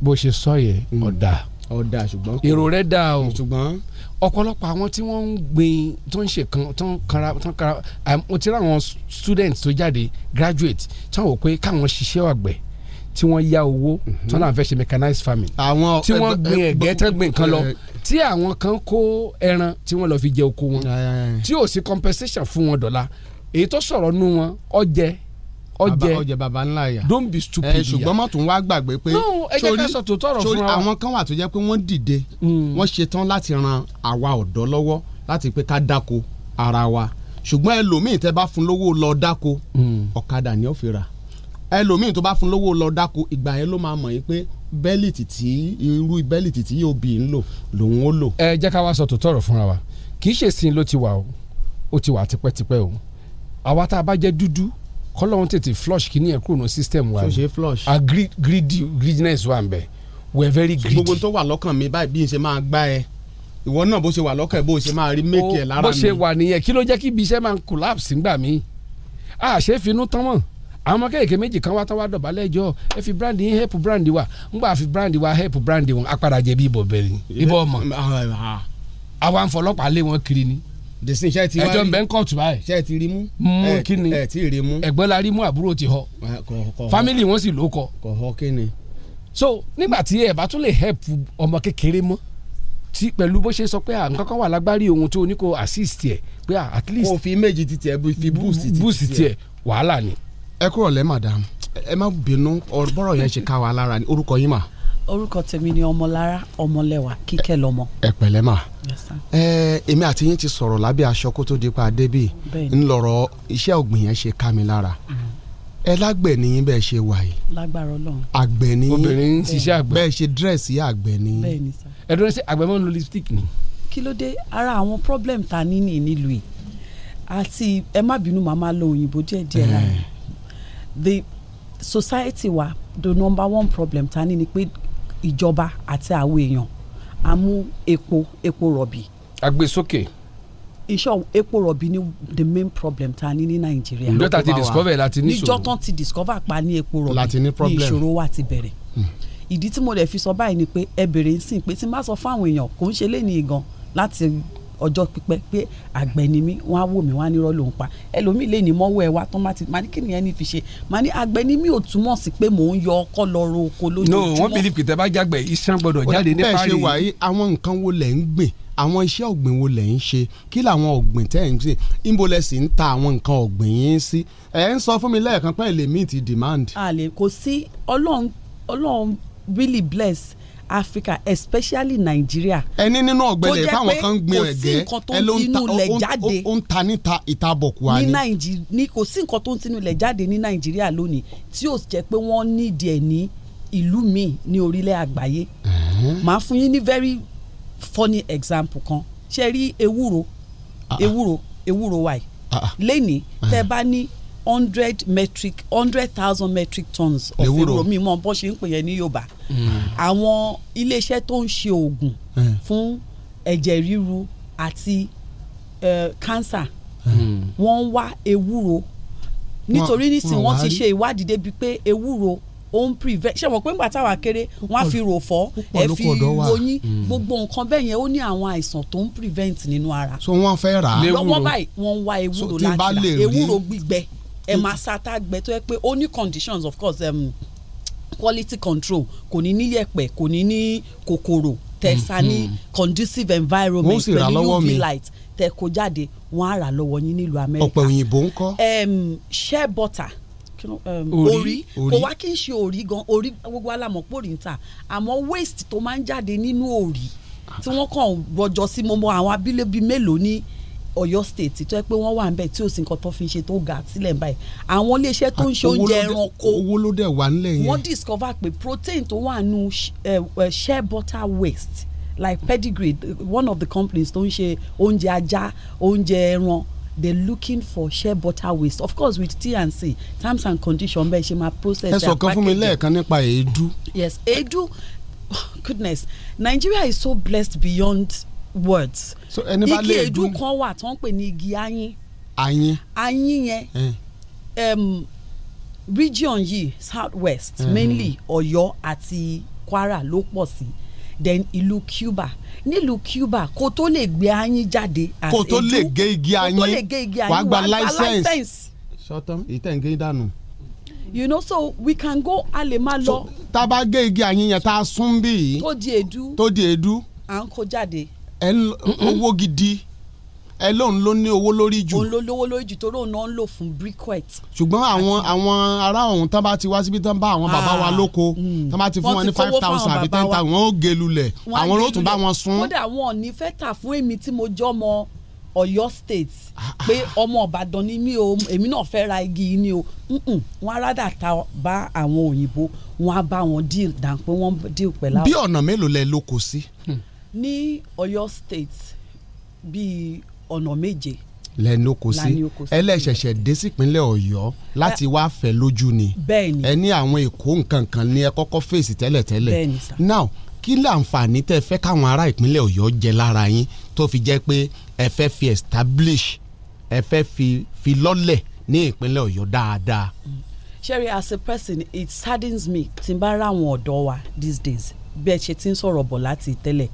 [SPEAKER 5] bó ṣe sọ yẹ ọ̀dà
[SPEAKER 19] Hmm. ọ̀dà ṣùgbọ́n.
[SPEAKER 5] èrò rẹ dà o
[SPEAKER 19] ṣùgbọ́n.
[SPEAKER 5] ọ̀pọ̀lọpọ̀ àwọn tí wọ́n ń gbin tó ń ṣe kan tó ń kara tó ń kara àìm- mo ti rí àwọn students tó jáde graduate tí wọ́n wò pé káwọn ṣiṣẹ́ àgbẹ̀ tí wọ́n yá owó tí wọ́n náà fẹ́ ṣe mechanized farming
[SPEAKER 19] àwọn
[SPEAKER 5] tí wọ́n
[SPEAKER 19] ẹ-
[SPEAKER 5] gbin
[SPEAKER 19] ẹ-
[SPEAKER 5] ẹ̀gẹ́ tán gbin nǹkan lọ
[SPEAKER 19] ẹ-
[SPEAKER 5] tí àwọn kan kó ẹran tí wọ́n lọ fi jẹ oko wọn tí ò sí compensation fún wọn dọ́là èyí tó sọ̀rọ̀ nú wọn ọjẹ ọjẹ
[SPEAKER 19] Baba- ọjẹ baba ńlá yà.
[SPEAKER 5] don't be stupid
[SPEAKER 19] ẹ Eh, ṣùgbọ́n má tún wá gbàgbé pé.
[SPEAKER 5] No, ẹ jẹ́ ká
[SPEAKER 19] sórí-
[SPEAKER 5] sọ tòótọ́ ọ̀rọ̀
[SPEAKER 19] sórí
[SPEAKER 5] fúnra wa. Hmm.
[SPEAKER 19] àwọn kan wà tó jẹ́ pé wọ́n dìde wọ́n ṣetán láti ran àwa ọ̀dọ́ lọ́wọ́ láti pé ká dáko ara wa ṣùgbọ́n ẹlòmíì tẹ́ bá fún lówó lọ dáko
[SPEAKER 5] Hmm.
[SPEAKER 19] ọ̀kadà ni ó fi rà ẹlòmíì tó bá fún lówó lọ dáko ìgbà yẹn ló máa mọ̀ yín pé bẹ́lìtì tí irú bẹ́lìtì tí yóò bì í ń lò lòun ó lò.
[SPEAKER 5] ẹ jẹ́ ká wá sọ tòótọ́ ọ̀rọ̀ fúnra wa kì í ṣe sin ló ti wà o ó ti wà tipẹ́tipẹ́ o àwa tá a bá jẹ́ dúdú kọ́lọ́hún tètè flush kí ni ẹ̀ kúrò ní system wa
[SPEAKER 19] Tó ṣe flush.
[SPEAKER 5] a greed greedy greediness wa ń bẹ we are very greedy.
[SPEAKER 19] gbogbo tó wà lọ́kàn mi báyìí bí n ṣe máa gbá ẹ ìwọ náà bó ṣe wà lọ́kàn ẹ bó ṣe máa rí méèkì ẹ lára mi.
[SPEAKER 5] bó ṣe wà nìyẹn kí ló jẹ́ kí ibi iṣẹ́ máa ń collapse ńgbà míì a ṣe é finú tán mọ̀ àwọn ọmọ kéèké méjì kan wá tán wá dọ̀bálẹ̀ ẹjọ́ ẹ fi brand yín help brand wa ńgbà fi brand wa help brand wọn apára jẹ bí ibọ̀ bẹ̀rẹ̀ ni ibọ̀ ọmọ àwa ń fọlọ́pàá lé wọn kiri ni
[SPEAKER 19] dèsí iṣẹ́ ti wá
[SPEAKER 5] ẹjọ́
[SPEAKER 19] rí-
[SPEAKER 5] ń bẹ ń kóòtù báyìí
[SPEAKER 19] ṣe ti rí mú.
[SPEAKER 5] mú
[SPEAKER 19] Ẹ-
[SPEAKER 5] kíni
[SPEAKER 19] ẹ ti rí mú.
[SPEAKER 5] ẹ̀gbọ́n la rí mú àbúrò ti họ family wọn sì ló kọ.
[SPEAKER 19] kọ̀ọ̀họ́ kíni.
[SPEAKER 5] so nígbà tí ẹ bá tún lè help ọmọ kékeré mọ́ tí pẹ̀lú bó ṣe sọ pé à nǹkan kan wà lágbárí ohun tó ní kó assist ẹ pé à, at least
[SPEAKER 19] kò fi méjì ti tiẹ̀ fi boost ti
[SPEAKER 5] boost tiẹ̀ wàhálà ni.
[SPEAKER 19] ẹ kúrò lẹ́ madam ẹ má bínú ọ̀rọ̀- bọ́rọ̀ yẹn ṣe ká wa lára ni orúkọ yín mà.
[SPEAKER 9] orúkọ tèmi ni ọmọlára ọmọlẹ́wà kíkẹ́ lọ́mọ.
[SPEAKER 19] ẹ pẹ̀lẹ́ mà.
[SPEAKER 9] Yes, sir.
[SPEAKER 19] ẹ èmi àti yín ti sọ̀rọ̀ lábẹ́ aṣọ kó tó di pa débì
[SPEAKER 9] Bẹ́ẹ̀ni.
[SPEAKER 19] ńlọrọ̀ iṣẹ́ ọ̀gbìn yẹn ṣe ká mi lára ẹ lágbẹ̀ nìyín bẹ́ẹ̀ ṣe wà yìí
[SPEAKER 9] lágbára Ọlọ́run
[SPEAKER 19] àgbẹ̀ nìyín
[SPEAKER 5] Obìnrin ń ṣiṣẹ́ àgbẹ̀.
[SPEAKER 19] bẹ́ẹ̀ ṣe dírẹ̀sì àgbẹ̀ nìyín.
[SPEAKER 9] bẹ́ẹ̀ ni sá.
[SPEAKER 5] ẹ dúró sí àgbẹ̀ mọ́ ń lo lipstick ni.
[SPEAKER 9] kí ló dé ara àwọn problem ta ní ní nílùú yìí àti ẹ má bínú màmá lo òyìnbó díẹ̀ díẹ̀ lára the society wa the number one problem ta ní ni pé ìjọba àti àwọn èèyàn a mú epo epo rọ̀bì
[SPEAKER 5] àgbẹ̀ sókè
[SPEAKER 9] iṣẹ́ epo rọ̀bì ni the main problem ta ní ní nàìjíríà.
[SPEAKER 5] Níjọ́ tá a ti discover ẹ̀ la ti ní ìṣòro.
[SPEAKER 9] níjọ́ tán ti discover pa ní epo
[SPEAKER 19] La
[SPEAKER 9] rọ̀bì
[SPEAKER 19] ti ní problem.
[SPEAKER 9] ìṣòro wa ti bẹ̀rẹ̀.
[SPEAKER 19] Hmm.
[SPEAKER 9] ìdí tí mo lè fi sọ báyìí ni pé ẹ bèrè ń sìn pé tí n bá sọ fáwọn èèyàn kò ń ṣe léyìn gan láti ọjọ́ pípẹ́ pé àgbẹ̀ ni mí wọ́n á wò mí wọ́n á nírọ́ ló ń pa ẹlòmíì lè ní mọ́wọ́ ẹ wá tán má ti má ní kí nìyẹn ní fi ṣe má ní àgbẹ̀ ni mí ò túmọ̀ sí pé mò ń yọ ọkọ́ lọ ro oko
[SPEAKER 5] no
[SPEAKER 9] lójoojúmọ́.
[SPEAKER 5] wọ́n believe kìtẹ́ bá jágbẹ̀ iṣan gbọ́dọ̀ jáde ní
[SPEAKER 19] bẹ́ẹ̀
[SPEAKER 5] parí.
[SPEAKER 19] ṣe wà yìí àwọn nǹkan wo lẹ̀ ń gbìn àwọn iṣẹ́ ọ̀gbìn wo lẹ̀ ń ṣe kí làwọn ọ̀gbìn tẹ́ ẹ̀ ń sìn níbo lẹ̀ sì ń ta àwọn nǹkan ọ̀gbìn yín sí ẹ̀ ń sọ fún mi lẹ́ẹ̀kan pé èlé míì ti demand.
[SPEAKER 9] a lè kò sí ọlọ́run ọlọ́run really bless Africa especially Nigeria.
[SPEAKER 19] ẹni nínú ọ̀gbẹlẹ̀ fáwọn kan ń gbin ẹ̀gẹ́
[SPEAKER 9] tó jẹ́ pé kò sí nǹkan tó
[SPEAKER 19] ẹ
[SPEAKER 9] ń
[SPEAKER 19] ló ń ta
[SPEAKER 9] tinú
[SPEAKER 19] ó-
[SPEAKER 9] ilẹ̀
[SPEAKER 19] ó- ó-
[SPEAKER 9] jáde
[SPEAKER 19] ó ń ta níta ìtabọ̀kù wa
[SPEAKER 9] ní
[SPEAKER 19] ni.
[SPEAKER 9] nàìjíríà ní kò sí nǹkan tó ń tinú ilẹ̀ jáde ní nàìjíríà lónìí tí ó jẹ́ pé wọ́n nídìí ẹ̀ ní ìlú míì ní orílẹ̀ àgbáyé màá fún yín ní very funny example kan ṣe rí ewúro ewúro ewúro wa yìí lẹ́ni tẹ́ bá ní hundred metric hundred thousand metric tons of
[SPEAKER 19] Ewúro.
[SPEAKER 9] ewúro mi mọ bó ṣe ń pè yẹn ní yorùbá àwọn iléeṣẹ́ tó ń ṣe oògùn
[SPEAKER 19] Eh.
[SPEAKER 9] fún ẹ̀jẹ̀ ríru àti eh, cancer wọ́n ń wá ewúro nítorí
[SPEAKER 24] Wọ́n-
[SPEAKER 9] nísìn
[SPEAKER 24] wọ́n
[SPEAKER 9] wọ́n
[SPEAKER 24] wá
[SPEAKER 9] ti
[SPEAKER 24] rí.
[SPEAKER 9] ṣe ìwádìí débi pé ewúro ó ń prevent ṣé wọ́n pé ńgbà táwa kéré wọ́n á fi rò fọ́
[SPEAKER 19] púpọ̀
[SPEAKER 9] ẹ
[SPEAKER 19] ló
[SPEAKER 9] fi
[SPEAKER 19] pọ̀ dọ́ wa.
[SPEAKER 9] ròyìn
[SPEAKER 19] Mm.
[SPEAKER 9] gbogbo nǹkan bẹ́ẹ̀ yẹn ó ní àwọn àìsàn tó ń prevent nínú ara.
[SPEAKER 19] so wọ́n fẹ́ rà á.
[SPEAKER 9] lọ́wọ́ báyìí wọ́n ń wá
[SPEAKER 19] So
[SPEAKER 9] ewúro
[SPEAKER 19] tí n bá
[SPEAKER 9] láti
[SPEAKER 19] lè
[SPEAKER 9] rà
[SPEAKER 19] rí-
[SPEAKER 9] ewúro gbígbẹ ẹ máa sa tá a gbẹ tó yẹ pé ó ní conditions of course um, quality control kò ní ní yẹ̀pẹ̀ kò ní ní kòkòrò tẹ̀sà ní conducive
[SPEAKER 19] Hmm, Wọ́n
[SPEAKER 9] environment
[SPEAKER 19] sì rà
[SPEAKER 9] pẹ̀lú
[SPEAKER 19] lọ́wọ́
[SPEAKER 9] uv
[SPEAKER 19] mi.
[SPEAKER 9] light tẹ̀ kó jáde wọ́n á rà lọ́wọ́ yín nílùú amẹ́ríkà
[SPEAKER 19] ọ̀pẹ̀ òyìnbó ń kọ́.
[SPEAKER 9] um, shea butter kí ló- um,
[SPEAKER 19] Orí.
[SPEAKER 9] orí
[SPEAKER 19] Orí.
[SPEAKER 9] kò wá kí n ṣe orí gan orí gbogbo alamọ̀ pòrí ń tà àmọ́ waste tó máa ń jáde nínú orí tí wọ́n kàn rọjọ sí mo mọ àwọn abílẹ̀ bíi mélòó ní Ọ̀yọ́ state tó yẹ pé wọ́n wà ń bẹ̀ tí ò sí nǹkan tó fi ń ṣe tó ga sílẹ̀ ń báyìí àwọn iléeṣẹ́ tó ń ṣe
[SPEAKER 19] Owó ló
[SPEAKER 9] oúnjẹ
[SPEAKER 19] dẹ̀-
[SPEAKER 9] ẹranko
[SPEAKER 19] owó ló dẹ̀ wà nílẹ̀ yẹn.
[SPEAKER 9] wọ́n discover pé protein tó wà nù eh, shea butter waste like pedigree one of the companies tó ń ṣe oúnjẹ ajá oúnjẹ ẹran they looking for shea butter waste of course with T&C terms and conditions bẹ́ẹ̀ ṣe máa process
[SPEAKER 19] ẹ sọ̀kan fún mi lẹ́ẹ̀kan nípa èédú.
[SPEAKER 9] Yes, Edu, goodness, Nigeria is so blessed beyond words.
[SPEAKER 19] So, ẹni bá lè
[SPEAKER 9] igi Edu
[SPEAKER 19] dún-
[SPEAKER 9] kan wà tó ń pè ní igi ayin.
[SPEAKER 19] ayin.
[SPEAKER 9] Ayin yẹn um, region yìí south west
[SPEAKER 19] Mhm.
[SPEAKER 9] mainly Ọ̀yọ́ àti Kwara ló pọ̀ sí then ìlú Cuba nílùú Cuba kó tó lè gbé ayin jáde as
[SPEAKER 19] kó tó
[SPEAKER 9] Edu,
[SPEAKER 19] lè gé igi
[SPEAKER 9] kó
[SPEAKER 19] ayin
[SPEAKER 9] tó lè gé igi ayin
[SPEAKER 19] wàá gba license.
[SPEAKER 9] license
[SPEAKER 19] sọtọ ìtẹ̀ ń gé dànù.
[SPEAKER 9] you know so we can go a lè máa lọ
[SPEAKER 19] tá a bá gé igi ayin yẹn tá a sún bí yìí
[SPEAKER 9] tó di Edu
[SPEAKER 19] tó di èédú
[SPEAKER 9] à ń kó jáde.
[SPEAKER 19] ẹ ń- owó gidi ẹ lóun ló ní owó lórí jù
[SPEAKER 9] òun ló lówó lórí jù torí òun náà ń lò fún briquette.
[SPEAKER 19] ṣùgbọ́n àwọn àwọn ará ọ̀hún tán bá ti wá síbi tán bá àwọn bàbá wa
[SPEAKER 9] Ah,
[SPEAKER 19] lóko tán bá ti fún
[SPEAKER 9] Wọ́n
[SPEAKER 19] wọn
[SPEAKER 9] ti
[SPEAKER 19] ní five
[SPEAKER 9] kówó fáwọn
[SPEAKER 19] thousand àbí
[SPEAKER 9] bàbá
[SPEAKER 19] ten
[SPEAKER 9] wa.
[SPEAKER 19] thousand wọn ó gé lulẹ̀
[SPEAKER 9] Wọ́n á
[SPEAKER 19] àwọn ló
[SPEAKER 9] gbé
[SPEAKER 19] tún bá
[SPEAKER 9] lulẹ̀.
[SPEAKER 19] wọn sún.
[SPEAKER 9] kódà wọn ò ní fẹ́ tà fún èmi tí mo jẹ́ ọmọ Ọ̀yọ́ state
[SPEAKER 19] Ah,
[SPEAKER 9] pé ọmọ Ìbàdàn ni mí o èmi náà fẹ́ ra igi yìí ni o Mm-mm. wọn á rádà ta bá àwọn òyìnbó wọn á bá wọn deal dàn pé wọ́n deal pẹ̀lú
[SPEAKER 19] bí
[SPEAKER 9] àwọn.
[SPEAKER 19] ọ̀nà mélòó lẹ lóko sí.
[SPEAKER 9] ní Ọ̀yọ́ state bíi ọ̀nà méje
[SPEAKER 19] lẹ lóko
[SPEAKER 9] La ní
[SPEAKER 19] sí
[SPEAKER 9] oko sí.
[SPEAKER 19] ẹlẹ́ṣẹ̀ṣẹ̀ dé sípínlẹ̀ Ọ̀yọ́ láti wá fẹ́ lójú ni
[SPEAKER 9] bẹ́ẹ̀ ni
[SPEAKER 19] ẹ ní àwọn èkó nǹkan kan ní ẹ kọ́kọ́ fèsì tẹ́lẹ̀tẹ́lẹ̀
[SPEAKER 9] Bẹ́ẹ̀ ni sà.
[SPEAKER 19] now kí láǹfààní tẹ́ fẹ́ káwọn ará ìpínlẹ̀ Ọ̀yọ́ jẹ lára yín tó fi jẹ́ pé ẹ fẹ́ fi establish ẹ fẹ́ fi fi lọ́lẹ̀ ní ìpínlẹ̀ Ọ̀yọ́ dáadáa.
[SPEAKER 9] Sherry, as a person, it saddens me tí n bá ra àwọn ọ̀dọ́ wa these days bí ẹ ṣe ti ń sọ̀rọ̀ bọ̀ láti tẹ́lẹ̀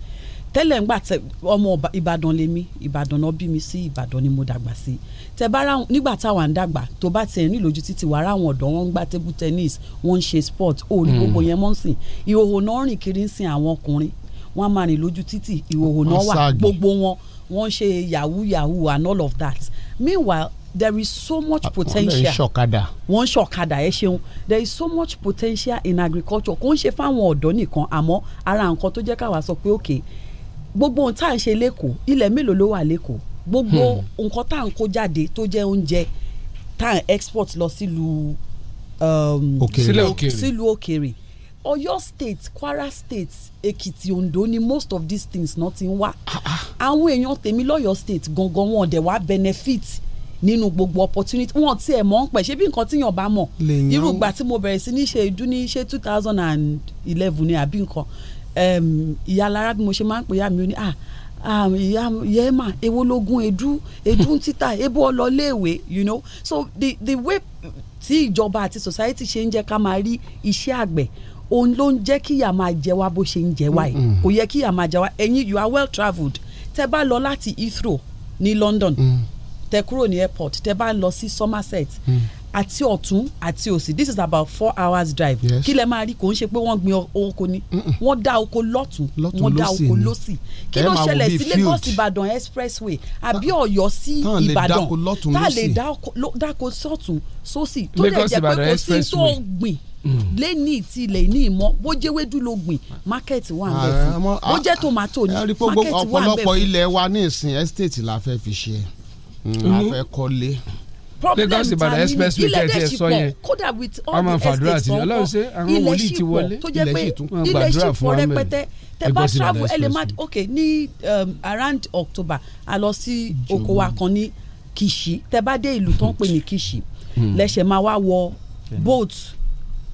[SPEAKER 9] tẹ́lẹ̀ ńgbà tẹ ọmọ Ọba- Ìbàdàn lèmi Ìbàdàn náà bí mi sí Ìbàdàn ni mo dàgbà sí tẹ bá ra nígbà táwa ń dàgbà tó bá tiẹ̀ ní lójú títì wàá ra àwọn ọ̀dọ́ wọn ń gbá table tennis wọ́n ń ṣe sport ó ní
[SPEAKER 19] Hmm.
[SPEAKER 24] Mm.
[SPEAKER 9] gbogbo yẹn mọ́ ń sìn ìhòòhò náà rìn kiri ń sin àwọn ọkùnrin wọ́n á máa rìn lójú títì ìhòòhò
[SPEAKER 24] Wọ́n
[SPEAKER 9] náà wà
[SPEAKER 24] ságì.
[SPEAKER 9] gbogbo wọn wọ́n ń ṣe yahoo yahoo and all of that meanwhile there is so much
[SPEAKER 19] wọ́n lè ń
[SPEAKER 9] potential
[SPEAKER 19] ṣọ̀kadà.
[SPEAKER 9] wọ́n ń ṣọ̀kadà ẹ ṣeun there is so much potential in agriculture kò ń ṣe fáwọn ọ̀dọ́ nìkan àmọ́ ara nǹkan tó jẹ́ káwa sọ pé òkè gbogbo ohun tá à ń ṣe lẹ́kọ̀ọ́ ilẹ̀ mélòó ló wà lẹ́kọ̀ọ́ gbogbo nǹkan tá à ń kó jáde tó jẹ́ oúnjẹ tá à ń export lọ sílùú um,
[SPEAKER 4] Hmm.
[SPEAKER 19] Òkèèrè. Sílẹ̀ òkèèrè.
[SPEAKER 9] sílùú òkèèrè Ọ̀yọ́ state Kwara state Èkìtì Ondo ni most of these things náà ti ń wá àwọn èèyàn tèmi lọ́yọ́ state gangan wọn ọ̀dẹ̀ wá benefit nínú gbogbo opportunity wọn tiẹ̀ mọ̀ ń pẹ̀ ṣé bí nǹkan tíyàn bá mọ̀
[SPEAKER 19] Lèèyàn-
[SPEAKER 9] irú ìgbà tí mo bẹ̀rẹ̀ sí ní ṣe ìdú ní ṣe two thousand and eleven ni àbí nǹkan Em, ìyá alára bí mo ṣe máa ń pè ya mi ó ní à um, ìyá yẹ́mà ewo lógún edu edu ń títà ebo ọlọ́léèwé you know so the the way tí ìjọba àti society ṣe ń jẹ́ ká máa rí iṣẹ́ àgbẹ̀ òun ló ń jẹ́ kí ìyà máa jẹ wá bó ṣe ń jẹ wá yìí
[SPEAKER 24] Mm-mm.
[SPEAKER 9] kò yẹ kí ìyà máa jẹ wá ẹ̀yin you are well travelled tẹ́ bá lọ láti Heathrow ní London tẹ́ kúrò ní airport tẹ́ bá lọ sí Somerset àti ọ̀tún àti òsì this is about four hours drive
[SPEAKER 24] Yes.
[SPEAKER 9] kí lẹ máa rí kò ń ṣe pé wọ́n gbin o- oko ni wọ́n dá oko lọ́tún
[SPEAKER 24] Lọ́tún
[SPEAKER 9] wọ́n dá
[SPEAKER 24] lósì
[SPEAKER 9] oko
[SPEAKER 24] ni.
[SPEAKER 9] lósì kí
[SPEAKER 24] Ẹ
[SPEAKER 9] ló
[SPEAKER 24] máa wo
[SPEAKER 9] ṣẹlẹ̀
[SPEAKER 24] bíi
[SPEAKER 9] sí Lagos
[SPEAKER 24] field.
[SPEAKER 9] Ìbàdàn expressway àbí Ọ̀yọ́ sí
[SPEAKER 19] tá à lè
[SPEAKER 9] Ìbàdàn
[SPEAKER 19] dáko lọ́tún
[SPEAKER 9] tá à lè
[SPEAKER 19] lósì.
[SPEAKER 9] dáko- ló- dáko sọ́tún sósì tó lè
[SPEAKER 5] Lagos
[SPEAKER 9] jẹ́ pé
[SPEAKER 5] Ìbàdàn
[SPEAKER 9] kò sí tó
[SPEAKER 5] expressway.
[SPEAKER 9] gbìn
[SPEAKER 19] Mm.
[SPEAKER 9] lẹ́ni ti ilẹ̀ ní ìmọ̀ bó jẹ́ wédú ló gbìn market wà ń bẹ̀
[SPEAKER 19] Ààrẹ,
[SPEAKER 9] fún
[SPEAKER 19] ọmọ-
[SPEAKER 9] bó jẹ́ tomato ní
[SPEAKER 19] Ah, ẹ rí i pé gbogbo-
[SPEAKER 9] market wà ń bẹ̀
[SPEAKER 19] ọ̀pọ̀lọpọ̀
[SPEAKER 9] fún.
[SPEAKER 19] ilẹ̀ wa ní ìsìn estate la fẹ́ fi ṣe Mm, a
[SPEAKER 5] Mhm.
[SPEAKER 19] fẹ́ kọ́lé.
[SPEAKER 9] problem
[SPEAKER 5] Lagos Ìbàdàn
[SPEAKER 9] ta ni ni
[SPEAKER 5] expressway
[SPEAKER 9] ilẹ̀
[SPEAKER 5] tẹ́ ẹ
[SPEAKER 9] dẹ̀
[SPEAKER 5] ti
[SPEAKER 9] ṣì
[SPEAKER 5] sọ yẹn.
[SPEAKER 9] pọ̀ kódà with
[SPEAKER 5] A
[SPEAKER 9] all
[SPEAKER 5] máa
[SPEAKER 9] the
[SPEAKER 5] fàdúrà
[SPEAKER 9] estates
[SPEAKER 5] sí i.
[SPEAKER 9] tó ń
[SPEAKER 5] Ọlọ́run ṣe àwọn
[SPEAKER 9] kọ́ ilẹ̀
[SPEAKER 5] wòlíì
[SPEAKER 9] ṣì
[SPEAKER 5] ti
[SPEAKER 9] pọ̀
[SPEAKER 5] wọlé.
[SPEAKER 9] tó jẹ́
[SPEAKER 5] Ilẹ̀
[SPEAKER 9] pé
[SPEAKER 5] ṣì tún máa
[SPEAKER 9] ilẹ̀ ṣì
[SPEAKER 5] gbàdúrà fún
[SPEAKER 9] pọ̀
[SPEAKER 5] wa mẹ́rin.
[SPEAKER 9] rẹpẹtẹ tẹ́ bá
[SPEAKER 5] Lagos Ìbàdàn
[SPEAKER 9] travel ẹ lè má
[SPEAKER 5] expressway.
[SPEAKER 9] ok ní um, around October a lọ sí oko wa kan ní Kìṣí tẹ́ bá dé ìlú tó ń pè ní Kìṣí
[SPEAKER 24] Hmm.
[SPEAKER 9] lẹ́sẹ̀ máa wá wọ boat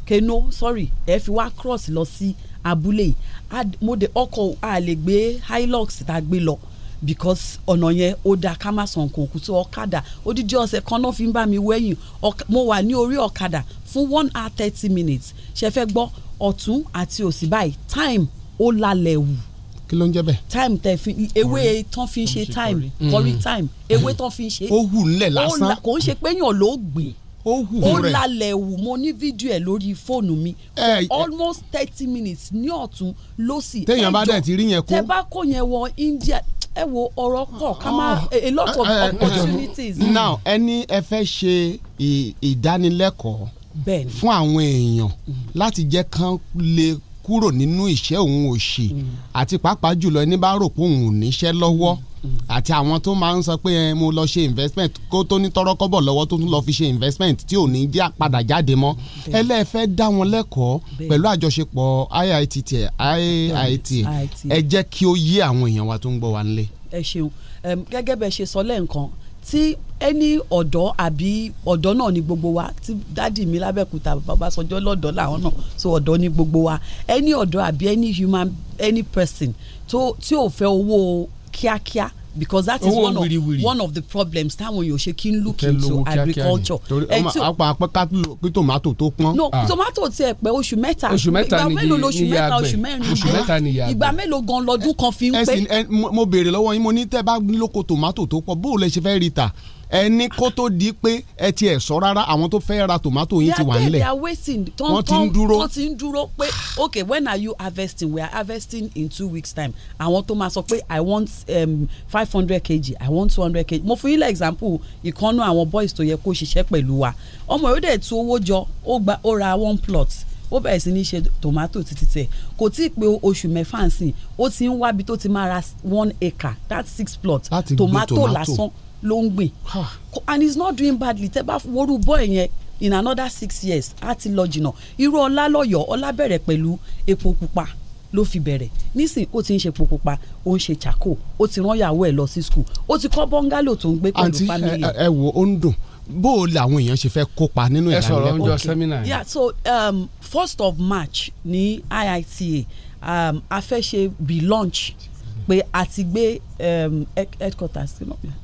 [SPEAKER 9] keno sorry ẹ fi wá cross lọ sí abúlé yìí Ad- mo de ọkọ̀ a lè gbé hilux tá a gbé lọ because ọ̀nà yẹn ó da ká má san nǹkan òkú tó ọ̀kadà odidi ọ̀sẹ̀ kan náà fi ń bá mi wẹ̀yìn Ọ̀k- mo wà ní orí ọ̀kadà fún one hour thirty minutes ṣe fẹ́ gbọ́ ọ̀tún àti òsì báyìí time ó lalẹ̀ wù
[SPEAKER 19] kí ló ń jẹ́ bẹ́ẹ̀.
[SPEAKER 9] time tẹ fi ewé tán fi ń ṣe time
[SPEAKER 19] Mm.
[SPEAKER 9] curry time ewé tán fi ń ṣe.
[SPEAKER 19] Ó wù nílẹ̀
[SPEAKER 9] Ó
[SPEAKER 19] lásán.
[SPEAKER 9] la- kò ń ṣe pé èèyàn ló gbìn
[SPEAKER 8] wù
[SPEAKER 9] ó
[SPEAKER 8] rẹ̀.
[SPEAKER 9] lálẹ́ wù mo ní fídíò ẹ̀ lórí fóònù mi almost thirty minutes ní ọ̀tún ló sì.
[SPEAKER 19] Téèyàn bá
[SPEAKER 9] ẹjọ́,
[SPEAKER 19] dẹ̀ ti rí yẹn kó.
[SPEAKER 9] tẹ bá kó yẹn wọ India ẹ wo ọ̀rọ̀ kọ̀ ká má a a lot of
[SPEAKER 19] Eh, eh,
[SPEAKER 9] opportunities.
[SPEAKER 19] now ẹni ẹ fẹ́ ṣe ì- ìdánilẹ́kọ̀ọ́
[SPEAKER 9] Bẹ́ẹ̀ni. Mm.
[SPEAKER 19] fún àwọn èèyàn láti jẹ́ kán lè kúrò nínú ìṣẹ́ òun òṣì
[SPEAKER 9] Mm.
[SPEAKER 19] àti pàápàá jùlọ ẹni bá rò pé òun ò níṣẹ́ lọ́wọ́
[SPEAKER 9] Mm.
[SPEAKER 19] àti àwọn tó máa ń sọ pé "Eh, mo lọ ṣe investment kó tó ní tọrọkọ́bọ̀ lọ́wọ́ tó tún lọ fi ṣe investment tí ò ní já padà jáde mọ́
[SPEAKER 25] Bẹ́ẹ̀.
[SPEAKER 19] ẹlẹ́fẹ́ dá wọn lẹ́kọ̀ọ́
[SPEAKER 25] Bẹ́ẹ̀.
[SPEAKER 19] pẹ̀lú àjọṣepọ̀ IITT IIT ẹ jẹ́ kí ó yé àwọn èèyàn wa tó ń gbọ́ wa nílé.
[SPEAKER 9] ẹ ṣeun Em, gẹ́gẹ́ bẹ́ẹ̀ ṣe sọ lẹ́ǹkan tí ẹni ọ̀dọ́ àbí ọ̀dọ́ náà ni gbogbo wa tí dádì mi lábẹ́kúta babasọjọ́ lọ́dọ̀ làwọn náà so ọ̀dọ́ ni gbogbo wa ẹni ọ̀dọ́ àbí ẹni human any person tó tí ò fẹ́ owó kíákíá because that is
[SPEAKER 19] Owó
[SPEAKER 9] one of,
[SPEAKER 19] wìrìwìrì.
[SPEAKER 9] one of the problems táwọn èèyàn ṣe kí n look
[SPEAKER 19] Fẹ́
[SPEAKER 9] into
[SPEAKER 19] lówó kíákíá ni.
[SPEAKER 9] agriculture
[SPEAKER 19] torí
[SPEAKER 9] Ẹ
[SPEAKER 19] ọmọ
[SPEAKER 9] tí ò-
[SPEAKER 19] apá apá ká tó lò pé tòmátò tó pọ́n. Ah.
[SPEAKER 9] no tomato ti ẹ pẹ oṣù mẹ́ta
[SPEAKER 19] Oṣù mẹ́ta
[SPEAKER 9] ìgbà
[SPEAKER 19] ni
[SPEAKER 9] mélòó
[SPEAKER 19] iye-
[SPEAKER 9] lóṣù
[SPEAKER 19] ni iye
[SPEAKER 9] mẹ́ta
[SPEAKER 19] àgbẹ̀.
[SPEAKER 9] oṣù mẹ́rin
[SPEAKER 19] Oṣù mẹ́ta ni iye àgbẹ̀.
[SPEAKER 9] ìgbà mélòó gan lọ́dún kan fi ń
[SPEAKER 19] ẹ
[SPEAKER 9] pé
[SPEAKER 19] sì ẹ- mo- mo béèrè lọ́wọ́ yín mo ní tẹ́ bá lóko tòmátò tó pọ̀ bóò lẹ ṣe fẹ́ rí ta ẹ ní kó tó di pé ẹ ti ẹ̀ sọ rárá àwọn tó fẹ́ ra tòmátò yín ti wà
[SPEAKER 9] They are there, they
[SPEAKER 19] nílẹ̀
[SPEAKER 9] are waiting. Tán-
[SPEAKER 19] Wọ́n ti ń
[SPEAKER 9] tán-
[SPEAKER 19] dúró.
[SPEAKER 9] tán ti ń dúró pé okay when are you harvesting we are harvesting in two weeks time àwọn tó máa sọ pé i want um, five hundred kg i want two hundred kg mo fún yín lẹ́ example ìkànnú àwọn boys tó yẹ kó ṣiṣẹ́ pẹ̀lú wa ọmọ yóò dẹ̀ tú owó jọ ó gba ó ra one plot ó bẹ̀rẹ̀ sí ní ṣe tomato títí tẹ̀ kò tí ì pé oṣù mẹ́fà sí i ó ti ń wábi tó ti máa ra one acre that's six plot
[SPEAKER 19] Láti gbin
[SPEAKER 9] tomato
[SPEAKER 19] tomato.
[SPEAKER 9] lásán ló ń gbìn and he's not doing badly tẹ bá worú boy yẹn in another six years á ti lọ jìnnà irú ọlá lọyọ ọlá bẹ̀rẹ̀ pẹ̀lú epo pupa ló fi bẹ̀rẹ̀ nísìn ó ti ń ṣe epo pupa ó ń ṣe charcoal ó ti rán ìyàwó ẹ̀ lọ sí school ó ti kọ́ bọ́ngálò tó ń gbé
[SPEAKER 19] àǹtí
[SPEAKER 9] pẹ̀lú family
[SPEAKER 19] ẹ- ẹ wo ó ń dùn bóò làwọn èèyàn ṣe fẹ́ kópa nínú
[SPEAKER 5] Ẹ sọ̀rọ̀ oúnjẹ
[SPEAKER 19] ìdánilẹ́kọ̀ọ́.
[SPEAKER 5] sẹ́mínà
[SPEAKER 9] yeah so um, first of march ní iita um, a fẹ́ ṣe be launch pé a ti gbé um, head- headquarters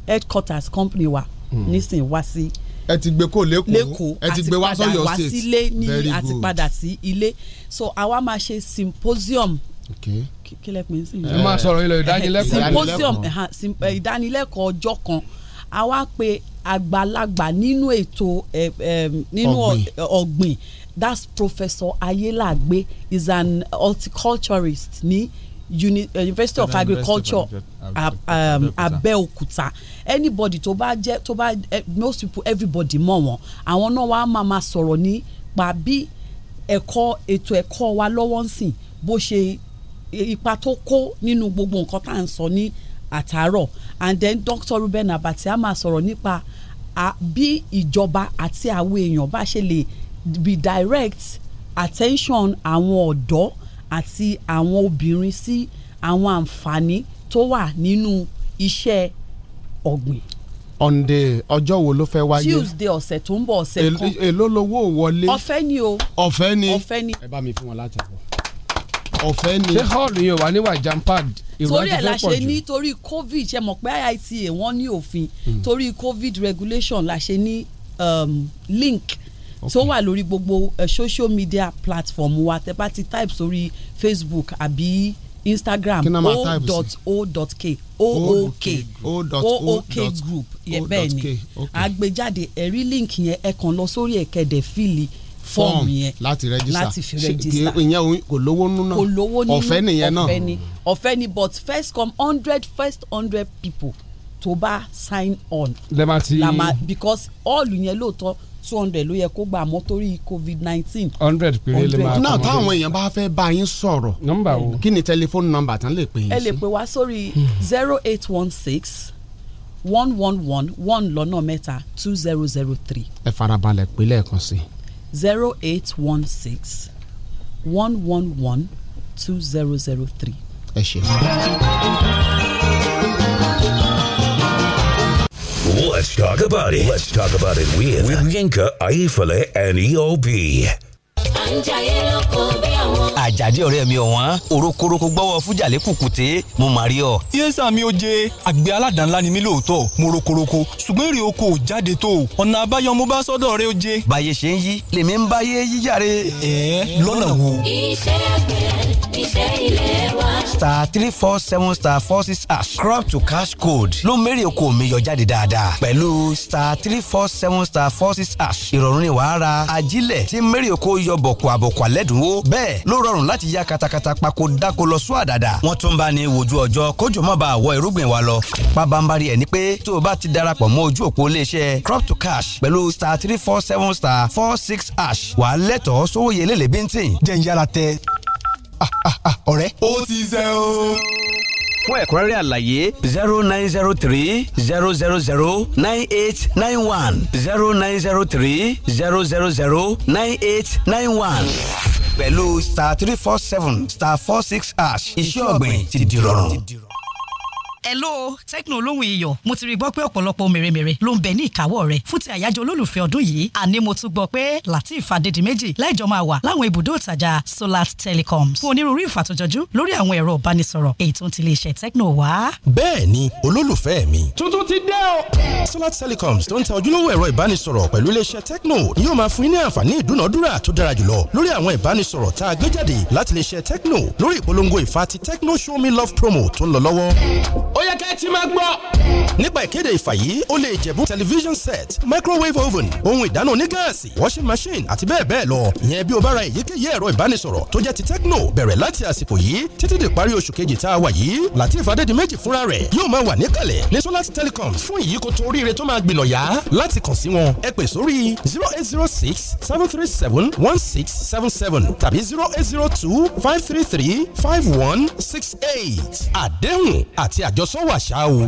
[SPEAKER 9] headquarters company wa
[SPEAKER 19] Hmm.
[SPEAKER 9] nísìn wá sí
[SPEAKER 19] ẹ ti gbé kó lẹ́kọ̀ọ́
[SPEAKER 9] lẹ́kọ̀ọ́
[SPEAKER 19] ẹ ti gbé wá
[SPEAKER 9] àti
[SPEAKER 19] sọ́yọ́
[SPEAKER 9] padà wá
[SPEAKER 19] state
[SPEAKER 9] sílé ní
[SPEAKER 19] Very
[SPEAKER 9] àti
[SPEAKER 19] good.
[SPEAKER 9] padà sí ilé so àwa máa ṣe symposium
[SPEAKER 19] Okay.
[SPEAKER 9] kí- kí lẹ pè é sí
[SPEAKER 19] Ẹ máa sọ̀rọ̀ ilẹ̀ ìdánilẹ́kọ̀ọ́.
[SPEAKER 9] symposium
[SPEAKER 19] Ìdánilẹ́kọ̀ọ́.
[SPEAKER 9] ẹ̀hán, sym- eh, ìdánilẹ́kọ̀ọ́ ọjọ́ kan àwa pe àgbàlagbà nínú ètò eh, eh, nínú ọ-
[SPEAKER 19] Ọ̀gbìn.
[SPEAKER 9] ọ̀gbìn that's professor ayélàgbé is an horticulturist ní uni eh, university of
[SPEAKER 24] Federal University of
[SPEAKER 9] agriculture
[SPEAKER 24] Agri-
[SPEAKER 9] ab- um, abẹ́òkúta anybody tó bá jẹ́ tó bá eh, most people everybody mọ̀ wọ́n àwọn náà wàá máa máa sọ̀rọ̀ nípa bí ẹ̀kọ́ ètò ẹ̀kọ́ wa lọ́wọ́ ń sìn bó ṣe ipa tó kó nínú gbogbo nǹkan tá à ń sọ ní àtàárọ̀ and then Dr. Ruben Abati a máa sọ̀rọ̀ nípa a- bí ìjọba àti àwọn èèyàn bá ṣe lè redirect attention àwọn ọ̀dọ́ àti àwọn obìnrin sí àwọn àǹfààní tó wà nínú iṣẹ́ ọ̀gbìn
[SPEAKER 19] on the ọjọ́ wo ló fẹ́ wáyé
[SPEAKER 9] Tuesday ọ̀sẹ̀ tó ń bọ̀ ọ̀sẹ̀
[SPEAKER 19] Èl-
[SPEAKER 9] kan
[SPEAKER 19] èló lowó wọlé
[SPEAKER 9] ọ̀fẹ́ ni o
[SPEAKER 19] ọ̀fẹ́ ni
[SPEAKER 9] ọ̀fẹ́ ni
[SPEAKER 19] ẹ bá mi fún wọn láti àbọ̀ ọ̀fẹ́ ni
[SPEAKER 5] ṣé hall yẹn wà níwà jampad
[SPEAKER 9] torí
[SPEAKER 5] ìwádìí
[SPEAKER 9] ẹ̀ la
[SPEAKER 5] fẹ́ pọ̀
[SPEAKER 9] ṣe ní
[SPEAKER 5] jù.
[SPEAKER 9] torí covid ṣe mọ̀ pé IITA wọ́n ní òfin
[SPEAKER 19] Hmm.
[SPEAKER 9] torí covid regulation la ṣe ní um, link tó wà lórí gbogbo eh, social media platform wa tẹ bá ti type sórí facebook àbí instagram
[SPEAKER 19] Kí ni a máa type sí?
[SPEAKER 9] o.o.k o.o.k
[SPEAKER 19] O dot O
[SPEAKER 9] o.o.k
[SPEAKER 19] dot
[SPEAKER 9] group
[SPEAKER 19] O dot
[SPEAKER 9] bẹ́ẹ̀ ni
[SPEAKER 19] K, okay.
[SPEAKER 9] àgbéjáde ẹ̀rí link yẹn ẹ kàn lọ sórí ẹ̀kẹ́dẹ̀ fíìlì
[SPEAKER 19] form
[SPEAKER 9] fọ́ọ̀mù yẹn
[SPEAKER 19] láti rẹ́gísítà
[SPEAKER 9] láti fi rẹ́gísítà
[SPEAKER 19] ìyẹn òun- kò lówó nínú
[SPEAKER 9] kò lówó nínú
[SPEAKER 19] ọ̀fẹ́ nìyẹn náà
[SPEAKER 9] ọ̀fẹ́ ni ọ̀fẹ́ ni but first come hundred first hundred people tó bá sign on
[SPEAKER 5] lẹ́ máa ti
[SPEAKER 9] la ma because all yẹn lóòótọ́ two hundred ló yẹ kó gbà mọ́ torí covid nineteen
[SPEAKER 5] hundred péré lè máa
[SPEAKER 19] náà
[SPEAKER 5] accommodate.
[SPEAKER 19] táwọn èèyàn bá fẹ́ bá yín sọ̀rọ̀ nọ́mbà wo kí ni tẹlifóònù nọ́mbà tán lè pè yín
[SPEAKER 9] ẹ lè
[SPEAKER 19] sí.
[SPEAKER 9] pè wá sórí
[SPEAKER 19] Hmm.
[SPEAKER 9] zero eight one six one one one one lọ́nà mẹ́ta two zero zero three
[SPEAKER 19] ẹ farabalẹ̀ pé lẹ́ẹ̀kan sí i
[SPEAKER 9] zero eight one six one one one two zero zero three.
[SPEAKER 19] ẹ ṣe.
[SPEAKER 17] Let's talk about it. Let's talk about it with, with Yinka, Aifale, and E EOB.
[SPEAKER 26] àjàdí ọ̀rẹ́ mi ọ̀wọ́n òrókòrókò gbọ́wọ́ fújàlẹ́ kùkùté mo mà rí ọ.
[SPEAKER 14] yéésà mi ò jẹ àgbẹ̀ aládàá-ńlá ni mí lóòótọ́ mo rokoroko ṣùgbọ́n èrè oko ò jáde tó o ọ̀nà àbáyọ mo bá sọ́dọ̀ rẹ ó jẹ. báyé ṣe ń yí lèmi ń báyé yíjáre. ẹ ẹ lọ́nà wo.
[SPEAKER 3] Iṣẹ́ àgbẹ̀ ni ìfẹ́ ilé wa.
[SPEAKER 26] star three four seven star four six hash crop to cash code ló mẹ́rin oko mi yọ jáde dáadáa pẹ̀lú star three four seven star four six hash ìrọ̀rùn ni wàá ra ajílẹ̀ tí mẹ́rin oko yọ bọ̀kọ̀ àbọ̀kọ̀ àlẹ́dùnwó bẹ́ẹ̀ ló rọrùn láti ya katakata pako dáko lọ sún àdàdà wọ́n tún bá ní wojú ọjọ́ kójú mọ́ bá àwọ̀ irúgbìn wa lọ pabambari ẹ̀ ni pé tó o bá ti darapọ̀ mọ́ ojú òpó iléeṣẹ́ crop to cash pẹ̀lú star three four seven star four six hash wàá lẹ́tọ̀ọ́ sówó yẹlé lẹ́bíntìn jẹ́ ń yára tẹ ọ̀rẹ́. ó ti zẹ́ o. fún ẹ̀kúnrẹ́rẹ́ àlàyé zero nine zero three zero zero zero nine eight nine one zero nine zero three zero zero zero nine eight nine one. pẹ̀lú star three four seven star four six hash iṣẹ́ ọ̀gbìn ti di rọrùn.
[SPEAKER 24] Hello, Tecno olóhùn iyọ̀. Mo ti rí gbọ́ pé ọ̀pọ̀lọpọ̀ mèremère ló ń bẹ ní ìkáwọ́ rẹ̀ fún ti àyájọ́ olólùfẹ́ ọdún yìí. Àní mo tún gbọ́ pé Latif Adédìméjì láìjọ máa wà láwọn ibùdó ìtajà Solat Telecom fún onírúurú ìfàtòjọ́jú lórí àwọn ẹ̀rọ ìbánisọ̀rọ̀ èyí tó ń ti iléeṣẹ́ Tecno wá.
[SPEAKER 27] bẹ́ẹ̀ni olólùfẹ́ mi. tuntun ti dé o. solar telecoms tó ń ta ojúlówó ẹ̀rọ ìbánisọ̀rọ̀ pẹ̀lú iléeṣẹ́ tecno ni yóò máa fún yín ní àǹfààní ìdúnàdúrà tó dára jùlọ lórí àwọn ìbánisọ̀rọ̀ tá a gbé jáde láti iléeṣẹ́ tecno lórí ìpolongo ìfà ti tecno show me love promo tó ń lọ lọ́wọ́. ó yẹ kẹ́ ẹ ti máa gbọ́. nípa ìkéde ìfà yìí ó lè jẹ̀bú television set microwave oven ohun ìdáná onígáàsì washing machine àti bẹ́ẹ̀ bẹ́ẹ̀ lọ ìyẹn bí o bá ra èyíkéyìí ẹ̀rọ ìbánisọ̀rọ̀ tó jẹ́ ti tecno bẹ̀rẹ̀ láti àsìkò yìí títí dìparí oṣù kejì tá a wà yìí latif adédìméjì fúnra rẹ̀ yóò máa wà níkàlẹ̀ ní solar telecoms fún ìyíkoto oríire tó máa gbìnà yá láti kàn sí wọn ẹ pè sórí zero eight zero six seven three seven one six seven seven tàbí zero eight zero two five three three five one six eight àdéhùn àti àjọsọ́wọ́ àṣà o.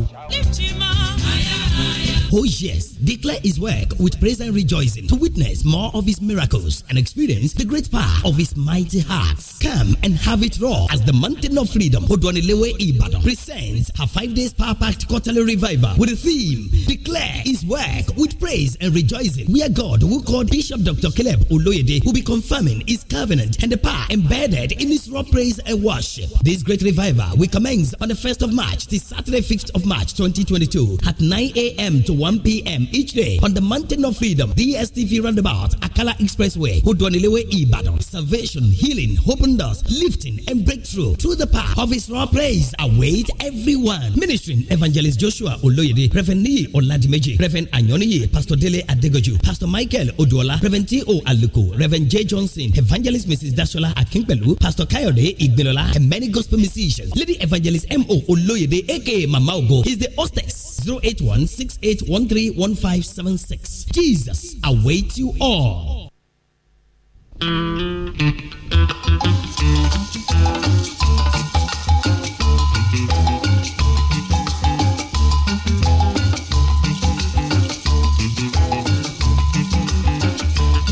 [SPEAKER 28] Oh, yes, declare his work with praise and rejoicing to witness more of his miracles and experience the great power of his mighty hearts. Come and have it raw as the Mountain of Freedom, Odwanilewe Ibadan, presents her five days power packed quarterly revival with the theme Declare his work with praise and rejoicing. Where God, who called Bishop Dr. Caleb Oloyede, will be confirming his covenant and the power embedded in his raw praise and worship. This great revival will commence on the 1st of March till Saturday, 5th of March 2022 at 9 a.m. to 1 p.m. each day on the Mountain of Freedom, DSTV Roundabout, Akala Expressway, Udwanilewe Ibadan. Salvation, healing, open doors, lifting, and breakthrough through the path of His raw praise await everyone. Ministering Evangelist Joshua Oloyede, Reverend Niyi Oladimeji, Reverend Anyoniye, Pastor Dele Adegoju, Pastor Michael Oduola, Reverend T.O. Aluko, Reverend J. Johnson, Evangelist Mrs. Dashola Akinpelu, Pastor Kayode Igbelola, and many gospel musicians. Lady Evangelist M.O. Oloyede, aka Mama Ogo, is the hostess. 081 681 Jesus awaits you all.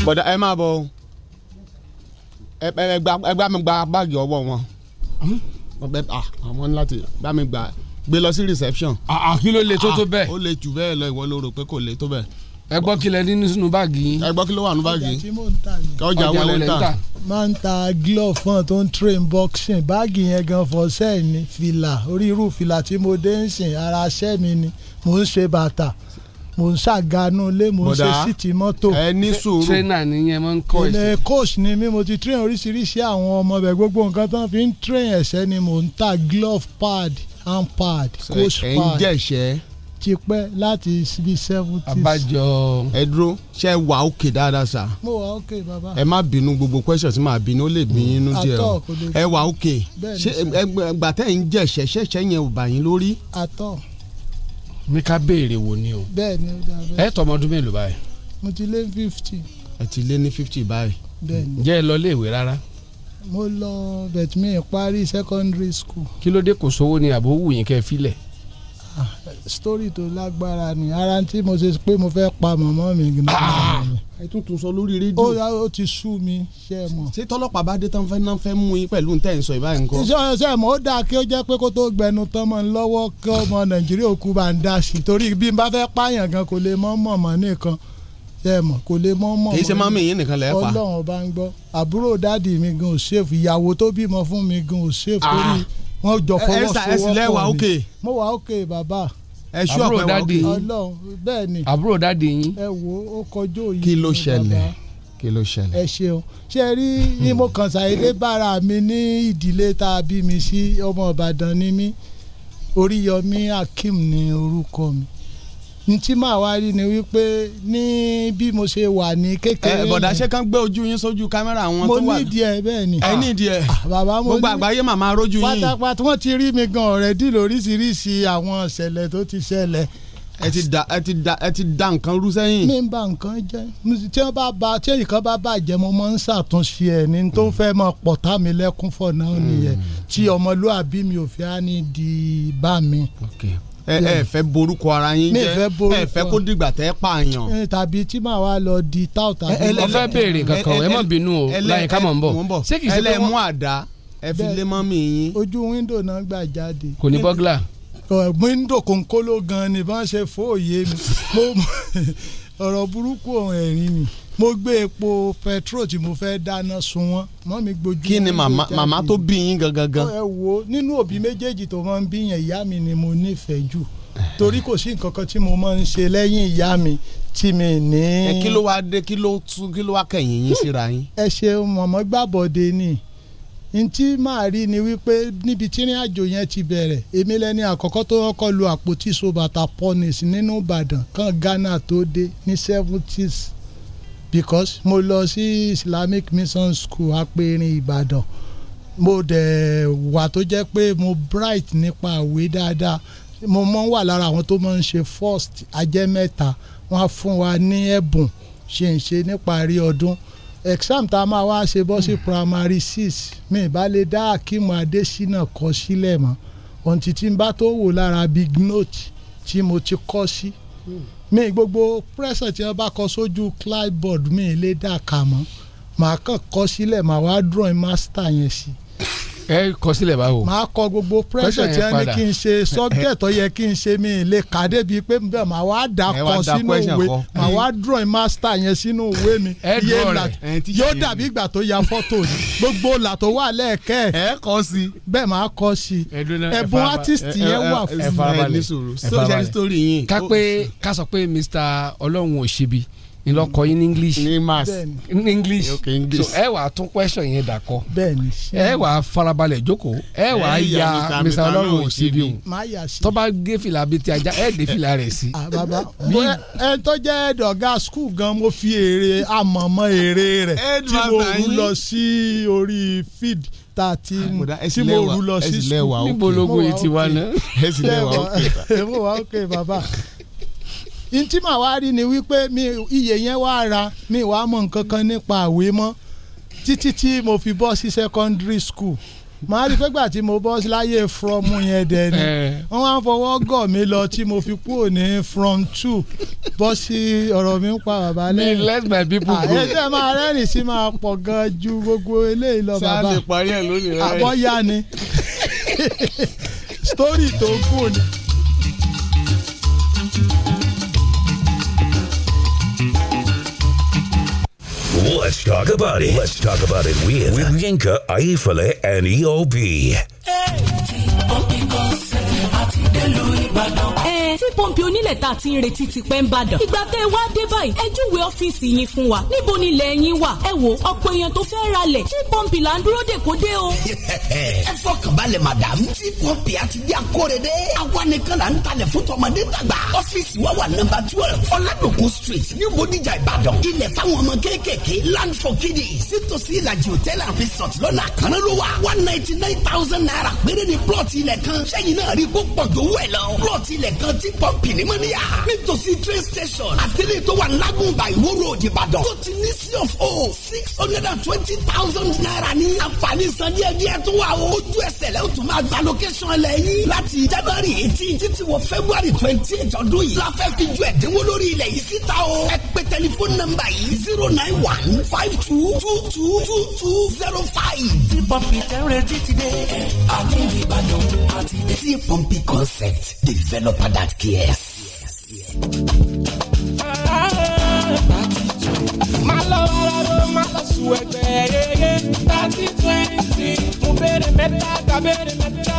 [SPEAKER 19] bọ̀dà ẹ máa bọ̀ o. ẹ ẹ ẹ gba ẹ gba mi gba báàgì ọwọ́ wọn. ọbẹ ah àwọn ńlá ti gba mi gba gbé lọ sí reception.
[SPEAKER 5] àà kí ló le tó tó bẹ́ẹ̀.
[SPEAKER 19] Ah, ó le jù bẹ́ẹ̀ lọ ìwọ ló rò pé kò le tó bẹ́ẹ̀.
[SPEAKER 5] ẹ gbọ́ kí lẹ ní nínú báàgì yín.
[SPEAKER 19] ẹ gbọ́ kí ló wà nínú báàgì
[SPEAKER 23] ọjà tí
[SPEAKER 19] yìí.
[SPEAKER 23] mò ń tà ní.
[SPEAKER 19] ọjà
[SPEAKER 5] Ọjà
[SPEAKER 19] wọlé
[SPEAKER 5] wo lẹ ń
[SPEAKER 19] ń
[SPEAKER 5] tà?
[SPEAKER 19] tà.
[SPEAKER 23] máa ń ta glove fún tó ń train boxing báàgì yẹn gan fọṣẹ́ ni fìlà orí irú fìlà tí mo dé ń sìn ara ṣẹ́ mi ni mò ń ṣe bàtà mò ń ṣàganú ilé mò ń ṣe
[SPEAKER 19] Bọ̀dá,
[SPEAKER 23] síìtì mọ́tò.
[SPEAKER 19] ẹ ní sùúrù. Trainer
[SPEAKER 5] nìyẹn máa ń
[SPEAKER 23] ilẹ̀ coach ni mí mo ti train oríṣiríṣi àwọn ọmọ bẹ̀ gbogbo nǹkan tó ń fi ń train ẹ̀ṣẹ́ ni mò ń ta glove pad hand pad coach
[SPEAKER 19] ẹ ń
[SPEAKER 23] pad
[SPEAKER 19] jẹ̀ṣẹ́.
[SPEAKER 23] ti pẹ́ láti bíi seventies.
[SPEAKER 19] ẹ dúró ṣe é wà ókè dáadáa sá.
[SPEAKER 23] mo wà ok bàbá.
[SPEAKER 19] ẹ má bínú gbogbo question tí màá bínú ó lè bí yín inú díẹ̀
[SPEAKER 23] Àtọ̀
[SPEAKER 19] o
[SPEAKER 23] kò lè
[SPEAKER 19] ẹ wà ókè
[SPEAKER 23] Bẹ́ẹ̀ ni
[SPEAKER 19] ṣé ẹ gbà- gbà tẹ́ ẹ̀ ń jẹ̀ṣẹ́ ṣẹ́ṣẹ́ yẹn ò bà yín lórí.
[SPEAKER 23] àtọ̀
[SPEAKER 5] mi ká béèrè wo ni o.
[SPEAKER 23] bẹ́ẹ̀ ni ó dáa bẹ́ẹ̀.
[SPEAKER 5] ẹ tọmọ ọdún mélòó báyìí.
[SPEAKER 23] mo ti lé fifty
[SPEAKER 19] ẹ ti lé ní fifty báyìí.
[SPEAKER 23] bẹ́ẹ̀ ni
[SPEAKER 5] jẹ́ ẹ lọ léèwé rárá.
[SPEAKER 23] mo lọ vetmin parí secondary school
[SPEAKER 5] kí ló dé kò sówó ni àbó wù yín kẹ́ ẹ filẹ̀.
[SPEAKER 23] story tó lágbára ni ara tí mo ṣe pé mo fẹ́ pa mọ̀mọ́ mi gan.
[SPEAKER 19] Ah! ẹ tún tún sọ lórí
[SPEAKER 23] ó
[SPEAKER 19] rédíò.
[SPEAKER 23] yá, ó ti sú mi ṣe é mọ̀.
[SPEAKER 19] ṣé tọ́lọ́pàá bá dé tán fẹ́ náà fẹ́ mú yín pẹ̀lú ntẹ́ ń sọ ìbáyìí nǹkan.
[SPEAKER 23] iṣẹ́ ọ̀rẹ́ ṣe é mọ̀ ó dáa kí ó jẹ́ pé kó tó gbẹnu tán mọ́ ń lọ́wọ́ kí ọmọ nàìjíríà òkú bá ń dá sí i torí bí n bá fẹ́ pààyàn gan kò lè mọ́ mọ̀mọ́ nìkan ṣe é mọ̀ kò lè mọ́ mọ̀mọ́.
[SPEAKER 19] kì í ṣe mọ́mí yín nìkan lẹ́ pa.
[SPEAKER 23] ọlọ́run ọba ń gbọ́ àbúrò dáàdì mi gan ò ṣèfù ìyàwó tó bímọ fún mi gan ò ṣèfù
[SPEAKER 19] Ah.
[SPEAKER 23] orí wọn jọ
[SPEAKER 19] Ẹ- ẹ
[SPEAKER 23] fọwọ́
[SPEAKER 19] sà, ẹ sì lẹ wà okay?
[SPEAKER 23] mo wà ókè bàbá
[SPEAKER 19] Ẹ ṣú àpẹwà
[SPEAKER 5] dáàdì
[SPEAKER 19] òkè.
[SPEAKER 5] yín.
[SPEAKER 23] ọlọ́run bẹ́ẹ̀ ni
[SPEAKER 5] àbúrò dáàdi yín.
[SPEAKER 23] ẹ wo ó kọjú òye
[SPEAKER 19] kí ló
[SPEAKER 23] mi,
[SPEAKER 19] ṣẹlẹ̀
[SPEAKER 23] bàbá.
[SPEAKER 29] kí ló ṣẹlẹ̀.
[SPEAKER 23] ẹ ṣeun ṣe rí ni mo kàn ṣàìdé bára mi ní ìdílé tá a bí mi sí ọmọ ìbàdàn ni mí oríyọmí akeem ni orúkọ mi n tí màá wá rí ni wípé ní bí mo ṣe wà ní kékeré
[SPEAKER 19] ẹ bọ̀dá
[SPEAKER 23] yẹn,
[SPEAKER 19] ṣe kán gbé ojú yín sójú kámẹ́rà àwọn
[SPEAKER 23] mo
[SPEAKER 19] tó wà.
[SPEAKER 23] nídìí ẹ bẹ́ẹ̀ ni Ah,
[SPEAKER 19] ẹ nídìí ẹ
[SPEAKER 23] bàbá mo
[SPEAKER 19] gbogbo
[SPEAKER 23] ní-
[SPEAKER 19] àgbáyé màmá rójú yín
[SPEAKER 23] pátápátá wọ́n ti rí mi gan ọ̀rẹ́dì lóríṣiríṣi àwọn ìṣẹ̀lẹ̀ tó ti ṣẹlẹ̀
[SPEAKER 19] ẹ ti da ẹ ti da ẹ ti da nǹkan rú sẹ́yìn.
[SPEAKER 23] mi ń ba nǹkan jẹ́ mo sì- tí wọ́n bá ba tí èyí kan bá bàjẹ́ mo máa ń ṣàtúnṣe ẹ̀ ní tó ń fẹ́ máa pọ̀ tá mi lẹ́kún fọ̀ náà nìyẹn
[SPEAKER 19] Hmm.
[SPEAKER 23] tí ọmọlúàbí mi ò fi á ní di bá mi.
[SPEAKER 19] ẹ ẹ fẹ́ borúkọ ara yín
[SPEAKER 23] Mi
[SPEAKER 19] jẹ́
[SPEAKER 23] fẹ́ borúkọ.
[SPEAKER 19] ẹ fẹ́ kó dìgbà tẹ́ pààyàn.
[SPEAKER 23] Eh, tàbí tí màá wá lọ di táù tàbí.
[SPEAKER 19] Mo fẹ́ béèrè kankan o, ẹ má bínú o, Láyínká mò ń bọ̀. Ṣé kìí ṣe pé wọ́n-
[SPEAKER 23] Bẹ́ẹ̀, ojú wíńdò náà gbà jáde.
[SPEAKER 5] kò ní bọ́gìlà.
[SPEAKER 23] Ọ̀, wíńdò kòńkóló gan ni bọ́n ṣe fóòyè mi Mo- ọ̀rọ̀ burúkú ọ̀hún ẹ̀rín ni mo gbé epo petrol tí mo fẹ́ dáná sun wọn mọ́ mi gbojú
[SPEAKER 19] kí ni
[SPEAKER 23] wíńdò
[SPEAKER 19] màmá
[SPEAKER 23] jáde.
[SPEAKER 19] màmá tó bí yín gangan gan.
[SPEAKER 23] ẹ wo nínú òbí méjèèjì tó máa ń bíyàn ìyá mi ni mo nífẹ̀ẹ́ jù torí kò sí nǹkan kan tí mo máa ń ṣe lẹ́yìn ìyá mi tí mi ní.
[SPEAKER 19] ẹ kí ló wá dé kí ló tú kí ló wá kẹ̀yìn yín síra yín.
[SPEAKER 23] ẹ ṣeun mọ̀mọ́ gbàbọ̀dé ni n tí màá rí ni wípé níbi tí ní àjò yẹn ti bẹ̀rẹ̀ èmi lẹ́ni àkọ́kọ́ tó kọ́kọ́ lu àpótí sobata pọ́nìs nínú ìbàdàn kan ghana tó dé ní seventies because mo lọ sí islamic mission school apẹ̀rin ìbàdàn mo dẹ̀ wà tó jẹ́ pé mo bright nípa àwé dáadáa mo mọ́ wà lára àwọn tó máa ń ṣe first ajẹ́ mẹ́ta wọ́n á fún wa ní ẹ̀bùn ṣe ń ṣe níparí ọdún exam tá a máa wá ṣe bọ́ sí primary six mi ìbá lè dá akíma adésínà kọ sílẹ̀ mọ́ ohun títí n bá tó wò lára big note tí mo ti kọ́ sí mi gbogbo pressure tí wọ́n bá kọ sójú clipboard mi lè dà kà mọ́ màá kàn kọ sílẹ̀ màá wá drawing master yẹn sí i
[SPEAKER 5] ẹ kọ sílẹ̀ báwo.
[SPEAKER 23] máa kọ gbogbo pressure
[SPEAKER 5] Pressure
[SPEAKER 23] tí
[SPEAKER 5] yẹn
[SPEAKER 23] wọ́n ní
[SPEAKER 5] padà.
[SPEAKER 23] kí n ṣe subject tó yẹ kí n ṣe mí lè kà débi pé bẹ́ẹ̀ máa wá dà
[SPEAKER 19] Ẹ wá
[SPEAKER 23] kọ
[SPEAKER 19] da
[SPEAKER 23] sínú
[SPEAKER 19] question
[SPEAKER 23] ìwé
[SPEAKER 19] kọ.
[SPEAKER 23] máa wá drawing master yẹn sínú ìwé mi
[SPEAKER 19] Ẹ
[SPEAKER 23] Iye
[SPEAKER 19] draw
[SPEAKER 23] ìlà-
[SPEAKER 19] rẹ̀. Ẹ̀yin tí
[SPEAKER 23] yóò
[SPEAKER 19] ṣe
[SPEAKER 23] dàbí ìgbà tó ya fọ́tò ni gbogbo ìlà tó wà lẹ́ẹ̀kẹ́ ẹ̀
[SPEAKER 19] kọ́ sí
[SPEAKER 23] bẹ́ẹ̀ máa kọ́ sí ẹ̀bùn artist yẹn wà fún
[SPEAKER 19] story yín.
[SPEAKER 5] ká pé ká sọ pé mr ọlọ́run ò ṣebi ńlọkọ yín ní english. ní
[SPEAKER 19] mass.
[SPEAKER 5] ní english. so ẹ wàá tún question yẹn dàkọ.
[SPEAKER 23] bẹ́ẹ̀ni
[SPEAKER 5] ẹ wàá farabalẹ̀ jókòó ẹ wàá
[SPEAKER 23] Ẹ ya
[SPEAKER 5] ya
[SPEAKER 23] Mr.
[SPEAKER 5] mr ọlọ́run ò ṣebi o.
[SPEAKER 23] máa yà sí.
[SPEAKER 5] tó bá gé fìlà bíi ti ajá ẹ dé fìlà rẹ̀ sí.
[SPEAKER 23] Ah, bàbá bóyá ẹ tó jẹ́ head ọ̀gá school gan mo fi èrè amọ̀mọ́ èrè rẹ̀ tí mo
[SPEAKER 19] Headmaster
[SPEAKER 23] rú
[SPEAKER 19] yín.
[SPEAKER 23] lọ sí orí feed tá a ti tí mo rú lọ sí school. Lẹ́wà, mo wà okay bàbá n tí màá wá rí ni wípé mi iye yẹn wá ra mi wá mọ nǹkan kan nípa àwé mọ́ títí tí mo fi bọ́ sí secondary school màá rí i pé gbà tí mo bọ́ sí láyé from yẹn dẹ̀ ni
[SPEAKER 5] Eh.
[SPEAKER 23] wọ́n wá ń fọwọ́ gọ̀ mí lọ tí mo fi kúrò ní from two bọ́ sí ọ̀rọ̀ mi ń pa bàbá
[SPEAKER 5] me
[SPEAKER 23] lẹ́yìn
[SPEAKER 5] let my people go.
[SPEAKER 23] àyè tẹ́ máa rẹ́rìn sí máa pọ̀ gan ju gbogbo eléyìí lọ
[SPEAKER 19] sáà
[SPEAKER 23] bàbá
[SPEAKER 19] lè parí ẹ̀ lónìí rẹ̀.
[SPEAKER 23] àbọ̀ yá ni story tó kù ni.
[SPEAKER 17] Let's talk about it. Let's talk about it with, with Yinka, Aifale, and E EOB.
[SPEAKER 30] ẹ Eh, tí pọ́ǹpì onílẹ̀ tá a ti ń retí ti pẹ́ ń bàdàn. ìgbà tẹ́ ẹ wá dé báyìí ẹ júwe ọ́fíìsì yín fún wa níbo ni ilẹ̀ yín wà. ẹ wo ọ̀pọ̀ èèyàn tó fẹ́ ralẹ̀ tí pọ́ǹpì là ń dúró dè kó dé o.
[SPEAKER 15] ẹ fọkàn balẹ̀ madam tí pọ́ǹpì àti bí akóredé àwa nìkan là ń talẹ̀ fún tọmọdé tàgbà ọ́fíìsì wa wà nọmba twelve ọ̀làdòkun street ní bodijà ìbàdàn ilẹ̀ fáwọn ọmọ kéékèèké land for kiddies sítòsí ìlàjì hòtẹ́lì and resort lọ́nà àkànná ló wà one ninety nine thousand naira péré ni plọ̀tì ilẹ̀ kan sẹ́yìn náà rí kó pọ̀ jówó ẹ̀ lọ plọ̀tì ilẹ̀ kan tí pọ́ǹpì ní mọ́níyà nítòsí train station àtẹlẹ́ tó wà lágùnbà ìwó road ìbàdàn tó ti ní sí of o six hundred and twenty thousand naira ní àǹfààní san díẹ̀ díẹ̀ tó wà o ojú ẹsẹ̀ lẹ́yìn tó máa gba location ẹlẹ́ yìí láti january eighteen títí wọ february twenty eight ọdún yìí la fẹ́ fi ju ẹ̀dínwó lórí ilẹ̀ yìí síta o ẹ pè tẹlifóònù nọ́mbà yìí zero nine one five two two two two two zero five. tí pọ́ǹpì tẹ́rẹ̀ títí dé àti ìbàdàn àti dé. tí pọ́ǹpì concept developer that cares.
[SPEAKER 3] Má lọ rárá, má lọ sùn ẹgbẹ́, yeye. Thirty twenty, mo béèrè mẹ́ta, ká béèrè mẹ́ta.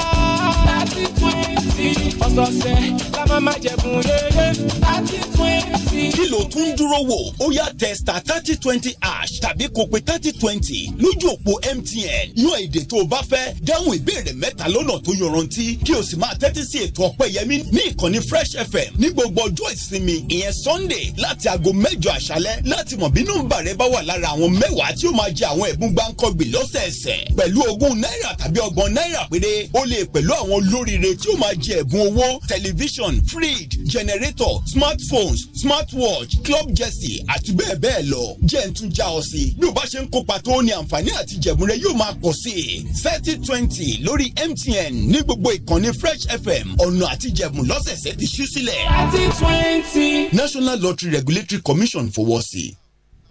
[SPEAKER 3] Thirty twenty, ọ̀sẹ̀ lọ́sọ̀ọ̀sẹ̀ la máa máa jẹ̀bùn rere láti fún èsì.
[SPEAKER 12] kí ló tún dúró wò ó yá testa thirty twenty ash tàbí kópe thirty twenty lójú òpó mtn yan èdè tó o bá fẹ́ dáhùn ìbéèrè mẹ́ta lọ́nà tó yọrantí kí o sì máa tẹ́tí sí ètò ọpẹ́yẹmí ní ìkànnì fresh fm ní gbogbo ọjọ́ ìsinmi ìyẹn sunday láti aago mẹ́jọ àṣálẹ́ láti mọ̀ bí nọ́mbà rẹ bá wà lára àwọn mẹ́wàá tí ó máa jẹ àwọn ẹ̀bùn gbáǹkọ́gbìn lọ́sẹ̀ẹsẹ̀ pẹ̀lú ogún náírà tàbí ọgbọ̀n náírà péré o lè pẹ̀lú àwọn olóríire tí ó máa jẹ ẹ̀bùn owó tẹlifíṣàn fridge generator smartphones smartwatch club jersey àti bẹ́ẹ̀ bẹ́ẹ̀ lọ jẹ́ ń tún já ọ sí bí o bá ṣe ń kópa tó ní àǹfààní àti jẹ̀bùn rẹ yóò máa pọ̀ sí i thirty twenty lórí mtn ní gbogbo ìkànnì fresh fm ọ̀nà àti jẹ̀bùn lọ́sẹ̀ẹsẹ̀ ti ṣú sílẹ̀.
[SPEAKER 3] thirty twenty.
[SPEAKER 12] national lottery regulatory commission fowọ́ sí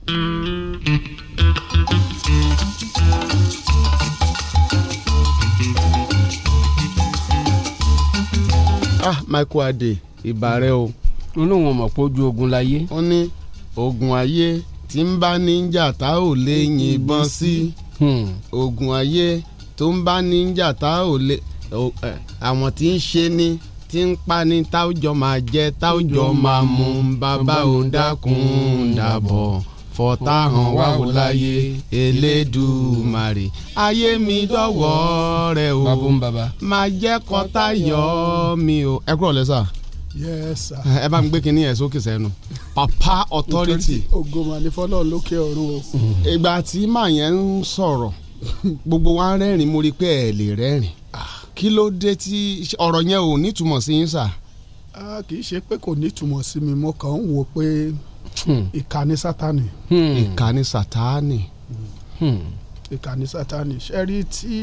[SPEAKER 12] i.
[SPEAKER 19] ah michael ade ìbà rẹ o. olóhùn ọmọ pé ojú ogun láyé. ó ní ogun ayé tí ń bá ní jà tá ò lè yìnbọn sí Hmm. ogun ayé tó ń bá ní jà tá ò lè o- ẹ, àwọn tí ń ṣe ni tí ń pa ni tá ò jọ máa jẹ tá ò jọ máa mu bàbá ò dákun dàbọ̀ fọ̀tá hàn wá wò láyé elédùmarè ayé mi dọ̀wọ́ rẹ o máa jẹ́ kọ́tà yọ mi o. ẹ kúrò lẹ́sà
[SPEAKER 20] yes sir.
[SPEAKER 19] Eh, ẹ bá ń gbé kinní yẹn sókè sẹ́nu papa authority Hmm.
[SPEAKER 20] ògòmà ní fọlọ́ lókè ọ̀run o.
[SPEAKER 19] ìgbà tí màá yẹn ń sọ̀rọ̀ gbogbo wa ń rẹ́rìn mo rí i pé ẹ lè rẹ́rìn kí ló dé tí ọ̀rọ̀ yẹn ò nítumọ̀ sí yín sà.
[SPEAKER 20] Ah, kì í ṣe pé kò nítumọ̀ sí mi mo kàn ń wò pé
[SPEAKER 19] Hmm.
[SPEAKER 20] ìkà ni sátani
[SPEAKER 19] ìkànnì sátánì. Hmm.
[SPEAKER 20] ìkà ni sátani ṣe rí tí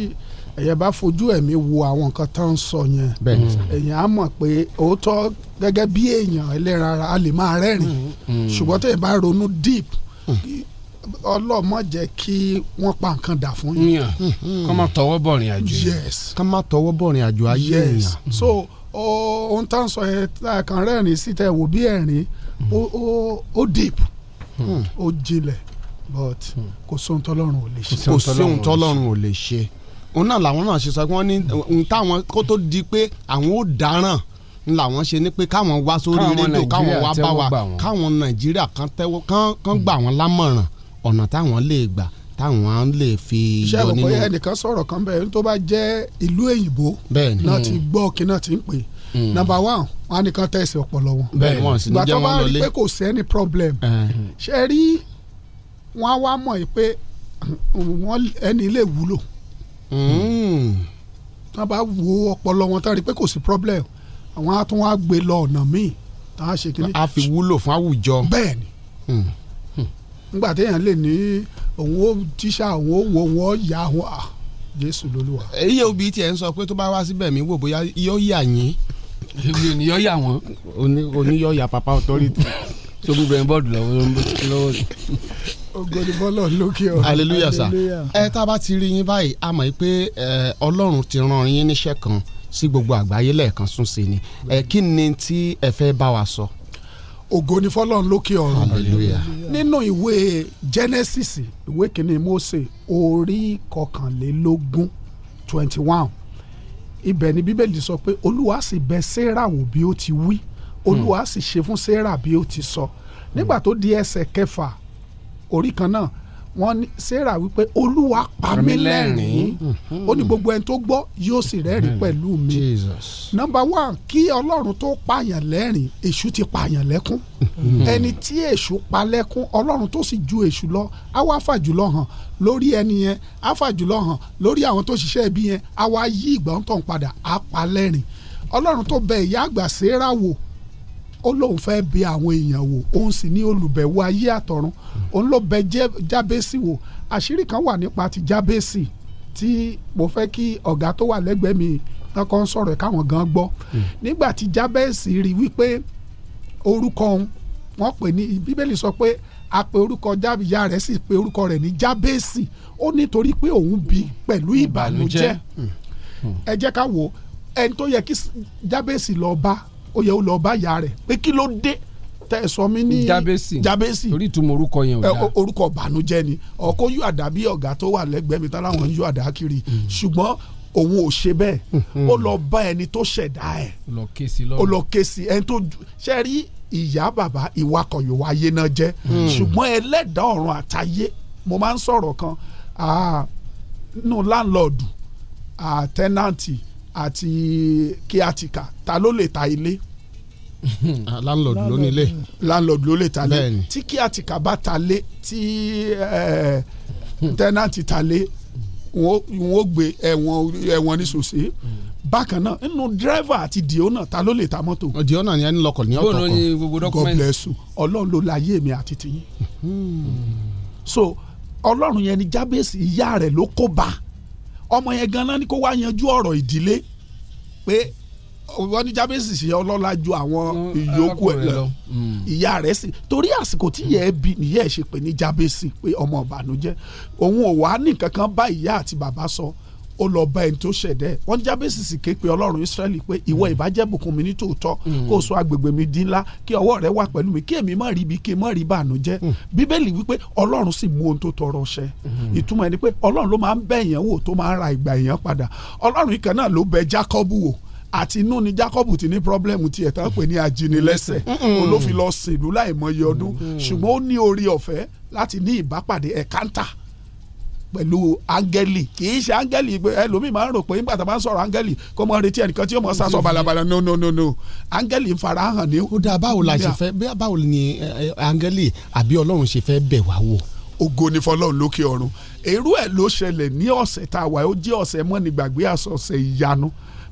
[SPEAKER 20] ẹ̀yẹ bá fojú ẹ̀mí wo àwọn nǹkan tó ń sọ yẹn
[SPEAKER 19] Bẹ́ẹ̀ ni sà.
[SPEAKER 20] ẹ̀yìn á mọ̀ pé òótọ́ gẹ́gẹ́ bí èèyàn ẹlẹ́ran ara a lè máa
[SPEAKER 19] Hmm.
[SPEAKER 20] rẹ́rìn-ín ṣùgbọ́n tẹ̀ bá ronú deep ọlọ́mọ jẹ́ kí wọ́n pa nǹkan dà fún Hmm.
[SPEAKER 19] yàn Hmm. kọ́ máa tọwọ́ bọ̀ rìn àjò
[SPEAKER 20] yes
[SPEAKER 19] ká má tọwọ́ bọ̀ rìn àjò ayé
[SPEAKER 20] yes
[SPEAKER 19] èèyàn. Hmm.
[SPEAKER 20] so ó- ohun tá à ń sọ yẹn tá a kàn rẹ́rìn sí tẹ̀ wò bí ẹ̀rín
[SPEAKER 19] Hmm.
[SPEAKER 20] ó- ó- ó deep ó jinlẹ̀ but
[SPEAKER 19] Hmm.
[SPEAKER 20] kò sóhun tọ́lọ́run ò lè ṣe
[SPEAKER 19] kò sí ohun tọ́lọ́run ò lè ṣe òun náà làwọn náà ṣe sọ pé wọ́n ní ohun táwọn kó tó di pé àwọn ò dáràn ń làwọn ṣe ni pé káwọn wá sórí
[SPEAKER 5] Káwọn
[SPEAKER 19] rédíò káwọn
[SPEAKER 5] Nàìjíríà
[SPEAKER 19] wá bá wa
[SPEAKER 5] tẹ́wọ́ gbà wọ́n.
[SPEAKER 19] káwọn nàìjíríà kan tẹ́wọ́ kan- kan gbà wọ́n lámọ̀ràn ọ̀nà táwọn lè gbà táwọn á lè fi
[SPEAKER 20] iṣẹ́
[SPEAKER 19] yọ
[SPEAKER 20] rò
[SPEAKER 19] nínú.
[SPEAKER 20] pé ẹnìkan sọ̀rọ̀ kan bẹ́ẹ̀ tó bá jẹ́ ìlú èyìnbó
[SPEAKER 19] Bẹ́ẹ̀ni.
[SPEAKER 20] náà
[SPEAKER 19] Mm.
[SPEAKER 20] ti gbọ́ kí náà ti ń pè
[SPEAKER 19] Mm.
[SPEAKER 20] nàmbà wán wọn á nìkan tẹ̀sí ọpọlọ wọn.
[SPEAKER 19] Bẹ́ẹ̀ni, wọn ò sì ní
[SPEAKER 20] Ìgbà
[SPEAKER 19] jẹ́
[SPEAKER 20] tó
[SPEAKER 19] wọn
[SPEAKER 20] bá rí
[SPEAKER 19] lọlé.
[SPEAKER 20] pé kò sí ẹni problem ṣe rí wọn á wá mọ̀ yìí pé wọn ẹni lè wúlò
[SPEAKER 19] Hmm.
[SPEAKER 20] tó bá wo ọpọlọ wọn tó rí pé kò sí problem àwọn á tún wá gbé lọ ọ̀nà míì tá a ṣe kíní.
[SPEAKER 19] a fi wúlò fún àwùjọ.
[SPEAKER 20] bẹ́ẹ̀ni
[SPEAKER 19] Hmm.
[SPEAKER 20] nígbà téèyàn lè ní òun ó tíṣà òun ó wo òun ó yà òun à jésù lolúwa.
[SPEAKER 19] èyí Eh, òbí tiẹ̀ ń sọ pé tó bá wá síbẹ̀ mí wò bóyá yóò yà yín.
[SPEAKER 5] èmi ò ní yọ yà wọ́n.
[SPEAKER 19] oníyọ̀ yà papa authority.
[SPEAKER 5] tó gbogbo ẹ̀ ń bọ̀dù lọ́wọ́ lọ́wọ́.
[SPEAKER 20] ògo ni bọ́lọ̀ lókè ọ̀run.
[SPEAKER 19] hallelujah sir ẹ tá a bá ti rí yín báyìí a mọ̀ pé ẹ, ọlọ́run ti ran yín níṣẹ́ kan sí gbogbo àgbáyé lẹ́ẹ̀kan sún sí ni ẹ kí ni tí ẹ fẹ́ bá wa sọ.
[SPEAKER 20] ògo ni fọlọ́run lókè ọ̀run.
[SPEAKER 19] hallelujah.
[SPEAKER 20] nínú ìwé genesis ìwé kìíní mose orí kọkànlélógún twenty one ibẹ̀ ni bíbélì sọ pé olúwa sì bẹ sarah wò bí ó ti wí olúwa sì ṣe fún sarah bí ó ti sọ nígbà tó di ẹsẹ̀ kẹfà orí kan náà wọ́n ní sarah wípé olúwa pa mí lẹ́rìn-ín ó ní gbogbo ẹni tó gbọ́ yóò sì rẹ́rìn-ín pẹ̀lú mi nọmba one kí ọlọ́run tó pààyàn lẹ́rìn èṣù ti pààyàn lẹ́kún ẹni tí èṣù pa lẹ́kún ọlọ́run tó sì ju èṣù lọ á wá fàjùlọ hàn lórí ẹni yẹn á fàjùlọ hàn lórí àwọn tó ṣiṣẹ́ ibi yẹn á wá yí ìgbà ń tàn padà á pa lẹ́rìn ọlọ́run tó bẹ ìyá àgbà séra wò ó lóun fẹ́ bẹ àwọn èèyàn wò òun sì ní olùbẹ̀wò ayé àtọ̀run òun ló bẹ Jẹ́- jábésì wò àṣírí kan wà nípa ti jábésì tí mo fẹ́ kí ọ̀gá tó wà lẹ́gbẹ̀ẹ́ mi náà kàn sọ̀rọ̀ ẹ̀ káwọn gan gbọ́ nígbà tí jábésì rí wípé orúkọ òun wọ́n pè ní bíbélì sọ pé a pe orúkọ Jábè- ìyá rẹ̀ sì pe orúkọ rẹ̀ ní jábésì ó nítorí pé òun bí pẹ̀lú ìbànújẹ́
[SPEAKER 19] Hmm.
[SPEAKER 20] ẹ jẹ́ ká wò ó ẹni tó yẹ kí s- jábèsì lọ bá ó yẹ ó lọ bá ìyá rẹ̀ pé kí ló dé tẹ ẹ sọ mí ní
[SPEAKER 5] Jábésì.
[SPEAKER 20] jábèsì
[SPEAKER 5] torí ìtumọ̀ orúkọ yẹn
[SPEAKER 20] ẹ,
[SPEAKER 5] ò dáa.
[SPEAKER 20] o-
[SPEAKER 5] Mm.
[SPEAKER 20] orúkọ ìbànújẹ́ ni ọkọ yóò àdá bí ọ̀gá tó wà lẹ́gbẹ̀ẹ́ mi táwọn yóò àdá kiri ṣùgbọ́n òun ò ṣe bẹ́ẹ̀
[SPEAKER 5] Mm-hmm.
[SPEAKER 20] ó lọ bá ẹni tó ṣẹ̀dá ẹ̀
[SPEAKER 5] lọ ké sí
[SPEAKER 20] ó
[SPEAKER 5] lọ́rùn
[SPEAKER 20] lọ ké sí ẹni tó ju- ṣe rí ìyá bàbá ìwà kọ̀yọ̀wá ayé náà jẹ́
[SPEAKER 5] Mm.
[SPEAKER 20] ṣùgbọ́n ẹlẹ́dàá ọ̀run àtayé mo máa ń sọ̀rọ̀ kan ah, nínú láńlọ́ọ̀dù tẹ́nàntì àti kíátìkà ta ló lè ta ilé
[SPEAKER 19] láńlọ́ọ̀dù ló nílé.
[SPEAKER 20] láńlọ́ọ̀dù ló lè ta lé
[SPEAKER 19] Bẹ́ẹ̀ni.
[SPEAKER 20] tí kíátìkà bá ta lé tí eh, tẹ́nàntì ta lé wọn ó- wọn ó gbé ẹ̀wọ̀n ẹ̀wọ̀n ní sòsè bákan náà nínú dírẹ́fà àti dìónà ta ló lè ta mọ́tò.
[SPEAKER 19] dìónà ni ẹni lọkọ̀ ní ọ̀tọ̀ kan.
[SPEAKER 20] God bless you ọlọ́run ló la ayé mi àti tiyín so ọlọ́run yẹn ni jábèsì ìyá rẹ̀ ló kó bá ọmọ yẹn ganan ni kó wá yanjú ọ̀rọ̀ ìdílé pé wọ́n ní jábèsì ṣe ọlọ́lá ju àwọn ìyókù ẹ̀
[SPEAKER 5] arákùnrin
[SPEAKER 20] lọ
[SPEAKER 5] lọ.
[SPEAKER 20] ìyá rẹ̀ sì torí àsìkò tí yẹ ẹ bí nìyẹ ẹ ṣe pè ní jábèsì pé ọmọ ìbànújẹ́ òun ò wá ní kankan bá ìyá àti bàbá sọ ó lọ bá ẹni tó ṣẹ̀dẹ̀ wọ́n ní jábèsì sì ké pe ọlọ́run Ísírẹ́lì pé ìwọ ìbàjẹ́ bùkún mi ní tòótọ́ kó o sọ agbègbè mi di ńlá kí ọwọ́ rẹ wà pẹ̀lú mi kí èmi má rí ibi kí n má rí ìbànújẹ́ bíbélì wípé ọlọ́run sì mú ohun tó tọrọ ṣẹ ìtumọ̀ ẹni pé ọlọ́run ló máa ń bẹ̀ èèyàn wò tó máa ń ra ìgbà èèyàn padà ọlọ́run ìkan náà ló bẹ̀ Jákọ́bù wò àti inú ni Jákọ́bù ti ní pírọ́blẹ́mù tiẹ̀ tán pè ní ajínilẹ́sẹ̀
[SPEAKER 19] Mm-mm.
[SPEAKER 20] olófin lọ sèlú láìmọye ọdún ṣùgbọ́n ó ní orí ọ̀fẹ́ láti ní ìbápàdé ẹ̀kántà pẹ̀lú áńgẹ́lì kì í ṣe áńgẹ́lì pé ẹlòmíì máa ń rò pé nígbà tá a máa ń sọ̀rọ̀ áńgẹ́lì kó mọ retí ẹnìkan tí yóò mọ sásọ balabala no no no no áńgẹ́lì ń fara hàn ní. ó dáa
[SPEAKER 19] báwo la ṣe fẹ́ bí báwo ni ẹ, ẹ, áńgẹ́lì àbí ọlọ́run ṣe fẹ́ bẹ̀ wá wò.
[SPEAKER 20] ògo ni fọlọ́run lókè ọ̀run èrú ẹ̀ ló ṣẹlẹ̀ ní ọ̀sẹ̀ tá a wà ó jẹ́ ọ̀sẹ̀ mọ́nigbàgbé àṣọ ọ̀sẹ̀ ìyanu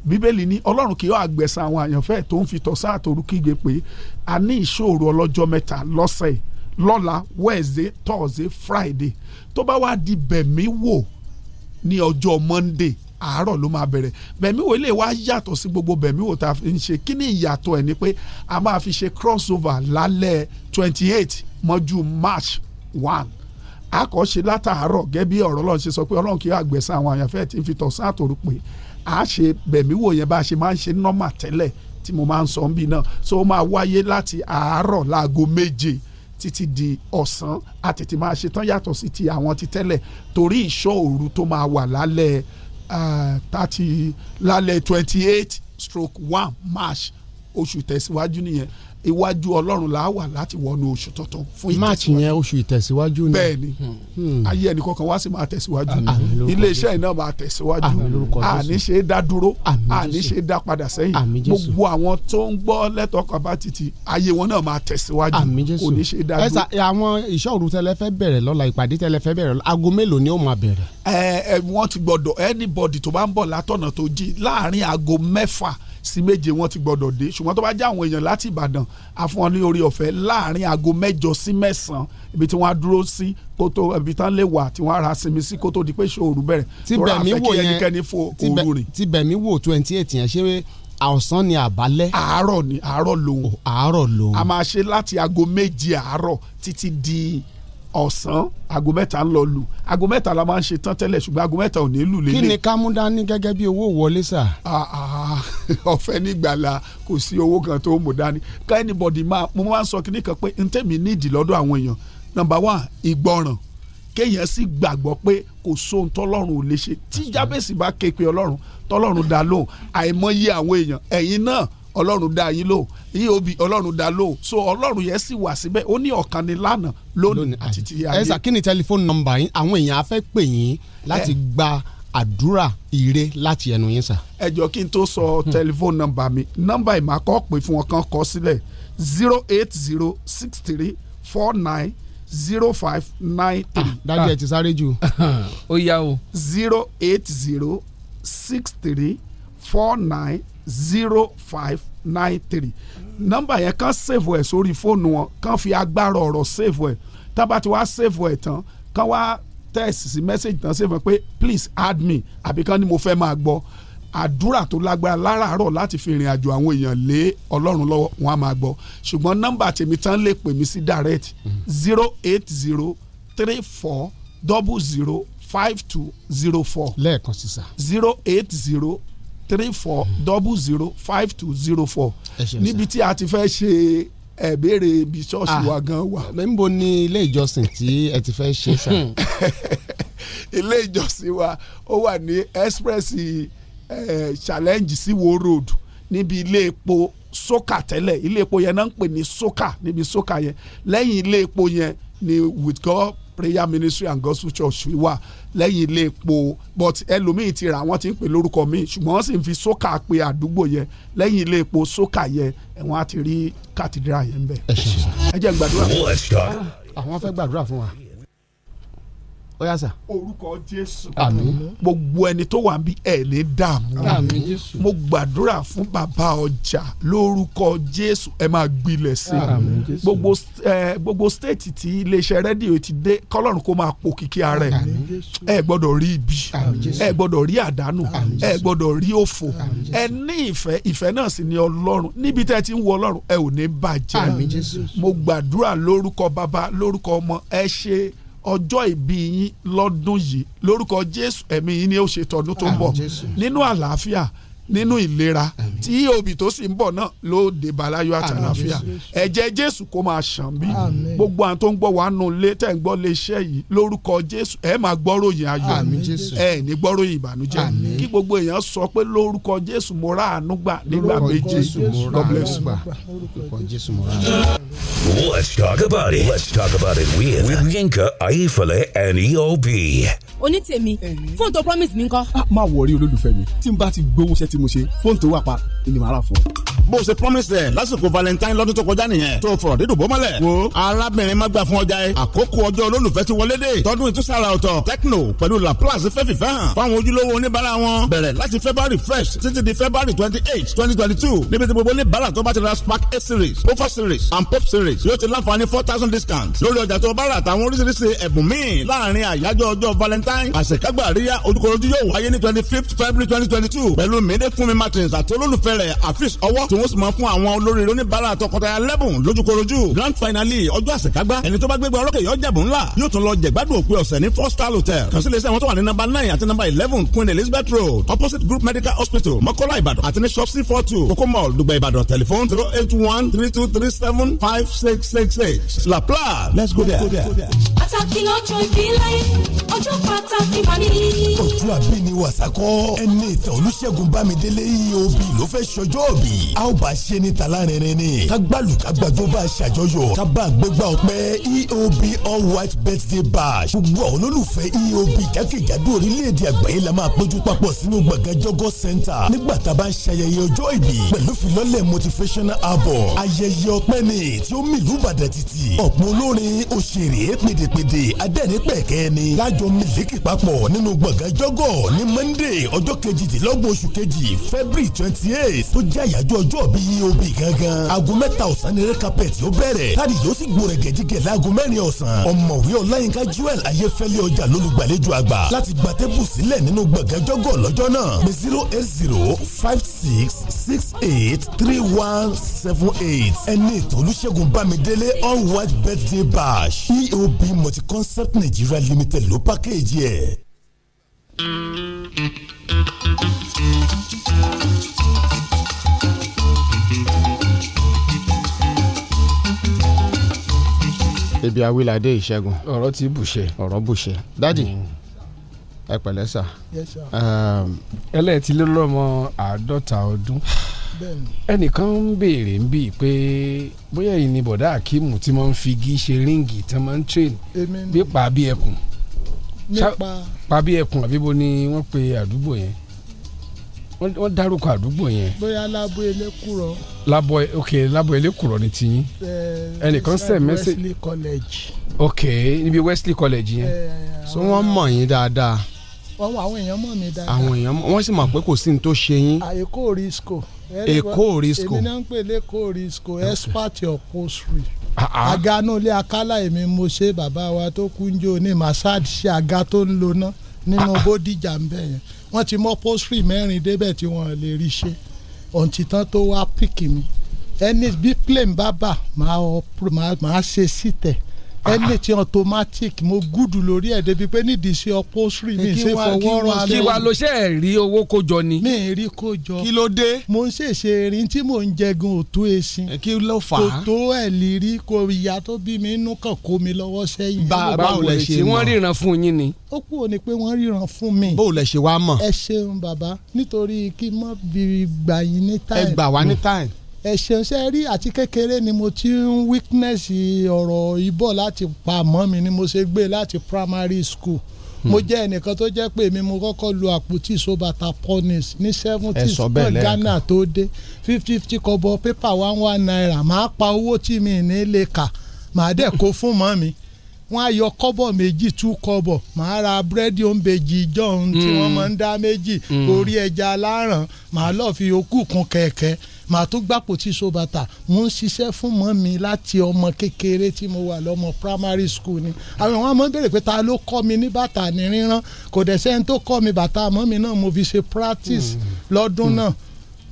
[SPEAKER 20] bíbélì ní ọlọ́run kì í àgbẹ̀sán àwọn àyànfẹ́ tó ń fi tọ̀sán àtòrú kígbe pé a ní ìṣòro ọlọ́jọ́ mẹ́ta lọ́sẹ̀ yìí. lọ́la wednesday thursday friday tó bá wá di bẹ̀mí wò ní ọjọ́ monday àárọ̀ ló máa bẹ̀rẹ̀ bẹ̀mí wò ilé wa yàtọ̀ sí gbogbo bẹ̀mí wò tá a fi ń ṣe kí ni ìyàtọ̀ ẹ̀ ni pé a máa fi ṣe crossover lálẹ́ twenty eight mọ́jú march one àkọ́ṣe látàárọ̀ gẹ́bí ọ̀rọ̀ ọlọ́run ṣe sọ pé ọlọ́run kì í àgbẹ̀sán àwọn àyànfẹ́ tí ń fi tọ̀sán àtòrú pé a ṣe bẹ̀mí wò yẹn bá a ṣe máa ń ṣe nọ́mà tẹ́lẹ̀ tí mo máa ń sọ ń bí náà so ó máa wáyé láti àárọ̀ láago méje títí di ọ̀sán a tètè máa ṣe tán yàtọ̀ sí ti àwọn ti tẹ́lẹ̀ torí ìṣọ́ òru tó máa wà lálẹ́ ah, thirty lálẹ́ twenty eight stroke one march oṣù tẹ̀síwájú nìyẹn iwájú ọlọ́run là á wà láti wọnú oṣù tuntun fún ìtẹ̀síwájú
[SPEAKER 19] máàcì yẹn oṣù ìtẹ̀síwájú ni.
[SPEAKER 20] bẹ́ẹ̀ni ayé ẹnì kọ̀ọ̀kan wá sí máa tẹ̀síwájú iléeṣẹ́ iná máa tẹ̀síwájú àní ṣe é dá dúró àní ṣe é dá padà sẹ́yìn gbogbo àwọn tó ń gbọ́ lẹ́tọ̀ọ́ kapátìtì ayé wọn náà máa tẹ̀síwájú kò ní ṣe é dá
[SPEAKER 19] ẹ
[SPEAKER 20] dúró.
[SPEAKER 19] sà ẹ, àwọn ìṣòro tẹ́lẹ̀ fẹ́ bẹ̀rẹ̀ lọ́la ìpàdé tẹ́lẹ̀ fẹ́ bẹ̀rẹ̀ lọ́la aago mélòó ni ó máa bẹ̀rẹ̀.
[SPEAKER 20] ẹ ẹ wọ́n ti gbọ́dọ̀ anybody tó bá ń bọ̀ látọ̀nà tó jí láàrin aago mẹ́fà sí méje wọ́n ti gbọ́dọ̀ dé ṣùgbọ́n tó bá jẹ́ àwọn èèyàn láti Ìbàdàn àfọwọ́n ní orí ọ̀fẹ́ láàrin aago mẹ́jọ sí mẹ́sàn-án ibi tí wọ́n á dúró sí kó tó ibi tán lè wà tí wọ́n á ra sinmi sí kó tó di pé ṣòru bẹ̀rẹ̀
[SPEAKER 19] tí
[SPEAKER 20] Torí a
[SPEAKER 19] bẹ̀mí
[SPEAKER 20] fẹ́
[SPEAKER 19] wò
[SPEAKER 20] kí
[SPEAKER 19] yẹn
[SPEAKER 20] ẹnikẹ́ni fo
[SPEAKER 19] tí bẹ̀-
[SPEAKER 20] òru rìn.
[SPEAKER 19] tí bẹ̀mí wò twenty eight yẹn ṣé ọ̀sán ni àbálẹ́.
[SPEAKER 20] àárọ̀ ni àárọ̀ lòun.
[SPEAKER 19] àárọ̀ lòun.
[SPEAKER 20] a máa ṣe láti aago méje àárọ̀ títí di ọ̀sán aago mẹ́ta ń lọ lù aago mẹ́ta la máa ń ṣe tán tẹ́lẹ̀ ṣùgbọ́n aago mẹ́ta ò ní lù lélẹ̀
[SPEAKER 19] kí ni ká mú dání gẹ́gẹ́ bí owó wọlé sà.
[SPEAKER 20] Ah, ah, ọ̀fẹ́ nígbàlà kò sí owó kan tó mú dání ká anybody máa mo máa ń sọ kíní kan pé n tẹ́mi nídìí lọ́dọ̀ àwọn èèyàn number one ìgbọràn kéèyàn sì gbàgbọ́ pé kò sóhun tọ́lọ́run ò lè ṣe tí jábèsì bá ké pe ọlọ́run tọ́lọ́run dá lóhùn àìmọye àwọn èèyàn ẹ̀yin náà ọlọ́run dá yín lóhùn yín òbí ọlọ́run dá lóhùn so ọlọ́run yẹn sì wà síbẹ̀ ó ní ọ̀kan ni lánàá lónìí àti ti ayé
[SPEAKER 19] ẹ sà kí ni tẹlifóònù nọ́mbà yín àwọn èèyàn á fẹ́ pè yín láti
[SPEAKER 18] Eh.
[SPEAKER 19] gba àdúrà ire láti ẹnu yín sà.
[SPEAKER 20] ẹ jọ kí n tó sọ tẹlifóònù nọ́mbà mi nọ́mbà ìmọ̀ akọ́ pé fún ọkàn kọ sílẹ̀ zero eight zero six three four nine zero five nine three.
[SPEAKER 18] Ah.
[SPEAKER 19] dájú ẹ ti sáré jù.
[SPEAKER 20] ó yá o. zero eight zero six three four nine zero five nine three nọ́mbà yẹn kàn save ẹ sórí fóònù wọn kàn fi agbára ọ̀rọ̀ save ẹ tábà tí wàá save ẹ tán kàn wá text sí message tán save ẹ pé please add me àbí kàn ní mo fẹ́ máa gbọ́ àdúrà tó lágbára láràárọ̀ láti fi ìrìn àjò àwọn èèyàn lé ọlọ́run lọ́wọ́ wọn á máa gbọ́ ṣùgbọ́n nọ́mbà tèmi tán lè pè mí sí direct zero eight zero three four double zero five two zero four.
[SPEAKER 19] lẹ́ẹ̀kan sísà.
[SPEAKER 20] zero eight zero three four double zero five two zero four.
[SPEAKER 19] Ẹ ṣeun,
[SPEAKER 20] níbi tí a ti fẹ́ ṣe ẹ̀bẹ̀rẹ̀
[SPEAKER 19] Ah.
[SPEAKER 20] ibi ṣọ́ọ̀ṣì wa gan wa.
[SPEAKER 18] Hmm.
[SPEAKER 19] níbo ni ilé ìjọsìn tí ẹ ti fẹ́ ṣe sà.
[SPEAKER 20] ilé ìjọsìn wa ó wà ní express eh, challenge sí wo road níbi ilé epo soka tẹ́lẹ̀ ilé epo yẹn náà ń pè ní soka níbi soka yẹn lẹ́yìn ilé epo yẹn ni with God prayer ministry and gospel church wà lẹ́yìn ilé epo but ẹlòmíì ti rà wọ́n ti ń pè lórúkọ mi ṣùgbọ́n wọ́n sì ń fi soka pe àdúgbò yẹn lẹ́yìn ilé epo soka yẹn ẹ̀wọ̀n á ti rí cathedral yẹn bẹ́ẹ̀. ẹ jẹ́ gbàdúrà.
[SPEAKER 17] Let's talk.
[SPEAKER 19] àwọn fẹ́ gbàdúrà fún wa ó yà sà.
[SPEAKER 20] orúkọ jésù.
[SPEAKER 19] Àmín.
[SPEAKER 20] gbogbo ẹni tó wà níbi ẹ lè dààmú.
[SPEAKER 19] Àmín, Jésù.
[SPEAKER 20] mo gbàdúrà fún bàbá ọjà lórúkọ jésù ẹ máa gbilẹ̀ sí
[SPEAKER 19] Àmín,
[SPEAKER 20] i.
[SPEAKER 19] Jésù.
[SPEAKER 20] gbogbo ẹ gbogbo stéètì tí iléeṣẹ́ rédíò ti dé kọ́lọ́run kó máa po kìkì ara ẹ̀
[SPEAKER 19] Àmín,
[SPEAKER 20] ẹ gbọ́dọ̀ rí ibi
[SPEAKER 19] Àmín, Jésù.
[SPEAKER 20] ẹ gbọ́dọ̀ rí àdánù ẹ gbọ́dọ̀ rí òfò ẹ ní ìfẹ́ ìfẹ́ náà sì ni ọlọ́run níbi tẹ́ ẹ ti ń wo ọlọ́run ẹ ò ní bàjẹ́
[SPEAKER 19] Àmín, Jésù.
[SPEAKER 20] mo gbàdúrà lórúkọ bàbá lórúkọ ọmọ ẹ ṣe ọjọ́ ìbí yín lọ́dún yìí lórúkọ jésù ẹ̀mí yín ni ó ṣe tọdún tó ń bọ̀
[SPEAKER 19] Àmín, Jésù.
[SPEAKER 20] nínú àlàáfíà nínú ìlera tí òbí tó sì ń bọ̀ náà ló dé balayọ̀ àtàlàáfíà
[SPEAKER 19] Jésù.
[SPEAKER 20] ẹ̀jẹ̀ jésù kó máa ṣàn bí gbogbo àwọn tó ń gbọ́ wàá nù lé tẹ̀ ń gbọ́ lé iṣẹ́ yìí lórúkọ jésù ẹ̀ máa gbọ́ròyìn ayọ̀
[SPEAKER 19] Àmín, Jésù.
[SPEAKER 20] ẹ̀ ní gbọ́ròyìn ìbànújẹ́
[SPEAKER 19] Àmín.
[SPEAKER 20] kí gbogbo èèyàn sọ pé lórúkọ jésù mo rà àánú gbà nígbà méje god bless you.
[SPEAKER 19] Lórúkọ Jésù mo rà á.
[SPEAKER 17] Let's talk about it. Let's talk about it with, with Yinka, Aifale, and E EOB.
[SPEAKER 4] oní tèmi fóònù tó promise mi ńkọ́.
[SPEAKER 18] máa wọrí Ah, olólùfẹ́ mi tí n bá ti gbowó iṣẹ́ tí mo ṣe fóònù tó wà pa ni màá rà fún ọ.
[SPEAKER 11] bó o ṣe promise ẹ lásìkò valentine lọ́dún tó kọjá nìyẹn tó fọ̀rọ̀ dídùn bó mọ́lẹ̀. wo arábìnrin má gbà fún ọjà yẹn àkókò ọjọ́ olólùfẹ́ ti wọlé dé tọdún ìtúsára ọ̀tọ̀ tecno pẹ̀lú laplace fẹ́ fìfẹ́ hàn fáwọn ojúlówó oníbàárà wọn bẹ̀rẹ̀ láti february fresh títí di february twenty eight twenty twenty two níbi tí gbogbo oníbàárà tó bá ti ra spark eight series pofa series and pop series yóò ti láǹfààní four thousand discount lórí ọjà tó bá rà àtàwọn oríṣiríṣi ẹ̀bùn míì láàrin àyájọ́ ọjọ́ valentine àṣekágbà àríyá ojúkòròjú yóò wáyé ní twenty fifth february twenty twenty two pẹ̀lú mèdè fúnmi martins àti olólùfẹ́ rẹ̀ afis ọwọ́ tí wọ́n sì máa fún àwọn olóríire oníbàárà tọkọtaya lẹ́bùn lójúkòròjú grand finale ọjọ́ àṣekágbà ẹni tó bá gbégbé ọlọ́kẹ́ yóò jẹ̀bù ńlá yóò tún lọ jẹ̀gbádùn òpin ọ̀sẹ̀ ní four star hotel kàn sí iléeṣẹ́ wọn tó wà ní number nine àti number eleven queen elizabeth road opposite group medical hospital mọ́kọ́lá ìbàdàn àti ní shop c four two kókó mall dùgbẹ́ ìbàdàn telephone zero eight one three two three seven five six six six laplace let's go there. Let's go there.
[SPEAKER 31] pàtàkì lọ́jọ́ ìbílẹ̀ ọjọ́ pàtàkì mà ní.
[SPEAKER 12] ojú àbí ni wàsákọ́ ẹni ìtàn olùṣègùn bámidélé eob ló fẹ́ ṣọjọ́ bí. a ó bá ṣe ní talárinrin ni kágbálù kágbàjọ bá a ṣàjọyọ̀ kábà gbégbá ọpẹ́ eob all white birthday bash. gbogbo àwọn olólùfẹ́ eob jákèjádò orílẹ̀-èdè àgbáyé la máa péjú papọ̀ sínú gbọ̀ngàn jọgọ́ center nígbà tá a bá ń ṣayẹyẹ ọjọ́ ìbí pẹ̀lú filọ́lẹ̀ motivational album ayẹyẹ ọpẹ́ ni tí ó mìlú Ìbàdàn títì ọ̀pọ̀ olórin òṣèré pèdèpèdè adẹ́rìnpẹ̀kẹ́ ni lájọ mílíkì papọ̀ nínú gbọ̀ngàn jọ́gọ̀ ní Monday ọjọ́ kejìdínlọ́gbọ̀n oṣù kejì February twenty eight tó jẹ́ àyájọ́ ọjọ́ bí EOB gangan aago mẹ́ta ọ̀sán ni red carpet yóò bẹ̀rẹ̀ táàdì yóò sì gbòòrè gẹ̀dígẹ̀ láago mẹ́rin ọ̀sán ọ̀mọ̀wé Ọláyínká Joel Ayéfẹ́lẹ́ ọjà lólùgbàlejò àgbà láti gba tébù sílẹ̀ nínú gbọ̀ngàn jọ́gọ̀ lọ́jọ́ náà ní zero eight zero five six six eight three one seven eight ẹni ètò Olúṣẹ́gun Bámidélé all white birthday bash EOB multi-concept Nigeria limited ló pàkéjì ẹ̀.
[SPEAKER 19] ebi awilade ìṣẹ́gun. ọ̀rọ̀ ti bùṣe. ọ̀rọ̀ bùṣe. dadi Mm. ẹ pẹ̀lẹ́ Um, sà.
[SPEAKER 8] Yes, sir.
[SPEAKER 5] ẹlẹ́ẹ̀tì ló lọ́mọ àádọ́ta ọdún
[SPEAKER 8] bẹ́ẹ̀ni
[SPEAKER 5] ẹnìkan ń béèrè ń bíi pé bóyá èyí ni bọ̀dá akíìmù tí wọ́n ń figi ṣe ríǹgì tí wọ́n ń train
[SPEAKER 8] èmi ni
[SPEAKER 5] bí pa bí ẹkùn Ṣá-
[SPEAKER 8] nípa
[SPEAKER 5] pa bí ẹkùn àbíbo ni wọ́n pe àdúgbò yẹn Wọ́n- wọ́n dárúkọ àdúgbò yẹn
[SPEAKER 8] bóyá lábú elékùrọ
[SPEAKER 5] lábọ̀ ok lábọ̀ elékùrọ̀ ni tiyín
[SPEAKER 8] Eh,
[SPEAKER 5] ẹnìkan send message
[SPEAKER 8] Wesley College
[SPEAKER 5] ok Eh, níbi Wesley College yẹn.
[SPEAKER 19] Eh,
[SPEAKER 8] So wọ́n
[SPEAKER 5] mọ̀ yín dáadáa
[SPEAKER 8] wọ́n mọ àwọn èèyàn mọ̀ mí dáadáa
[SPEAKER 19] àwọn èèyàn wọ́n sì mọ̀ pé kò sí ní tó ṣe yín.
[SPEAKER 8] Ah, Èkó risco
[SPEAKER 19] Èkó Risco.
[SPEAKER 8] èmi náà ń pè lÉkó risco expert upholstery
[SPEAKER 19] Ah, ah.
[SPEAKER 8] àga náà lé akálà èmi mo ṣe bàbá wa tó kú ń jó ní Massad ṣe àga tó ń lo ná
[SPEAKER 19] Ah,
[SPEAKER 8] nínú Bódìjà ń bẹ̀ yẹn wọ́n ti mọ upholstery mẹ́rin débẹ̀ tí wọ́n lè rí ṣe ọ̀ǹtì tán tó wá píkì mi ẹni bí plane bá bà máa ọ- máa- máa ṣe sítẹ̀
[SPEAKER 19] Ah,
[SPEAKER 23] anything automatic mo gúdù lórí ẹ̀ débi pé nídìí sí upholstery mi ṣe fọwọ́ ra
[SPEAKER 5] kí wa ló ṣe rí owó kójọ ni.
[SPEAKER 23] mi ì rí kójọ.
[SPEAKER 5] Kí ló dé?
[SPEAKER 23] mo ń ṣèṣe erin tí mò ń jẹgun òtó esin.
[SPEAKER 19] kí ló fà á?
[SPEAKER 23] kò tó ẹ̀ lírí kò ìyá tó bí mi inú kàn kó mi lọ́wọ́ sẹ́yìn.
[SPEAKER 19] báwo lẹ ṣe mọ̀?
[SPEAKER 5] wọ́n ríran fún yín ni.
[SPEAKER 23] ó kúrò ní pé wọ́n ríran fún mi.
[SPEAKER 19] báwo lẹ ṣe wá mọ̀?
[SPEAKER 23] ẹ ṣeun bàbá nítorí kí n mọ̀ bí gbà yín ní time.
[SPEAKER 19] ẹ gbà wá ní time
[SPEAKER 23] ẹ ṣeun ṣe rí àti kékeré ni mo ti ń weakness ọ̀rọ̀ ìbọ̀ láti pa mọ́ mi ni mo ṣe gbé láti primary school
[SPEAKER 19] Hmm.
[SPEAKER 23] mo jẹ́ ẹnìkan tó jẹ́ pé mi mo kọ́kọ́ lu àpótí ìsobàtà ponies ní seventies
[SPEAKER 19] sọ bẹ́ẹ̀
[SPEAKER 23] náà
[SPEAKER 19] lẹ́ẹ̀kan.
[SPEAKER 23] Ghana tó dé fifty fifty kọ́bọ̀ pépà one one naira màá pa owó tí mi ní lè kà màá dẹ̀ kó fún mọ́ mi wọ́n á yọ kọ́bọ̀ méjì tú kọ́bọ̀ màá ra búrẹ́dì oúnbejì john tí wọ́n máa ń dá méjì
[SPEAKER 6] Mm.
[SPEAKER 23] orí ẹja aláràn màá lọ́ọ́ fi okú kun kẹ̀kẹ́ màá tó gbàpò tí so bàtà mò ń ṣiṣẹ́ fún mọ́ mi láti ọmọ kékeré tí mo wà lọ́mọ primary school ni àwọn ọmọ béèrè pé ta ló kọ́ mi ní bàtà ní rírán kò dẹ̀ sẹ́ni tó kọ́ mi bàtà mọ́ mi náà mo fi ṣe practice lọ́dún náà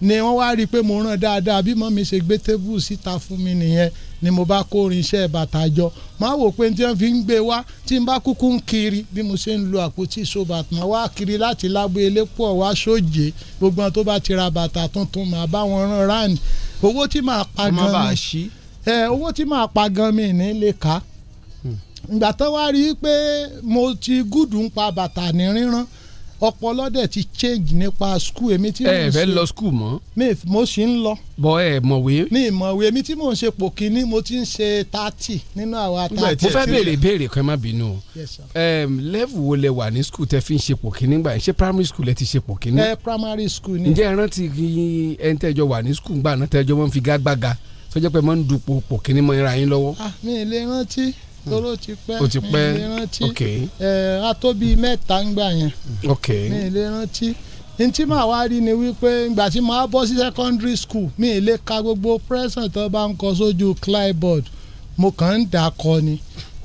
[SPEAKER 23] ni wọ́n wá rí i pé mo ràn dáadáa bí mọ́ mi ṣe gbé tébù síta fún mi nìyẹn ni mo bá kó orin iṣẹ́ bàtà jọ máa wò pé tí wọ́n fi ń gbé wá tí n bá kúkú ń kiri bí mo ṣe ń lo àpótí ìṣòbàtà máa wá kiri láti lágbo elépo ọ̀wá sóje gbogbo àwọn tó bá ti ra bàtà tuntun máa bá wọn rán ráàní owó tí màá pa
[SPEAKER 19] Má
[SPEAKER 23] gan
[SPEAKER 19] bàa
[SPEAKER 23] ni ẹ owó tí màá pa gan mi ní lè ká ìgbà tó wá rí i pé mo ti gùdù ń pa bàtà ní rírán ọpọlọ dẹ̀ ti change nípa school èmi tí mo ń
[SPEAKER 5] ẹ fẹ́
[SPEAKER 23] ṣe-
[SPEAKER 5] lọ skul mọ́.
[SPEAKER 23] mi mo sì ń lọ.
[SPEAKER 5] bọ ẹ mọ̀wé.
[SPEAKER 23] mi ìmọ̀wé mi tí mò ń ṣe pò kínní mo ti ń ṣe thirty nínú àwa
[SPEAKER 5] mo fẹ́ béèrè ìbéèrè kan ẹ má bínú o
[SPEAKER 23] Yes, sir.
[SPEAKER 5] Em, level wo lẹ wà ní skul tẹ fi ń ṣe pò kínní gbà yẹn ṣé primary school lẹ ti ṣe pò kínní.
[SPEAKER 23] ẹ primary school ni.
[SPEAKER 5] ǹjẹ́ ẹ rántí kí ẹni tẹ́jọ wà ní skul gbà náà tẹ́jọ máa ń fi gágbága sọ́jọ́ pé máa ń dupò pò kínní mọ́ ara yín lọ́wọ́.
[SPEAKER 23] Ah, mi ì lè rántí toró ti pẹ́
[SPEAKER 5] Ó ti pẹ́,
[SPEAKER 23] mi ì lè rántí
[SPEAKER 5] ok.
[SPEAKER 23] ẹ a tó bíi mẹ́ta ń gbà yẹn
[SPEAKER 5] ok
[SPEAKER 23] mi ì lè rántí n tí màá wá rí ni wípé ìgbà tí màá bọ́ sí secondary school mi ì lè ka gbogbo present tó bá ń kọ sójú clipboard mo kàn ń dà kọ ni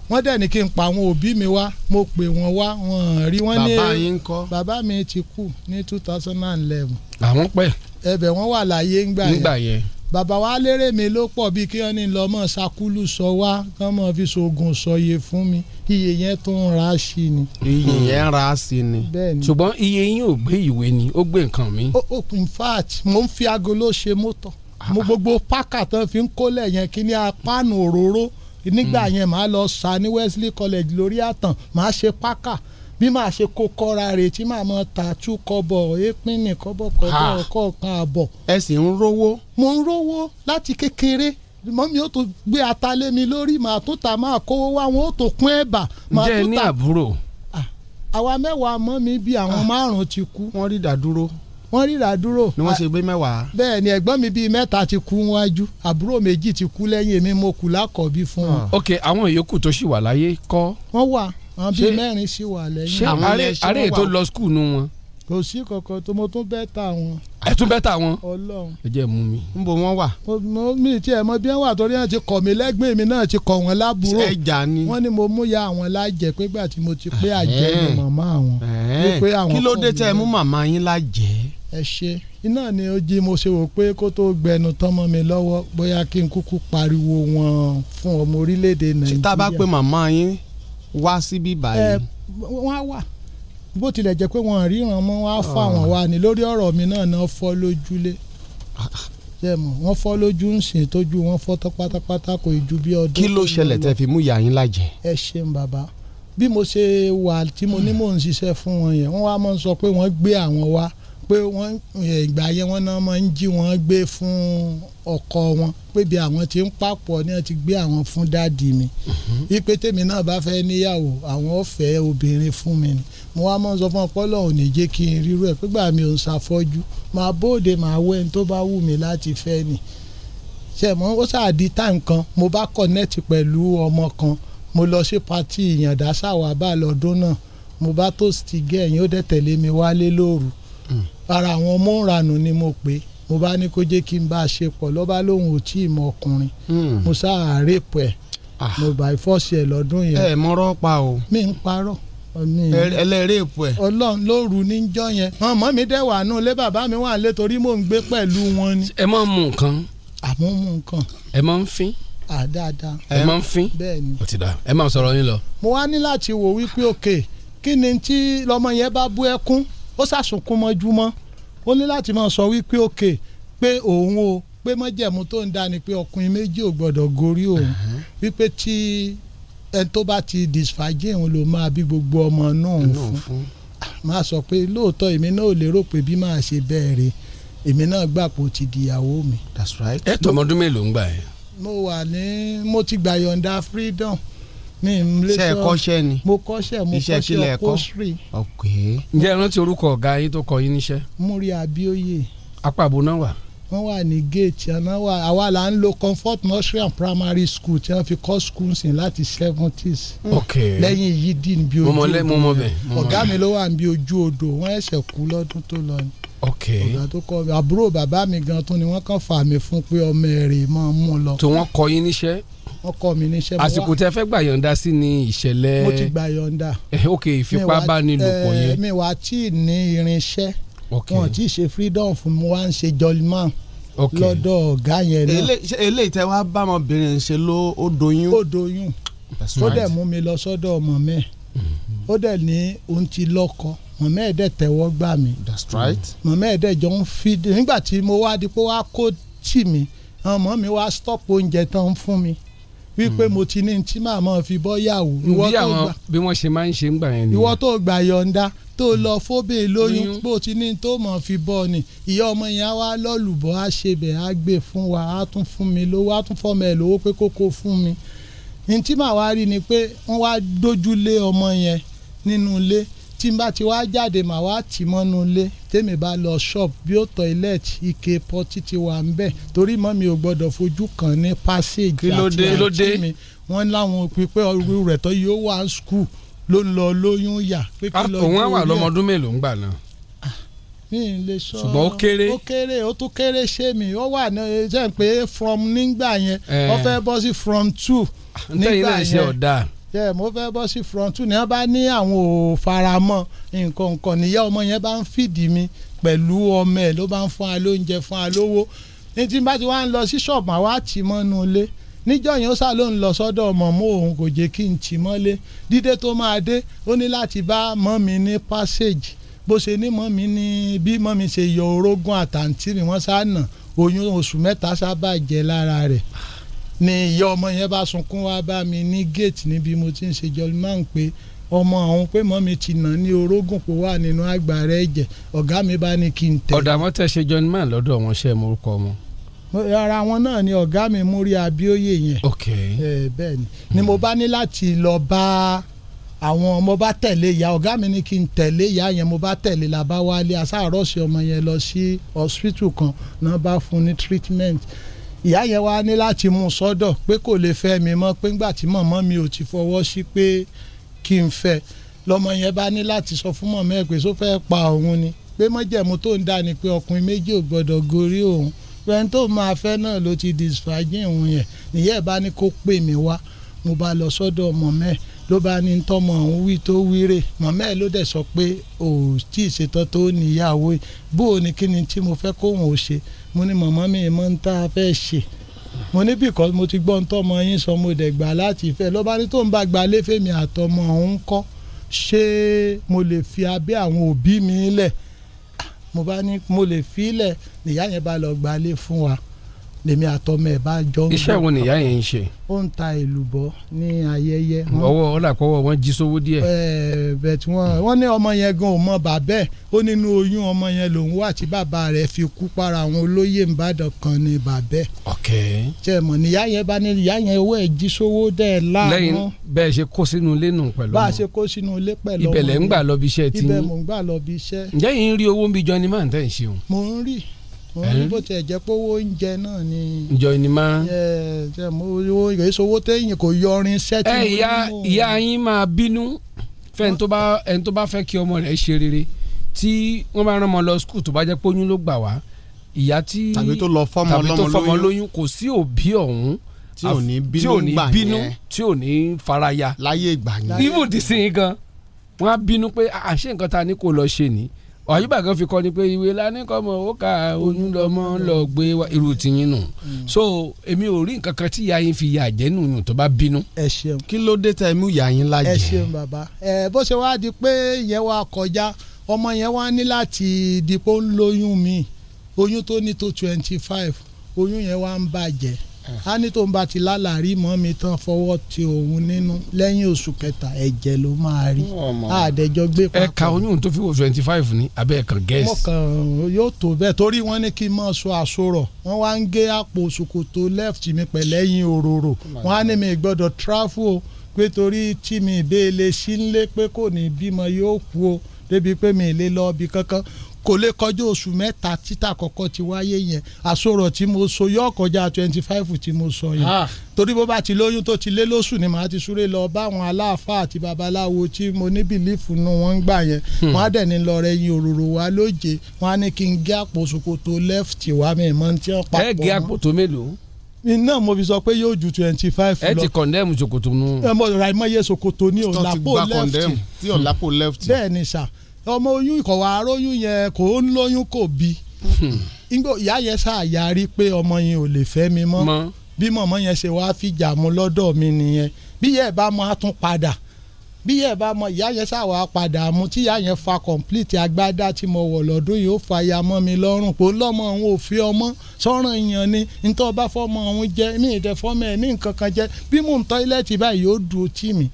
[SPEAKER 23] wọ́n dẹ̀ ní kí n pa àwọn òbí mi wá mo pè wọ́n wá wọn ò rí wọ́n ní
[SPEAKER 19] Bàbá yín ńkọ́?
[SPEAKER 23] bàbá mi ti kú ní two thousand and eleven
[SPEAKER 5] àwọn pẹ́
[SPEAKER 23] ẹbẹ̀ wọ́n wà láyé ńgbà yẹn
[SPEAKER 5] nígbà yẹn.
[SPEAKER 23] bàbá wa lérè mi ló pọ̀ bíi kí wọ́n ní lọ mọ̀ sakulu sọ wá kí wọ́n mọ̀ fi sògùn sọyè fún mi iye yẹn tó ń ra sí ni.
[SPEAKER 19] iye yẹn ra sí ni.
[SPEAKER 23] Hmm. bẹ́ẹ̀ni.
[SPEAKER 5] ṣùgbọ́n iye yín ò gbé ìwé ni ó gbé nǹkan mi.
[SPEAKER 23] ó ó in fact mo ń fi agolo ṣe mọ́tọ̀ mo gbogbo pákà tán fi ń kólẹ̀ yẹn kí ni apáànù òróró nígbà yẹn màá lọ sá ní Wesley College lórí àtàn màá ṣe pákà bí màá ṣe kó kọ́ra rẹ̀ tí màá mọ tàtú kọ́bọ̀ épínì kọ́bọ̀ kọ́bọ̀
[SPEAKER 19] Ha.
[SPEAKER 23] kọ̀ọ̀kan àbọ̀
[SPEAKER 19] ẹ sì ń rówó.
[SPEAKER 23] mo ń rówó láti kékeré mọ́mí ó tó gbé ata lé mi lórí màá tó ta máa kówó wá wọn ó tó kún ẹ̀bà màá
[SPEAKER 5] ǹjẹ́ ẹ
[SPEAKER 23] tó
[SPEAKER 5] ní
[SPEAKER 23] ta
[SPEAKER 5] àbúrò.
[SPEAKER 23] àwa mẹ́wàá mọ́mí bíi àwọn márùn-ún ti kú.
[SPEAKER 19] Ah. wọ́n rí ìdádúró.
[SPEAKER 23] wọ́n rí ìdádúró.
[SPEAKER 19] ni wọ́n ṣe gbé mẹ́wàá.
[SPEAKER 23] bẹ́ẹ̀ ni ẹ̀gbọ́n mi bíi mẹ́ta ti kú wájú àbúrò méjì ti kú lẹ́yìn èmi mo kù lákọ̀ọ́bí fún
[SPEAKER 19] Ah.
[SPEAKER 23] wọn.
[SPEAKER 5] ok àwọn ìyókù tó ṣì wà láyé kọ́.
[SPEAKER 23] wọ́n wà àwọn bíi
[SPEAKER 5] Ṣé-
[SPEAKER 23] mẹ́rin sì wà
[SPEAKER 5] ṣé
[SPEAKER 23] lẹ́yìn.
[SPEAKER 5] àárẹ̀ àárẹ̀ tó lọ skul nu wọn.
[SPEAKER 23] kò sí kankan tó mo tún bẹ́ẹ̀ ta àwọn
[SPEAKER 5] ẹ tún bẹ́ẹ̀ tà wọn.
[SPEAKER 23] ọlọ́run
[SPEAKER 5] ẹ jẹ́ mú mi.
[SPEAKER 19] níbo wọ́n wà.
[SPEAKER 23] mo mo mi tiẹ̀ mọ bí wọ́n wà torí wọ́n ti kọ̀ mí lẹ́gbẹ̀ẹ́ mi náà ti kọ̀ wọ́n lábúrò
[SPEAKER 19] ẹja ni. Ah,
[SPEAKER 23] wọ́n ní mo mú ya àwọn lájẹ pé gbà tí mo ti pé àjẹ ni
[SPEAKER 19] Ẹ̀hẹ́n.
[SPEAKER 23] màmá àwọn
[SPEAKER 19] Ẹ̀ẹ́n,
[SPEAKER 23] wípé àwọn
[SPEAKER 19] kí ló
[SPEAKER 23] kọ̀
[SPEAKER 19] dé
[SPEAKER 23] mí
[SPEAKER 19] tẹ́ ẹ mú
[SPEAKER 23] lẹ́gbẹ̀ẹ́.
[SPEAKER 19] màmá yín lájẹ́.
[SPEAKER 23] ẹ ṣe iná ni ó jí mo ṣe wò pé kó tó gbẹnu tọmọ mi lọ́wọ́ bóyá kí n kúkú pariwo wọn fún ọmọ orílẹ̀-èdè nàìjíríà.
[SPEAKER 19] tá a bá pe màmá yín wá síbí báyìí.
[SPEAKER 23] wọ́n á wà bó tilẹ̀ jẹ́ pé wọ́n ríran mọ́ wọ́n á fọ́
[SPEAKER 19] Ah.
[SPEAKER 23] àwọn wa ni lórí ọ̀rọ̀ mi náà náà fọ́ lójúlé
[SPEAKER 19] Ah,
[SPEAKER 23] ṣe mọ̀ wọ́n fọ́ lójú ń sìn tójú wọn fọ́ tán pátápátá kò ì ju bí ọdún.
[SPEAKER 19] kí ló ṣẹlẹ̀ tẹ́ fi mú ìyá yín lájẹ́.
[SPEAKER 23] ẹ ṣeun bàbá bí mo ṣe wà tí mo ní mò ń ṣiṣẹ́ fún wọn yẹn wọ́n wá máa ń sọ pé wọ́n gbé àwọn wá pé wọ́n ẹ̀, ìgbà yẹn wọ́n náà máa ń jí wọ́n gbé fún ọkọ wọn pé bí àwọn ti ń papọ̀ ni wọ́n ti gbé àwọn fún dáàdi mi ipe tèmi náà bá fẹ́ níyàwó àwọn ọ̀fẹ́ obìnrin fún mi ni mo wá máa ń sọ fún ọpọlọ ò ní jẹ́ kí n rírú ẹ̀ pígbà mi ò ń ṣàfọ́jú màá bóde màá wẹ́ni tó bá wù mí láti fẹ́ ni ṣe mọ ó ṣáà di tá nǹkan mo bá kọ̀nẹ́ẹ̀tì pẹ̀lú ọmọ kan mo lọ sí patí ìyàndá ṣàwábà lọ́dún náà mo bá tóòsì gẹ̀yìn ó dẹ̀ tẹ̀lé mi wálé lóru ara àwọn ọmọ òranù ni mo pè é. mo bá ní kó jẹ́ kí n bá a ṣe pọ̀ lọ́ba lóhùn ò tí ì mọ ọkùnrin mo ṣáà rèpù ẹ̀ mo bá ìfọ́sí ẹ̀ lọ́dún yẹn.
[SPEAKER 19] Ah. ẹ mọ́rọ́ pa o.
[SPEAKER 23] mi ń parọ́ ọ̀nì
[SPEAKER 19] ẹlẹ́rìí èpo ẹ̀.
[SPEAKER 23] ọlọ́run lóru níjọ́ yẹn ọmọ mi dẹ̀ wà nù lé bàbá mi wà lé torí mò ń gbé pẹ̀lú wọn ni.
[SPEAKER 5] ẹ máa ń mu nǹkan.
[SPEAKER 23] àmọ́ mu nǹkan
[SPEAKER 5] ẹ máa ń fín.
[SPEAKER 23] à dáadáa.
[SPEAKER 1] ẹ máa ń fín
[SPEAKER 23] bẹ́ẹ̀ni
[SPEAKER 1] ó ti dà ẹ máa sọ̀rọ̀ yín lọ.
[SPEAKER 23] mo wá ní láti wò wípé òkè kí ni tí lọmọ yẹn bá bú ẹkún ó ṣàṣùnkún mọ́júmọ́ ó ní láti máa sọ wípé òkè pé òun o pé mọ́jẹ̀mú tó ń dá ni pé ọkùnrin méjì ò gbọ́dọ̀ gorí òun
[SPEAKER 1] Uh-huh.
[SPEAKER 23] wípé tí ẹni tó bá ti disfagé òun ló máa bí gbogbo ọmọ náà òun fún máa sọ pé lóòótọ́ èmi náà ò lérò pé bí máa ṣe bẹ́ẹ̀ rè èmi náà gbà pé ó ti dìyàwó mi.
[SPEAKER 1] that's right. ẹ tọmọ ọdún mélòó ń gbà yẹn.
[SPEAKER 23] mo wà ní mo ti gbà yọ̀ǹda freedom mi n lè sọ
[SPEAKER 19] Ṣé ẹ kọ́ṣẹ́ ni?
[SPEAKER 23] mo kọ́ṣẹ́ mo
[SPEAKER 19] Iṣẹ́ kí lẹ kọ́?
[SPEAKER 23] kọ́ṣẹ́ upholstery
[SPEAKER 19] ok.
[SPEAKER 5] ǹjẹ́ ẹ rántí orúkọ ọ̀gá yín tó kọ yín níṣẹ́
[SPEAKER 23] múri abioye
[SPEAKER 5] apàbò náà wà.
[SPEAKER 23] wọ́n wà ní gate àná wà àwa là ń lo comfort nursery and primary school tí wọ́n fi kọ́ school sin láti seventies
[SPEAKER 1] Hmm. ok
[SPEAKER 23] lẹ́yìn yìí dì ní bí
[SPEAKER 1] Mo
[SPEAKER 23] ojú
[SPEAKER 1] mọ lẹ́- mo mọ bẹ̀, mo mọ
[SPEAKER 23] ọ̀gá
[SPEAKER 1] bẹ̀.
[SPEAKER 23] mi ló wà ní bí ojú odò wọ́n ẹ̀sẹ̀ kú lọ́dún tó lọ ni
[SPEAKER 1] ok
[SPEAKER 23] ọ̀gá tó kọ́ mi àbúrò bàbá mi gan tó ni wọ́n kàn fà mí fún pé ọmọ ẹ̀rẹ̀ máa ń mú lọ
[SPEAKER 5] tó wọ́n kọ yín níṣẹ́
[SPEAKER 23] wọ́n kọ́ mi níṣẹ́ mo wá-
[SPEAKER 5] àsìkò tẹ fẹ́ gbà yọ̀ǹda sí ni ìṣẹ̀lẹ̀
[SPEAKER 23] mo ti gbà yọ̀ǹda
[SPEAKER 5] Eh, ok
[SPEAKER 23] Mi
[SPEAKER 5] ìfipábánilòpọ̀
[SPEAKER 23] wá-
[SPEAKER 5] yẹn
[SPEAKER 23] eh, mi wá tí ì ní irinṣẹ́
[SPEAKER 5] Ok.
[SPEAKER 23] wọn tí ì ṣe freedom fún mi wá ń ṣe jollyman
[SPEAKER 5] Ok.
[SPEAKER 23] lọ́dọ̀ ọ̀gá yẹn náà
[SPEAKER 19] Ele- ṣé eléyìí tẹ wá bá ọmọbìnrin ṣe ló ó doyún.
[SPEAKER 23] ó doyún ó dẹ̀ mú mi lọ sọ́dọ̀ ọmọ mẹ́
[SPEAKER 5] Mm-hmm.
[SPEAKER 23] ó dẹ̀ ní òun ti lọ́kọ mọ̀mẹ́ ẹ̀ dẹ̀ tẹ́wọ́ gbà mí
[SPEAKER 19] right.
[SPEAKER 23] mọ̀mẹ́ ẹ̀ dẹ̀ jọ ń fi nígbà tí mo wá di pé wá kó tì mí àwọn ọmọ mi wá stop oúnjẹ tán ń fún mi wípé mo ti ní tí màmá fi bọ́ yàwó ìwọ
[SPEAKER 5] Mm. bí
[SPEAKER 23] tó
[SPEAKER 5] àwọn
[SPEAKER 23] gbà
[SPEAKER 5] bí wọ́n ṣe máa ń ṣe ń gbà yẹn nìyẹn.
[SPEAKER 23] ìwọ tó gbà yọ̀ǹda tó
[SPEAKER 5] Hmm.
[SPEAKER 23] lọ fóbè lóyún bó ti ní tó mọ̀ fi bọ́ ni ìyá ọmọ yẹn á wá lọ́lùbọ́ á ṣe bẹ̀ á gbé fún wa á tún fún mi lówó á tún fọmọ ẹ̀ lówó pé kókó fún mi ní tí màá wá rí ni pé wọ́n wá dójú lé ọmọ yẹn nínú ilé tí n bá ti wá jáde màá wá tì mọ́nú ilé tèmi bá lọ ṣọ́ọ̀bù bí ó toilet ike pọtí ti wà ń bẹ̀ torí mọ́ mi ò gbọ́dọ̀ fojú kàn ní passage
[SPEAKER 5] Kí ló dé?
[SPEAKER 23] àti
[SPEAKER 5] Kí ló dé?
[SPEAKER 23] àǹtí mi
[SPEAKER 5] Eh.
[SPEAKER 23] wọ́n láwọn pípẹ́ ọ̀rú rẹ̀ tó yóò wá skul ló ń lọ lóyún yà pé
[SPEAKER 5] Ah, òun á wà lọ́mọ ọdún mélòó ń gbà náà.
[SPEAKER 23] mi ì lè sọ
[SPEAKER 5] Ṣùgbọ́n ó kéré.
[SPEAKER 23] ó kéré ó tún kéré ṣé mi ó wà ní ṣe pé from nígbà yẹn
[SPEAKER 5] Eh.
[SPEAKER 23] ó fẹ́ bọ́ sí from two
[SPEAKER 5] ntẹ́yìn
[SPEAKER 23] nígbà
[SPEAKER 5] náà ṣe
[SPEAKER 23] yẹn
[SPEAKER 5] ọ̀dà.
[SPEAKER 23] yẹ mo fẹ́ bọ́ sí front two ni wọ́n bá ní àwọn ò faramọ́ nǹkan nǹkan nìyá ọmọ yẹn bá ń fìdí mi pẹ̀lú ọmọ ẹ̀ ló bá ń fún wa lóúnjẹ fún wa lówó ní tí n bá ti wá ń lọ sí ṣọ̀bù àwa tì mọ́nú ilé níjọ́ yẹn ó sá ló ń lọ sọ́dọ̀ ọmọ mú òun kò jẹ́ kí n tì mọ́lé dídé tó máa dé ó ní láti bá mọ́ mi ní passage bó ṣe ní mọ́ mi ní bí mọ́ mi ṣe yọ orógùn àtàntì ni wọ́n sá nà oyún oṣù mẹ́ta sá bàjẹ́ lára rẹ̀ ni ìyá ọmọ yẹn bá sunkún wá bá mi ní gate níbi mo ti ń ṣe jọlímọ́n pé ọmọ àwọn pé mọ́ mi ti nà ní orógùn pò wà nínú àgbà rẹ̀ ẹ̀jẹ̀ ọ̀gá mi bá ní kí n tẹ̀.
[SPEAKER 5] ọ̀dà wọn tẹ̀ ṣe John man lọ́dọ̀ wọn ṣe mú orúkọ wọn.
[SPEAKER 23] ara wọn náà ni ọ̀gá mi múrí abíóyè yẹn.
[SPEAKER 5] ok
[SPEAKER 23] ẹ bẹ́ẹ̀ ni ni mo bá ní láti lọ bá àwọn mo bá tẹ̀lé ìyá ọ̀gá mi ní kí n tẹ̀lé ìyá yẹn mo bá tẹ̀lé la bá wálé asáàrọ̀sì ọmọ yẹn lọ sí hospital kan náà bá fún ní treatment ìyá yẹn wá ní láti mú un sọ́dọ̀ pé kò lè fẹ́ mi mọ́ pé ńgbà tí mọ̀mọ́ mi ò ti fọwọ́ sí pé kí n fẹ́ lọmọ yẹn bá ní láti sọ fún mọ̀mọ́ ẹ̀ pé só fẹ́ pa òun ni pé mọ́jẹ̀mú tó ń dá ni pé ọkùnrin méjì ò gbọ́dọ̀ gorí òun pẹ̀lú tó máa fẹ́ náà ló ti disfagin òun yẹn nìyẹn ẹ̀ bá ní kó pè mí wá mo bá lọ sọ́dọ̀ mọ̀mọ́ ẹ̀ ló bá ní tọmọ òun wí tó wíre mọ̀mọ́ ẹ̀ ló dẹ̀ sọ pé ò tí ì ṣetán tó níyàwó yìí bó o ní kí ni tí mo fẹ́ kóhun ò ṣe mo ní mọ̀mọ́ mi mọ́ ń tá a fẹ́ ṣe mo ní bìkọ́ mo ti gbọ́ ń tọ́mọ yín sọ mo dẹ̀ gbà láti fẹ́ lọ́ba ní tó ń bá gba léfèmí àtọmọ òun kọ́ ṣé mo lè fi abẹ́ àwọn òbí mi lẹ̀ mo bá ní mo lè fi lẹ̀ nìyá yẹn bá lọ gbalé fún wa lèmi àtọmọ ẹ̀ bá jọ ń
[SPEAKER 5] iṣẹ́
[SPEAKER 23] gbọ́.
[SPEAKER 5] wo nìyá yẹn ń ṣe.
[SPEAKER 23] ó ń ta èlùbọ́ ní ayẹyẹ wọn-
[SPEAKER 5] ọwọ́ ọ̀làkọ́wọ́ wọn jí sówó díẹ̀.
[SPEAKER 23] Ẹ, but wọn wọn ní ọmọ yẹn gan ò mọ bàbá ẹ̀ ó nínú oyún ọmọ yẹn lòun wà tí bàbá rẹ̀ fi kú para àwọn olóyè ìbàdàn kan ní bàbá ẹ̀
[SPEAKER 5] ok
[SPEAKER 23] tẹ mọ níyà yẹn bá ní ìyá yẹn owó ẹ jí sówó dẹ
[SPEAKER 5] lẹ́yìn
[SPEAKER 23] láàánú
[SPEAKER 5] bẹ́ẹ̀ ṣe kó sínú ilé nù pẹ̀lú
[SPEAKER 23] bá a
[SPEAKER 5] wọn.
[SPEAKER 23] ṣe kó sínú ilé pẹ̀lú
[SPEAKER 5] Ibẹ̀ lẹ̀ ń gbà lọ bí iṣẹ́ ti
[SPEAKER 23] ibẹ̀
[SPEAKER 5] yín.
[SPEAKER 23] mò ń gbà lọ bí iṣẹ́
[SPEAKER 5] ǹjẹ́ yìí ń rí owó ń bí John man tẹ̀ ń ṣe òun.
[SPEAKER 23] mò ń rí mò ń rí bó tiẹ̀ jẹ́ pé owó oúnjẹ náà ni
[SPEAKER 5] John man.
[SPEAKER 23] ẹ tẹ mọ owó ìgbésí owó téèyàn kò yọrin iṣẹ́ tí
[SPEAKER 5] ẹ ìyá ìyá yín máa bínú fẹ́ ẹni tó bá ẹni tó bá fẹ́ kí ọmọ rẹ̀ ṣe rere tí wọ́n bá rán ọmọ lọ skul tó bá jẹ́ pé oyún ló gbà wá ìyá tí
[SPEAKER 19] Tàbí tó lọ fọ́mọ
[SPEAKER 5] tàbí tó
[SPEAKER 19] lọ́mọ
[SPEAKER 5] fọ́mọ
[SPEAKER 19] lóyún.
[SPEAKER 5] lóyún kò sí òbí ọ̀hún
[SPEAKER 19] Tí ò ní bínú
[SPEAKER 5] tí ò ní
[SPEAKER 19] gbà
[SPEAKER 5] bínú
[SPEAKER 19] yẹn.
[SPEAKER 5] tí ò ní faraya
[SPEAKER 19] láyé ìgbà yẹn.
[SPEAKER 5] "Ah, even dìsín gan wọ́n á bínú pé àṣé nǹkan ta ni kò lọ ṣe ni ó ọ̀yìnbá kan fi kọ́ ni pé ìwé lanikọ́mọ ó ka oyún lọ́mọ lọ gbé wa irú tiyín nù
[SPEAKER 23] Mm.
[SPEAKER 5] so èmi ò rí nǹkan kan tí ìyá yín fi yà jẹ́ nù yùn tó bá bínú.
[SPEAKER 23] ẹ ṣeun
[SPEAKER 5] kí ló dé tẹ mú ìyá yín lájẹ.
[SPEAKER 23] ẹ ṣeun bàbá ẹ bó ṣe wá di pé ìyẹn wá kọjá ọmọ yẹn wá ní láti di pé ó ń lóyún mi oyún tó ní tó twenty five oyún yẹn wá ń bàjẹ́ a ní tó ń bá ti lálàrí mọ́ mi tán fọwọ́ ti òun nínú lẹ́yìn oṣù kẹta ẹ̀jẹ̀ ló máa rí àdẹjọ́ gbé
[SPEAKER 5] ẹ ka oyún tó fi wo twenty five ní abẹ́ ẹ̀kan
[SPEAKER 23] mo
[SPEAKER 5] gẹ́ẹ̀sì.
[SPEAKER 23] kàn yóò tó bẹ́ẹ̀ torí wọ́n ní kí n máa sọ àsorọ̀ wọ́n wá ń gé àpò ṣòkòtò left mi pẹ̀lẹ́yìn òróró wọ́n á ní mi gbọ́dọ̀ tráfù o pé torí tí mi ìbéèlè sí ń lé pé kò ní bímọ yóò kú o débi pé mi ì lè lọ ibì kankan kò lè kọjá oṣù mẹ́ta títà kọ̀kọ́ ti wáyé yẹn àsorọ̀ tí mo sọ yóò kọjá twenty five tí mo sọ yẹn
[SPEAKER 5] Ah.
[SPEAKER 23] torí bó bá ti lóyún tó ti lé lóṣù ni màá ti súré lọ bá àwọn aláàfáà àti babaláwo tí mo ní bìlífù nù wọ́n ń gbà yẹn
[SPEAKER 6] Hmm.
[SPEAKER 23] wọ́n á dẹ̀ ní lọ rẹ yin òróró wa lóje wọ́n á ní kí n gé àpò ṣòkòtò left wa mi mọ́ tí wọ́n papọ̀
[SPEAKER 5] ẹ gé àpò tó mélòó
[SPEAKER 23] mọ́ iná mo fi sọ pé yóò ju twenty five
[SPEAKER 5] ẹ
[SPEAKER 23] lọ
[SPEAKER 5] ti kọ̀ndẹ́mù ṣòkòtò nù.
[SPEAKER 23] ẹ mọ ra ìmọ̀ iye ṣòkòtò ní
[SPEAKER 5] Tó ti
[SPEAKER 23] ọ̀làpò
[SPEAKER 5] gba condemn,
[SPEAKER 23] left
[SPEAKER 5] tí ọ̀làpò
[SPEAKER 23] left bẹ́ẹ̀ ni sà ọmọ oyún ìkọ̀wá aróyún yẹn kò ń lóyún kò bí Hmm. Ngbọ ìyá yẹn ṣàyàrí pé ọmọ yẹn ò lè fẹ́ mi mọ́ bí mọ̀mọ́ yẹn ṣe wá fìjà mu lọ́dọ̀ mi nìyẹn bí yẹ́ bá mọ á tún padà bí yẹ́ bá mọ ìyá yẹn ṣàwà padà mu tí ìyá yẹn fa complete agbádá tí mo wọ̀ lọ́dún yìí ó fa ya mọ́ mi lọ́rùn pé lọ́mọ òun ò fi ọmọ sọ́ràn yàn ni nítorí ọba fọmọ òun jẹ́ mí ìdẹ fọmọ ẹ̀ ní nǹkan kan jẹ́ bí mò ń tọ́ílẹ̀tì báyìí yóò dùn ó tì mí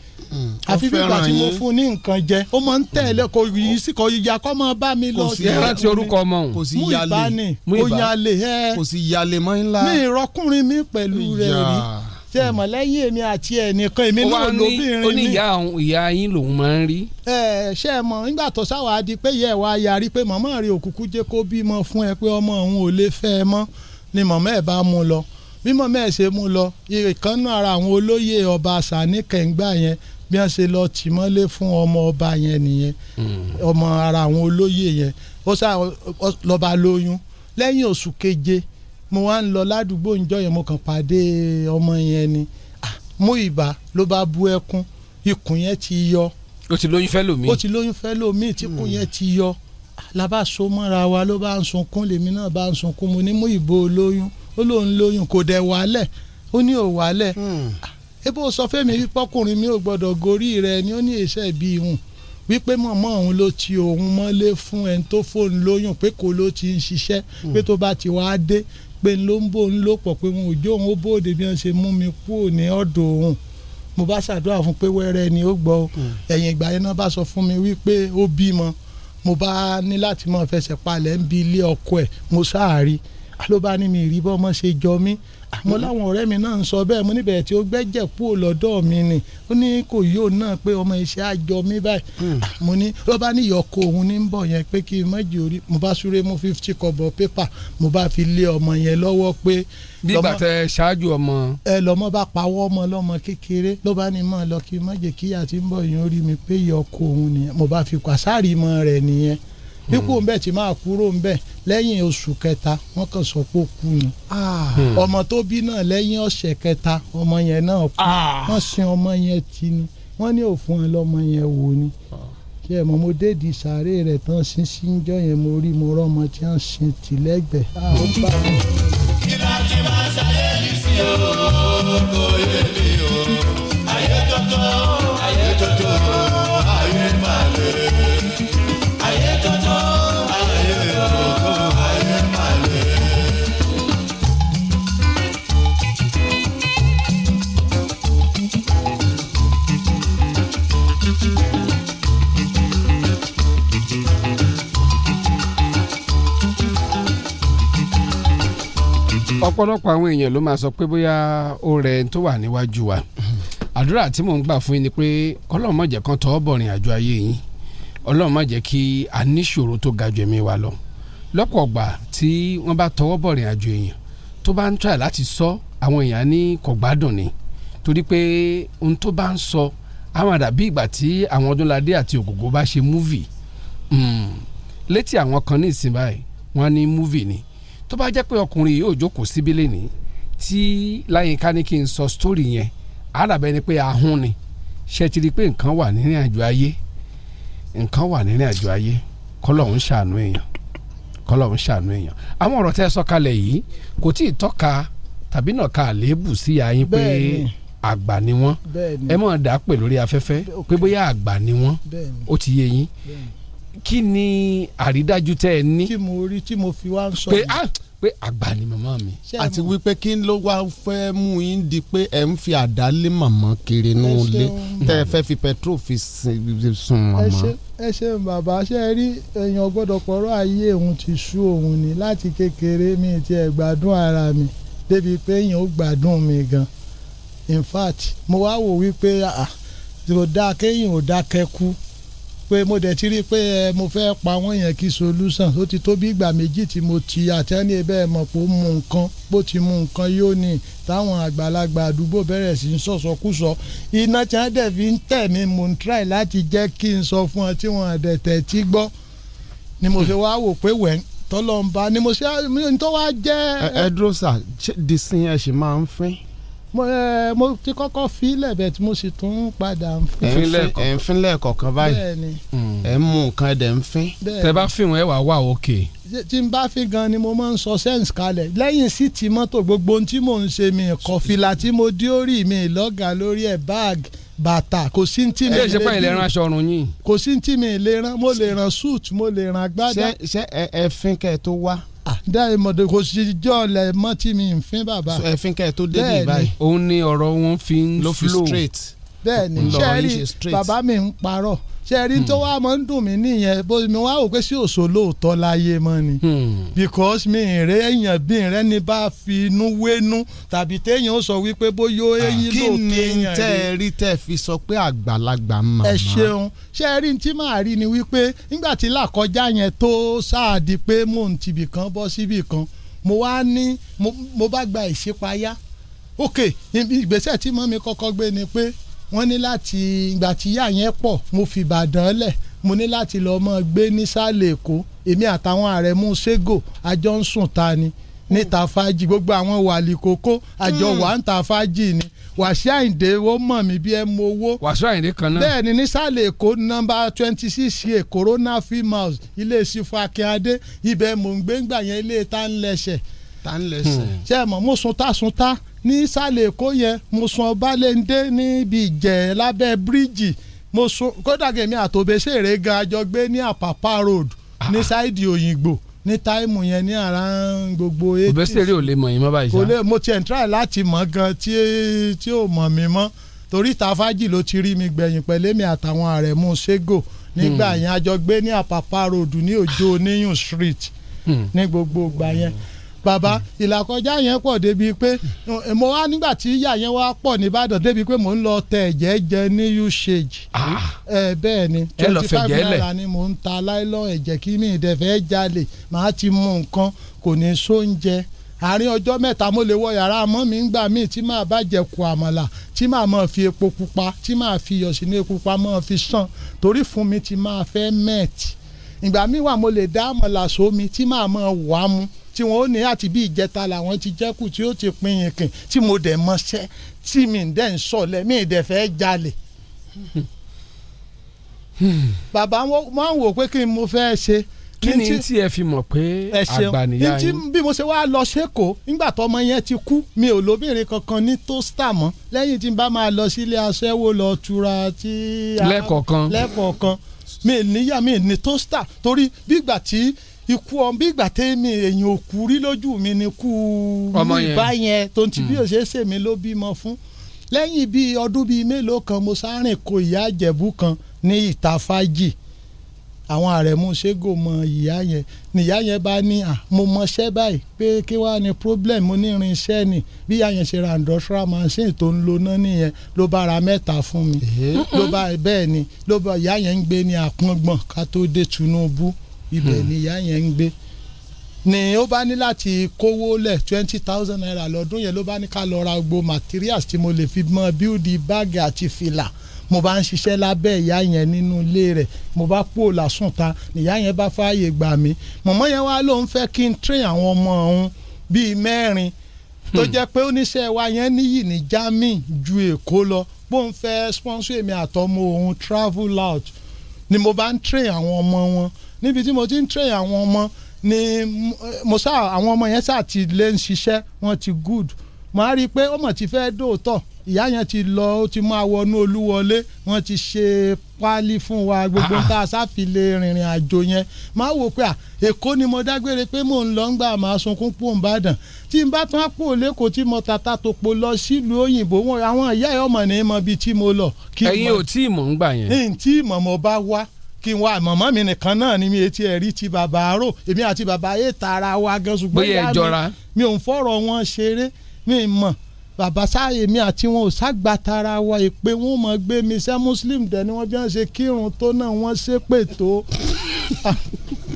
[SPEAKER 23] àfi bí ìgbà tí mo fún ní nǹkan jẹ ó máa ń tẹ̀lé kò yìí sí kò yìí akọ́ máa bá mi lọ
[SPEAKER 5] kò sí ẹ rántí orúkọ ọmọ òun.
[SPEAKER 23] kò sí yálé mú
[SPEAKER 5] Muiba.
[SPEAKER 23] ìbáni
[SPEAKER 5] Kò
[SPEAKER 23] sí yálé mọ́ ńlá mi ìrọkùnrin mi pẹ̀lú rẹ̀
[SPEAKER 5] Ìyá.
[SPEAKER 23] rí tẹ ẹ mọ̀ lẹ́yìn èmi àti ẹnìkan èmi
[SPEAKER 5] ó wá
[SPEAKER 23] náà
[SPEAKER 5] ní ó
[SPEAKER 23] lóbìnrin
[SPEAKER 5] ní
[SPEAKER 23] mi
[SPEAKER 5] ìyá òun ìyá yín lòun máa ń rí.
[SPEAKER 23] ẹ ṣe é mọ̀ nígbà tó sáwà á di pé yẹ wá yarí pé màmá rẹ̀ òkúkú jẹ́ kó bímọ fún ẹ pé ọmọ òun ò lè fẹ́ ẹ mọ́ ni màmá ẹ̀ bá mú lọ bí màmá ẹ̀ ṣe mú lọ ìkànnà ara àwọn olóyè ọba sani kẹ̀ǹgbà yẹn bí wọ́n ṣe lọ tì mọ́lé fún ọmọ ọba yẹn nìyẹn ọmọ ara àwọn olóyè yẹn ó sá lọ́ba lóyún lẹ́yìn oṣù keje mo wá ń lọ ládùúgbò ńjọ́ yẹn mo kàn pàdé ọmọ yẹn ni Ah, Muiba ló bá bú ẹkún ikùn yẹn ti yọ
[SPEAKER 5] ó ti lóyún fẹ́ lòmíì.
[SPEAKER 23] ó ti lóyún fẹ́ lómi tí kún yẹn ti yọ la bá so mọ́ra wa ló bá ń sunkún lèmi náà bá ń sunkún mo ní mú ìbò lóyún ó lóun lóyún kò dẹ̀ wálẹ̀ ó ní ò wálẹ̀ ebo sọ fẹ́mi wípé ọkùnrin mi ò gbọ́dọ̀ gorí rẹ̀ ni ó ní iṣẹ́ bí ihun wípé mọ̀mọ́ òun ló ti òun mọ́lé fún ẹni tó fóun lóyún pé kò ló ti ń ṣiṣẹ́ pé tó bá ti wáá dé pé n ló ń bò ń lò pọ̀ pé wọn ò jó òun ó bóde bí wọ́n ṣe mú mi kúrò ní ọ̀dọ̀ òun mo bá ṣàdúrà fún pé wẹ́rẹ́ ni ó gbọ́ o.
[SPEAKER 5] Hmm.
[SPEAKER 23] ẹ̀yìn ìgbà yẹn náà bá sọ fún mi wípé ó bímọ mo bá ní láti máa fẹsẹ̀ palẹ̀ ń bi ilé ọkọ ẹ̀ mo sáàrí ló bá ní mi rí bọ́mọ ṣe jọ mí
[SPEAKER 5] Hmm.
[SPEAKER 23] àmọ́ láwọn ọ̀rẹ́ mi náà ń sọ bẹ́ẹ̀ mo níbẹ̀rẹ̀ tí ó gbẹ́jẹ̀ kúrò lọ́dọ̀ mi ni ó ní kò yí òun náà pé ọmọ iṣẹ́ àjọ mi báyìí
[SPEAKER 5] Hmm.
[SPEAKER 23] Ah, mo ní ló bá ní ìyọkọ òun ní ń bọ̀ yẹn pé kí n má jì orí mo bá súré mú fifty kọ́bọ̀ pépà mo bá fi lé ọmọ yẹn lọ́wọ́ pé
[SPEAKER 5] bí ìgbà
[SPEAKER 23] lọ́mọ-
[SPEAKER 5] tẹ ṣáájú ọmọ.
[SPEAKER 23] ẹ lọmọ bá pawọ́ ọmọ lọmọ kékeré ló bá ní mọ́ lọ kí n má jẹ́ kíyà tí ń bọ̀ yín ó rí mi pé ìyá ọkọ òun nìyẹn mo bá fi kwasari mọ́ rẹ̀ nìyẹn pípò ń bẹ̀ tí máa kúrò ń bẹ̀ lẹ́yìn oṣù kẹta wọ́n kàn sọ pé ó kú ni
[SPEAKER 19] Ah,
[SPEAKER 5] Hmm.
[SPEAKER 23] ọmọ tó bí náà lẹ́yìn ọ̀sẹ̀ kẹta ọmọ yẹn náà kú wọ́n sin ọmọ yẹn ti ni wọ́n ní òfun ẹ lọ́mọ yẹn wò ni ṣé ẹ mọ̀ mo déèdì sàárè rẹ̀ tán sin síjọ́ yẹn mo rí mo rọ́mọ tí wọ́n sin tìlẹ́gbẹ̀ẹ́ ah, ó bá mi.
[SPEAKER 5] ọ̀pọ̀lọpọ̀ àwọn èèyàn ló máa sọ pé bóyá ó rẹ ẹni tó wà níwájú wa àdúrà tí mò ń gbà fún yín ni pé ọlọ́run má jẹ́ kan tọ́ bọ̀rìn àjò ayé yín ọlọ́run má jẹ́ kí a níṣòro tó ga jù ẹ̀mí wa lọ lọ́pọ̀ ọgbà tí wọ́n bá tọwọ́ bọ̀rìn àjò èèyàn tó bá ń try láti sọ àwọn èèyàn á ní kò gbádùn ni torí pé ohun tó bá ń sọ á máa dàbí ìgbà tí àwọn ọdúnladé àti ògògó bá ṣe Hmm. múvì létí àwọn kan ní ìsìn báyìí wọ́n á ní múvì ni tó bá jẹ́ pé ọkùnrin yìí ò jókòó síbí lẹ́ni tí láyínká ní kí n sọ sítórì yẹn àràbẹ́ ni pé ahun ni ṣe ti rí i pé nǹkan wà nínú àjò ayé nǹkan wà nínú àjò ayé kọ́lọ̀ ń ṣàánú èèyàn kọ́lọ̀ ń ṣàánú èèyàn àwọn ọ̀rọ̀ tẹ́ ẹ sọ kalẹ̀ yìí kò tí ì tọ́ka tàbí náà ka àléébù sí ayín pé
[SPEAKER 23] Bẹ́ẹ̀ni.
[SPEAKER 5] àgbà ni wọ́n
[SPEAKER 23] Bẹ́ẹ̀ni.
[SPEAKER 5] ẹ mọ̀ dà á pè lórí afẹ́fẹ́ pé bóyá àgbà ni wọ́n
[SPEAKER 23] Bẹ́ẹ̀ni.
[SPEAKER 5] ó ti yé yín kí ni àrídájú tẹ́ ẹ ní
[SPEAKER 23] tí mo rí tí mo fi wá ń sọ
[SPEAKER 5] pé
[SPEAKER 23] yìí.
[SPEAKER 5] ah pé àgbà ni màmá mi
[SPEAKER 19] àti wípé kí ló wá fẹ́ mú yín di pé ẹ̀ ń fi àdá lé màmá kiri nù
[SPEAKER 23] Ẹ
[SPEAKER 19] lé
[SPEAKER 23] ṣeun.
[SPEAKER 19] tẹ́ ẹ fẹ́ fi petrol fi sin- sun
[SPEAKER 23] ẹ
[SPEAKER 19] màmá.
[SPEAKER 23] ṣe- ẹ ṣeun bàbá ṣe é rí èèyàn gbọ́dọ̀ pọ̀rọ̀ ayé òun ti sú òun ni láti kékeré mi ti ẹ̀ gbádùn ara mi débi pé èèyàn ó gbádùn mi gan in fact mo wá wò wípé ah, kò dáa kéèyàn ò dákẹ́ kú pé mo dẹ̀ ti rí i pé ẹ, mo fẹ́ pa wọ́n yẹn kí solution ó ti tó bí ìgbà méjì tí mo ti àtẹ́ni bẹ́ẹ̀ mọ̀ pé ó mu nǹkan bó ti mu nǹkan yóò ní táwọn àgbàlagbà àdúgbò bẹ̀rẹ̀ sí í sọ̀sọ̀kúsọ iná tí wọ́n dẹ̀ fi ń tẹ̀ mí mo ń try láti jẹ́ kí n sọ fún ọ tí wọ́n dẹ̀ tẹ̀ tí gbọ́ ni mo fi wá wò pé wẹ̀ tọ́lọ́mba ni mo ṣe tó wá jẹ́
[SPEAKER 19] ẹ ẹ dúró sà ṣé disin ẹ ṣì máa ń fín.
[SPEAKER 23] mo ẹ, mo ti kọ́kọ́ fi ilẹ̀ bẹ̀ tí mo sì tún padà ń
[SPEAKER 19] ẹ ń fín- ẹ ń fín lẹ́ẹ̀kọ̀ọ̀kan báyìí Mm.
[SPEAKER 23] bẹ́ẹ̀ ni
[SPEAKER 19] ẹ ń mú nǹkan ẹ dẹ̀ ń fín.
[SPEAKER 23] Bẹ́ẹ̀ Tẹ́ bá ni.
[SPEAKER 5] fihàn ẹ wà wà òkè.
[SPEAKER 23] Ṣé tí n bá fi gan ni mo máa ń sọ sense kalẹ̀ lẹ́yìn sí ti mọ́tò gbogbo ohun tí mò ń ṣe mi kọ̀ fìlà tí mo dé orí mi lọ́gàá lórí ẹ̀ báàgì bàtà kò sí ní tí mi
[SPEAKER 5] ẹ ṣe pàyẹ̀lẹ̀
[SPEAKER 23] dúró.
[SPEAKER 5] ránṣọ ọrùn yín.
[SPEAKER 23] kò sí ní tí mi lè rán mo lè rán suit mo lè rán agbádá. Ah,
[SPEAKER 19] Ṣé- ṣé ẹ ẹ fín kẹ́ ẹ tó wá.
[SPEAKER 23] dáì mọ̀dé kò sí jọ́ ọ̀lẹ̀ mọ́ tí mi ń fín bàbá.
[SPEAKER 19] So, ẹ fín kẹ́ ẹ tó dé
[SPEAKER 23] Bẹ́ẹ̀
[SPEAKER 19] bí
[SPEAKER 23] ni.
[SPEAKER 19] báyìí.
[SPEAKER 5] òun ni ọ̀rọ̀ wọn fi ń
[SPEAKER 19] ló fi
[SPEAKER 5] flow.
[SPEAKER 19] straight.
[SPEAKER 23] bẹ́ẹ̀ ni
[SPEAKER 19] Ńlọrọrin
[SPEAKER 23] ṣe
[SPEAKER 19] ṣe
[SPEAKER 23] rí
[SPEAKER 19] straight. Hmm.
[SPEAKER 23] bàbá mi ń parọ́ ṣe rí tó wá mọ́ ń dùn mí nìyẹn bó mi wá wò pé sí òṣò lóòótọ́ láyé mọ́ ni
[SPEAKER 19] Hmm.
[SPEAKER 23] because mi rẹ èèyàn bí rẹ ni bá fi inú wénú tàbí téèyàn ó sọ wípé bóyá ó yí
[SPEAKER 19] Ah, kí
[SPEAKER 23] lóòótọ́
[SPEAKER 19] ni
[SPEAKER 23] èèyàn
[SPEAKER 19] tẹ́
[SPEAKER 23] rí
[SPEAKER 19] ẹ rí tẹ́ ẹ fi sọ pé àgbàlagbà màmá.
[SPEAKER 23] ẹ ṣeun ṣe rí ní tí màá rí ni wípé nígbà tí làkọjá yẹn tó sáàdì pé mò ń tibì kan bọ́ síbì kan mo wá ní mo mo bá gba ìṣípayá ok ibi ìgbésẹ̀ tí mọ́ mi kọ́kọ́ gbé ni pé wọ́n ní láti ìgbà tí yá yẹn pọ̀ mo fi Ìbàdàn lẹ̀ mo ní láti lọ́ọ́ mọ́ gbé nísàlẹ̀ Èkó èmi àtàwọn àrẹ̀mú Ségò àjọ ń sùn ta ni níta fájì gbogbo àwọn wàlì kókó àjọ
[SPEAKER 5] Mm.
[SPEAKER 23] wà ń ta fájì ni Wàsíù Àyìndé ó mọ̀ mí bí ẹ mọ owó
[SPEAKER 5] wàásù àyìnlé kan náà.
[SPEAKER 23] bẹ́ẹ̀ ni nísàlẹ̀ èkó nọ́mbà twenty six ṣe corona film house ilé ìsìnkú akínyàdé ibẹ̀ mò ń gbé ńgbà yẹn ilé ta ń lẹ́sẹ̀.
[SPEAKER 19] ta ń lẹ́sẹ̀.
[SPEAKER 23] ṣé ẹ mọ̀ mo sun ta sun ta nísàlẹ̀ èkó yẹn mo sun ọbalẹ́ndé níbi ìjẹ́ lábẹ́ bíríìjì mo sun kódà kèmí àtòbẹ́sẹ̀ rẹ̀ gan àjọ gbé ní àpàpà road
[SPEAKER 5] Ah.
[SPEAKER 23] ní sáìdì òyìnbó ní táìmù yẹn ní àrà gbogbo eighties
[SPEAKER 5] òbẹ́sẹ̀ rẹ ò lè mọ̀ yín mọ́ báyìí
[SPEAKER 23] kò
[SPEAKER 5] sá.
[SPEAKER 23] lè mo tiẹ̀ ń try láti mọ̀ gan tí tí ò mọ̀ mí mọ́ torí tafaji ló ti rí mi gbẹ̀yìn pẹ̀lú èmi àtàwọn àrẹ̀mú ségò nígbà yẹn a jọ gbé ní àpàpà ròdù ní òjò oníyùn street ní gbogbo ìgbà yẹn bàbá ìlàkọjá yẹn pọ̀ débi pé eh, mo wá nígbà tí ìyá yẹn wá pọ̀ nìbàdàn débi pé mò ń lọ tẹ ẹ̀jẹ̀ jẹ ní usage ẹ bẹ́ẹ̀ ni
[SPEAKER 5] Ẹ lọ
[SPEAKER 23] twenty
[SPEAKER 5] fẹ̀jẹ̀
[SPEAKER 23] five
[SPEAKER 5] lẹ̀.
[SPEAKER 23] naira ni mò ń ta láìlọ́ ẹ̀jẹ̀ kí mi ìdẹ̀fẹ́ jalè màá ti mú nǹkan kò ní sóúnjẹ àárín ọjọ́ mẹ́ta mo lè wọ yàrá àmọ́ mi ń gbà míì tí màá bá jẹ ku àmàlà tí màá máa fi epo pupa tí màá fi iyọ̀ sínú epo pupa máa fi sàn torí fún mi ti máa fẹ́ mẹ́ẹ̀tì ìgbà míì wà mo lè dá àmàlà sómi tí màá máa wà á mu tí wọn ò ní àti bí ìjẹta làwọn ti jẹ́kù tí ó ti pin yìnkìn tí mo dẹ̀ mọṣẹ́ tí mi dẹ̀ ń sọ̀lẹ̀ mi dẹ̀ fẹ́ jalè bàbá wọn máa ń wò pé kí ni mo fẹ́ ṣe.
[SPEAKER 5] kí ni tí ẹ fi mọ̀ pé
[SPEAKER 23] ẹ ṣeun
[SPEAKER 5] àgbà nìyá
[SPEAKER 23] ní tí
[SPEAKER 5] yín.
[SPEAKER 23] bí mo ṣe wá lọ sẹ́kọ̀ọ́ nígbà tó ọmọ yẹn ti kú mi ò lóbìnrin kankan ní tóstà mọ́ lẹ́yìn tí n bá máa lọ sílé aṣẹ́wó lọ tura tí. a-
[SPEAKER 5] Lẹ́ẹ̀kọ̀ọ̀kan.
[SPEAKER 23] lẹ́ẹ̀kọ̀ọ̀kan mi ì níyà mi ì ní tóstà torí bí ìgbà tí ikú ọ bí ìgbà tẹ́mi èèyàn òkú rí lójú mi ni kú
[SPEAKER 5] Ọmọ yẹn.
[SPEAKER 23] ìbá yẹn tó ti bí òṣèṣe mi ló bímọ fún lẹ́yìn bíi ọdún bíi mélòó kan mo sáré ko ìyá àjẹ̀bú kan ní ìta fájì àwọn àrẹ̀mú ṣégo mọ ìyá yẹn níyá yẹn bá ní à mo mọṣẹ́ báyìí pé kí wàá ní problem mo ní irinṣẹ́ ni bí ìyá yẹn ṣe ra industrial machine tó ń lo náà nìyẹn ló bá ra mẹ́ta fún mi ló bá bẹ́ẹ̀ ni ló bá ìyá yẹn ń gbé ní àpọ́ngbọ̀n ká tó dé Tinubu ibẹ̀ ni ìyá yẹn ń gbé ni ó bá ní láti kówó lẹ̀ twenty thousand naira lọ́dún yẹn ló bá ní ká lọ ra gbogbo materials tí mo lè fi mọ bíúdi báàgì àti fìlà mo bá ń ṣiṣẹ́ lábẹ́ ìyá yẹn nínú ilé rẹ̀ mo bá kú lásùn ta ìyá yẹn bá fààyè gbà mí mọ̀mọ́ yẹn wá ló ń fẹ́ kí n train àwọn ọmọ òun bíi mẹ́rin tó jẹ́ pé oníṣẹ́ wa yẹn níyì ní Germany ju Èkó lọ bó ń fẹ́ sponsor èmi àtọmọ òun travel out ni mo bá ń train àwọn ọmọ wọn níbi tí mo ti ń train àwọn ọmọ ni mo- mo sá àwọn ọmọ yẹn sá ti lé ń ṣiṣẹ́ wọn ti good mo á rí i pé ọmọ ti fẹ́ dòótọ́ ìyá yẹn ti lọ ó ti máa wọnú olúwọlé wọn ti ṣe páálí fún wa gbogbo tá a sáfilé rìnrìn àjò yẹn máa wò pé à èkó ni mo dágbére pé mò ń lọ ń gbà máa sunkún pò ń bàdàn tí n bá tún á pò lẹ́kọ̀ọ́ tí mo tata tó po lọ sílùú òyìnbó wọn àwọn ìyá ẹ̀ ọmọ ní mọ ibi tí mo lọ. kí
[SPEAKER 5] ẹ̀yin
[SPEAKER 23] mo-
[SPEAKER 5] ò tí ì mọ̀ ń gbà yẹn.
[SPEAKER 23] ní tí mọ̀mọ́ bá wá kí n wá mọ̀mọ́ mi nìkan náà ni mi etí ẹ̀ rí ti bàbá àárò èmi àti bàbá ayé tara wa gan ṣùgbọ́n
[SPEAKER 5] Bóyá ẹ
[SPEAKER 23] ìyá mi-
[SPEAKER 5] jọra.
[SPEAKER 23] mi ò ń fọ̀rọ̀ wọn ṣeré mi ì mọ̀ bàbá sáyé mi àti wọn ò ságbà tara wa èpè wọn ò mọ̀ gbé mi sẹ́ muslim dẹ̀ ni wọ́n bí wọ́n ṣe kírun tó náà wọ́n ṣépè tó Ah,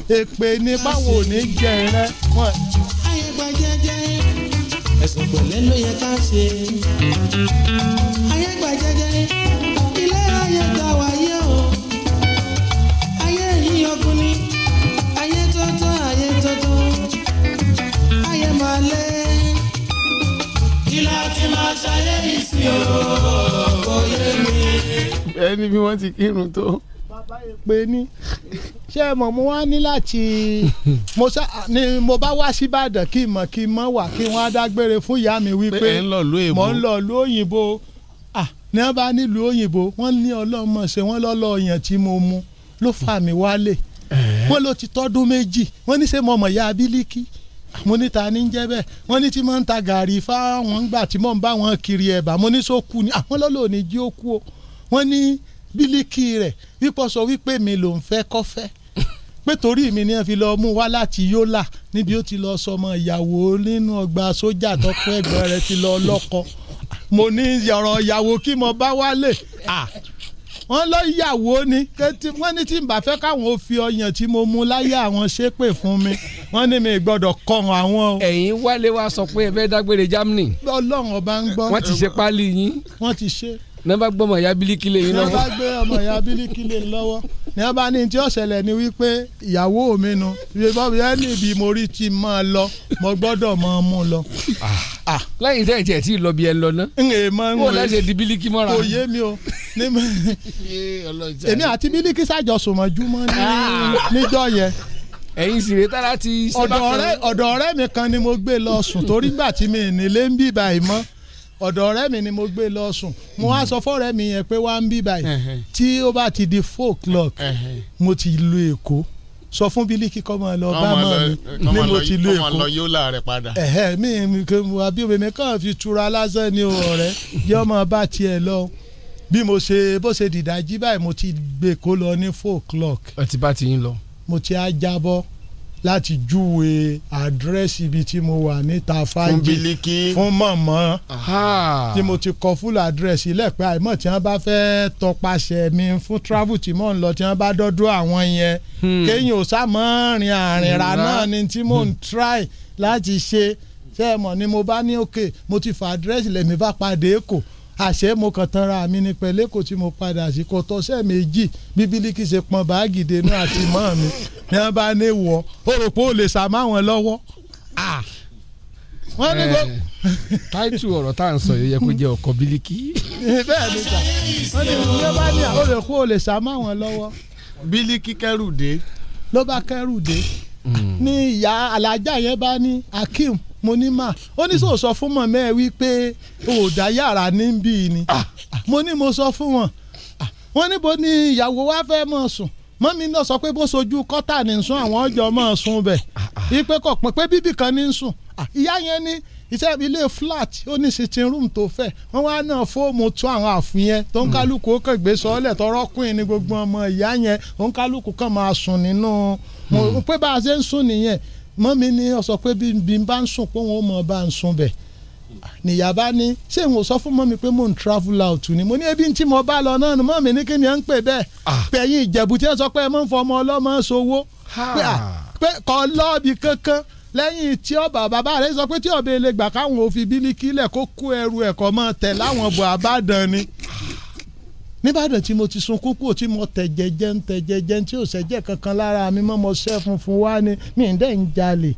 [SPEAKER 23] èpè ni báwo ò ní jẹ rẹ wọn.
[SPEAKER 6] Ayẹ̀gbà jẹ́jẹ́ ẹ̀sùn pẹ̀lẹ́ ló yẹ ká ṣe. Ayẹ̀gbà jẹ́jẹ́ ilé ayé ta wáyé o. Ayé yìí ọkùn ni ayé tọ́tọ́ ayé tọ́tọ́. Ayé máa lé. Kí la ti máa ṣayé yìí sí o? Kò yé mi.
[SPEAKER 19] ẹni bí wọ́n ti kírun tó.
[SPEAKER 23] pé ní ṣé ẹ mọ̀ mo wá ní láti mo sá ni mo bá wá síbàdàn kí n mọ̀ kí n mọ̀ wà kí n wá dágbére fún ìyá mi wípé
[SPEAKER 19] Pé ẹ̀ ń lọ ìlú èbó.
[SPEAKER 23] mo ń lọ ìlú òyìnbó ah ní wọ́n bá nílùú òyìnbó wọ́n ní ọlọ́mọ ṣe wọ́n lọ́lọ́ ọyàn tí mo mu ló fà mí wálé wọ́n ló ti tọ́dún méjì wọ́n ní ṣé mo mọ̀ ya abílíkì mo ní ta ní jẹ́ bẹ́ẹ̀ wọ́n ní tí mo ń ta gàrí fáwọn gbà tí mo ń bá wọn kiri ẹ̀bà mo ní sókù ni àwọn lọ́lọ́ ò ní jí ó kú o wọ́n ní bílíkì rẹ̀ wípọ̀ sọ wípé mi ló ń fẹ́ kọ́fẹ́ pé torí mi ni wọ́n fi lọ mú wá láti yólà níbi ó ti lọ sọmọ ìyàwó nínú ọgbà sójà tọkọ ẹ̀gbọ́n rẹ̀ ti lọ lọ́kọ mo ní ọ̀rọ̀ ìyàwó kí mo bá wálé ah wọ́n lọ yàwó ni ké tí- wọ́n ní tí n bá fẹ́ káwọn ò fi ọyàn tí mo mú láyé àwọn ṣépè fún mi wọ́n ní mi gbọ́dọ̀ kọrùn àwọn o.
[SPEAKER 5] ẹ̀yin wálé wa sọ pé ẹ fẹ́ dágbére germany.
[SPEAKER 23] ọlọ́run ọba ń gbọ́.
[SPEAKER 5] wọ́n ti ṣe páálí yín.
[SPEAKER 23] wọ́n ti ṣe.
[SPEAKER 5] nọ́mbà gbọ́mọ̀ ya bílíkì lè yín
[SPEAKER 23] ní wọ́n
[SPEAKER 5] lọ́wọ́.
[SPEAKER 23] bá gbé ọmọ ìyá bílíkì lè lọ́wọ́ ní wọ́n bá ní tí ó ṣẹlẹ̀ ni wípé ìyàwó mi nu ìbọn mi ẹ́ níbi mo rí ti máa lọ mo gbọ́dọ̀ máa mú lọ.
[SPEAKER 5] Ah, lẹ́yìn tẹ́ ẹ̀ tiẹ̀ tí ì lọ bí ẹ lọ ná.
[SPEAKER 23] n è mọ n
[SPEAKER 5] wò lẹ́sẹ̀ di bílíkì mọ́ra.
[SPEAKER 23] kò yé mi o ní mo- èmi àti bílíkì sàjọsùn mọ́júmọ́ ní- níjọ́ yẹn
[SPEAKER 5] ẹ̀yin sì rè tára ti. ṣe
[SPEAKER 23] ọ̀dọ̀
[SPEAKER 5] bákan.
[SPEAKER 23] ọ̀rẹ́ ọ̀dọ̀ ọ̀rẹ́ mi kan ni mo gbé lọ sùn torí gbà tí mi ì nílé ń bì báyìí mọ́ ọ̀dọ̀ ọ̀rẹ́ mi ni mo gbé lọ sùn mo wá sọ fọ́rẹ́ mi yẹn pé wá ń bì báyìí tí ó bá ti di four o'clock mo ti lu èkó sọ fún bílíkì kọ́ máa lọ bá mọ́ mi ni mo ti lu èkó
[SPEAKER 19] lọ yóò láàrẹ̀ padà.
[SPEAKER 23] ẹ̀hẹ́ mi mi kò mú àbí omi mi kàn fi tura lásán ni o ọ̀rẹ́ jẹ́ ọmọ bá tiẹ̀ lọ bí mo ṣe bó ṣe dìdájí báyìí mo ti gbé kó lọ ní four o'clock
[SPEAKER 5] ọtí bá ti yín lọ.
[SPEAKER 23] mo ti á jábọ́ láti júwe àdírẹ́sì ibi tí mo wà níta fájì
[SPEAKER 19] Bílíkì.
[SPEAKER 23] fún mọ̀mọ́ tí mo ti kọ fúlù àdírẹ́sì lẹ́pẹ́ àìmọ̀ tí wọ́n bá fẹ́ tọpasẹ̀ mi fún travel tí mò ń lọ tí wọ́n bá dọ́dọ́ àwọn yẹn kéèyàn ò sámọ́ rin àrìnrà
[SPEAKER 5] Rárá.
[SPEAKER 23] náà ni tí mò ń try láti ṣe ṣé ẹ mọ̀ ni mo bá ní òkè mo ti fa àdírẹ́sì lẹ́mi bá padà èkó àṣé mo kàn tanra mi ni pẹ̀lú èkó tí mo padà sí kò tọ́sẹ̀ méjì bíbélì kì í ṣe pọn báàgì dènú àti mọ́ mi ni wọ́n bá ní wọ̀ ó rò pé ó lè sàmáwọn lọ́wọ́
[SPEAKER 5] Ah.
[SPEAKER 23] wọ́n ní gbogbo
[SPEAKER 5] táìtù ọ̀rọ̀ tá à ń sọ yìí yẹ kó jẹ́ ọkọ̀ bílíkì.
[SPEAKER 23] bẹ́ẹ̀ ni sà wọ́n ní bí wọ́n bá ní àwọn olùkú olè sá mọ́ àwọn lọ́wọ́.
[SPEAKER 19] bílíkì kẹrù dé.
[SPEAKER 23] ló bá kẹrù dé ní ìyá alájà yẹn bá ní akeem mo ní mà ó ní sọ sọ fún mọ̀mọ́ ẹ wípé òòdà yàrá níbí ni mo ní mo sọ fún wọn Ah, wọ́n níbo ni ìyàwó wa fẹ́ mọ̀ sùn mọ́mí náà sọ pé bó sojú kọ́tà ní sùn àwọn ọjọ́ mọ̀ sùn bẹ̀ ipe kọ̀ pọ̀ pé bíbí kan ní sùn Ah, ìyá yẹn ní iṣẹ́ ilé flat ó ní sitting room tó fẹ̀ wọ́n wá náà fóòmù tún àwọn àfin yẹn tó ń kálukú ó kàn gbé sọ́ọ́lẹ̀ tọrọ kùn ní gbogbo ọmọ ìyá yẹn ó ń kálukú kàn máa sùn nínú mo- pé bá a ṣe ń sùn nìyẹn mọ́mí ni ó sọ pé bí n bá ń sùn pé òun ó mọ̀ bá ń sùn bẹ̀ nìyá bá ní ṣé n ò sọ fún mọ́mi pé mò ń travel out ni mo ní ebi tí mo bá lọ náà ni mọ́mi ní kí ni à ń pè bẹ́ẹ̀ pé ẹ̀yin ìjẹ̀bù tí ẹ sọ pé ẹ mọ̀ ń fọmọ ọlọ́mọ ṣòwò pé à, pé kọ́ lọ́ọ̀bì kankan lẹ́yìn tí ọba bàbá rẹ̀ sọ pé tí ọba ilé gbà káwọn òfin bílíkì lẹ̀ kó kó ẹrù ẹ̀kọ́ mọ́ tẹ̀ láwọn bò àbádàn ni níbàdàn tí mo ti sunkún kúrò tí mo tẹ̀ jẹ́jẹ́ ń tẹ̀ jẹ́jẹ́ tí ò sẹ́jẹ́ kankan lára mi mọ́ mo ṣẹ́ funfun wá ni mi ń dẹ̀ ń jalè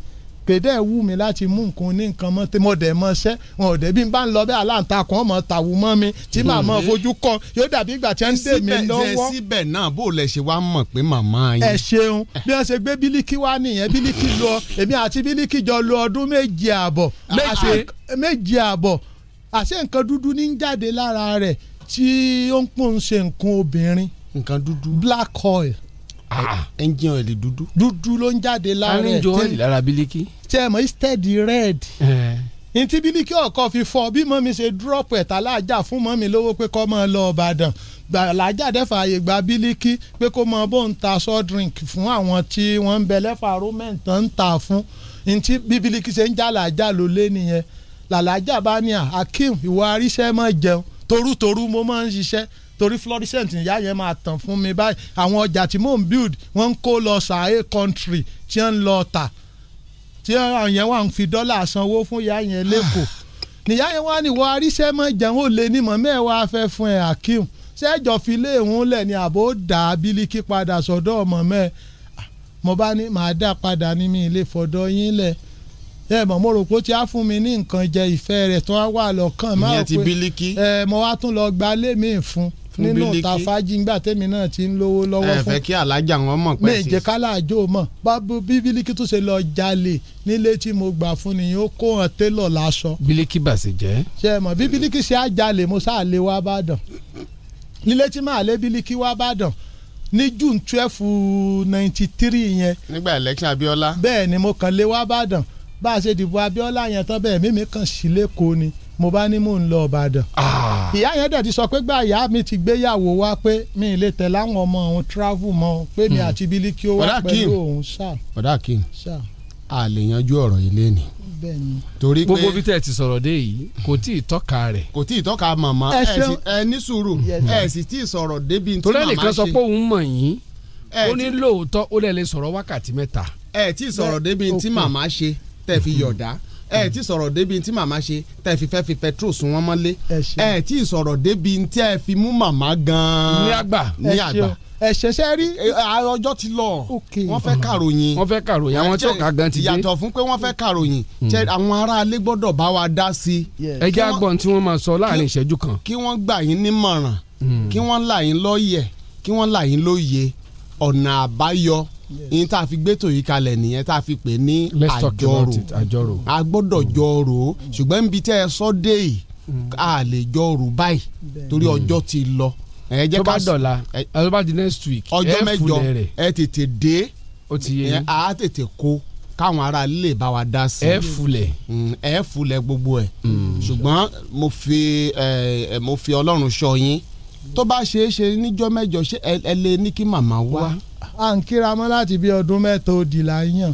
[SPEAKER 23] kèdè wù mí láti mú nǹkan ní nǹkan mọ́ tí mo dẹ̀ mọ́ ṣẹ́ wọn ò dẹ̀ bí n bá ń lọ bẹ́ẹ̀ aláǹtakùn ọmọ tàwù mọ́ mi tí màá mọ fojú kọ yóò dàbí ìgbà tí wọ́n ń dè mí lọ́wọ́.
[SPEAKER 19] síbẹ̀ náà bó o lẹ ṣe wá mọ̀ pé màmá yín.
[SPEAKER 23] ẹ ṣeun bí wọ́n ṣe gbé bílíkì wá nìyẹn bílíkì lọ èmi àti bílíkì jọ lọ ọdún méje àbọ̀ àṣẹ- méje àbọ̀ àṣẹ nǹkan dúdú ní ń jáde lára rẹ̀ tí ó ń pòun ṣe nǹkan obìnrin.
[SPEAKER 19] nǹkan dúdú. Ah,
[SPEAKER 23] black oil
[SPEAKER 19] ẹnjìn ọ̀lẹ̀ dúdú.
[SPEAKER 23] dúdú ló ń jáde lára rẹ̀
[SPEAKER 5] arínjọ ọ̀lẹ̀ lára bílíkì.
[SPEAKER 23] tí ẹ mọ̀ instead red ntí bílíkì ọkọ fi fọ bí mọ́mi ṣe dúrọ́pù ẹ̀ta láàjà fún mọ́mi lówó pé kọ́ máa lọ Ìbàdàn làájà dẹ́fà àyè gba bílíkì pé kó máa bó ń ta soft drink fún àwọn tí wọ́n ń bẹ lẹ́fà romaine tó ń ta fún ntí bí bílíkì ṣe ń já làájà ló lé nìyẹn làlájà bá ní à Akeem ìwọ aríṣẹ́ máa jẹun torútorú mo máa ń ṣiṣẹ́ torí florissant ìyá yẹn máa tàn fún mi báyìí àwọn ọjà tí mò ń build wọ́n ń kó lọ sàáyé country tí wọ́n ń lọ tà tí àwọn yẹn wà ń fi dọ́là sanwó fún ìyá yẹn lẹ́kọ̀ọ́ níyà yẹn wá ní wọ́n aríṣẹ́ mọ́ jẹun ó lé ní mọ̀ mẹ́wàá fẹ́ fún ẹ̀ Akeem ṣẹ́jọ́ fi lé ìhun lẹ̀ ni àbó dà á bílíkì padà sọ́dọ̀ ọmọ mẹ́ ẹ̀ mo bá ní màá dà padà ní mi ilé fọ̀dọ̀ yín lẹ̀ ẹ mọ̀ mo rò pé ó ti á fún mi ní nǹkan jẹ ìfẹ́ rẹ̀ tó wá wà lọ́kàn máa
[SPEAKER 19] Ìyẹn ti
[SPEAKER 23] rò pé-
[SPEAKER 19] bílíkì.
[SPEAKER 23] ẹ mo wá tún lọ gba lémi fún
[SPEAKER 19] Fún
[SPEAKER 23] nínú
[SPEAKER 19] bílíkì.
[SPEAKER 23] ìta fájíngbà tèmi náà ti ń lówó lọ́wọ́
[SPEAKER 19] ẹ
[SPEAKER 23] fún
[SPEAKER 19] fẹ́ kí alájà wọn mọ̀ pé
[SPEAKER 23] méje kálá àjò mọ̀ bábú bí bílíkì tó ṣe lọ jalè nílé tí mo gbà fún ni ó kó hàn télọ̀ láṣọ.
[SPEAKER 5] bílíkì bàṣẹ jẹ́.
[SPEAKER 23] ṣe é mọ̀ bí bílíkì ṣe á jalè mo sáà lé wá bàdàn nílé tí màá lé bílíkì wá bàdàn ní june twelve ninety three yẹn
[SPEAKER 19] nígbà election Abiola.
[SPEAKER 23] bẹ́ẹ̀ ni mo kàn lé wá bàdàn bá a ṣe dìbò Abiola yẹn tán bẹ́ẹ̀ mímí kan sí lẹ́kọ̀ọ́ ni mo bá ní mò ń lọ Ìbàdàn.
[SPEAKER 19] Ah.
[SPEAKER 23] ìyá yẹn dẹ̀ ti sọ pé gba ìyá mi ti gbéyàwó wá pé mi ì lè tẹ̀ láwọn ọmọ òun travel mọ́ o, pé mi àti bílíkì ó
[SPEAKER 19] Bọ̀dá
[SPEAKER 23] wá
[SPEAKER 19] Hmm. Akeem.
[SPEAKER 23] pẹ̀lú òun ṣáà
[SPEAKER 19] bọ̀dá Akeem
[SPEAKER 23] ṣáà
[SPEAKER 19] a lè yanjú ọ̀rọ̀ yìí lẹ́ni.
[SPEAKER 23] bẹ́ẹ̀ ni.
[SPEAKER 19] torí pé
[SPEAKER 5] gbogbo bí tẹ̀ ti sọ̀rọ̀ dé yìí kò tí ì tọ́ka rẹ̀.
[SPEAKER 19] kò tí ì tọ́ka màmá
[SPEAKER 5] Ẹ
[SPEAKER 19] ẹ
[SPEAKER 5] ṣeun.
[SPEAKER 19] sì- ẹ ní sùúrù ẹ sì tí ì sọ̀rọ̀ débi tí
[SPEAKER 5] torí
[SPEAKER 19] màmá ṣe.
[SPEAKER 5] ẹnìkan sọ pé òun mọ̀ yín
[SPEAKER 19] Ẹ
[SPEAKER 5] ó ní lóòótọ́ ó lẹ̀ lè sọ̀rọ̀ wákàtí mẹ́ta.
[SPEAKER 19] ẹ tí ì sọ̀rọ̀ débi tí màmá ṣe tẹ̀ fi yọ̀dá ẹ tí ì sọ̀rọ̀ débi tí màmá ṣe tẹ̀ fi fẹ́ fi petrol sun wọn mọ́lé ẹ tí ì sọ̀rọ̀ débi tí ẹ fi mú màmá gan-an
[SPEAKER 5] Ní àgbà.
[SPEAKER 19] ní
[SPEAKER 5] Ẹ
[SPEAKER 19] àgbà
[SPEAKER 5] ṣeun.
[SPEAKER 23] ẹ̀ṣẹ̀ ṣe rí.
[SPEAKER 19] ọjọ́ ti lọ wọ́n fẹ́ kàròyìn
[SPEAKER 5] wọ́n fẹ́ kàròyìn àwọn tí
[SPEAKER 19] Jẹ́-
[SPEAKER 5] ọ̀ka gan ti dé. Hmm.
[SPEAKER 19] yàtọ̀ fún pé wọ́n fẹ́ kàròyìn jẹ́ àwọn aráalé gbọ́dọ̀ bá wa dá sí i
[SPEAKER 5] ẹ jẹ́ àgbọ̀n tí wọ́n máa sọ láàrin ìṣẹ́jú kan. Hmm.
[SPEAKER 19] kí wọ́n gbà yín nímọ̀ràn kí wọ́n là yín lọ́yẹ̀ kí wọ́n là yín lóye ọ̀nà àbáyọ yín tá a fi gbẹ́tò yìí kalẹ̀ nìyẹn tá a fi pè ní
[SPEAKER 5] Let's talk about
[SPEAKER 19] àjọrò
[SPEAKER 5] it, àjọrò. Mm.
[SPEAKER 19] a gbọ́dọ̀ jọrò ó ṣùgbọ́n níbi tẹ́ ẹ sọ dé yìí a lè jọrò báyìí torí ọjọ́ ti lọ ẹ jẹ́
[SPEAKER 5] tó
[SPEAKER 19] ká
[SPEAKER 5] bá dọ̀la tó bá di next week
[SPEAKER 19] ọjọ́
[SPEAKER 5] ẹ
[SPEAKER 19] mẹ́jọ
[SPEAKER 5] fúnlẹ̀ rẹ̀
[SPEAKER 19] ẹ tètè dé
[SPEAKER 5] ó ti yé yín.
[SPEAKER 19] ẹ á tètè kó káwọn ará ilé bá wa dá sí i.
[SPEAKER 5] Ẹ fúnlẹ̀. Mm.
[SPEAKER 19] Mm, ẹ fúnlẹ̀ gbogbo ẹ̀ ṣùgbọ́n mo fi ẹ, ẹ, mo fi ọlọ́run ṣọ́ yín tó bá ṣeé ṣe níjọ́ mẹ́jọ ṣé ẹ ẹ lè ní kí màmá wá.
[SPEAKER 23] à ń kíra mọ́ láti bí ọdún mẹ́ta ó di la yàn.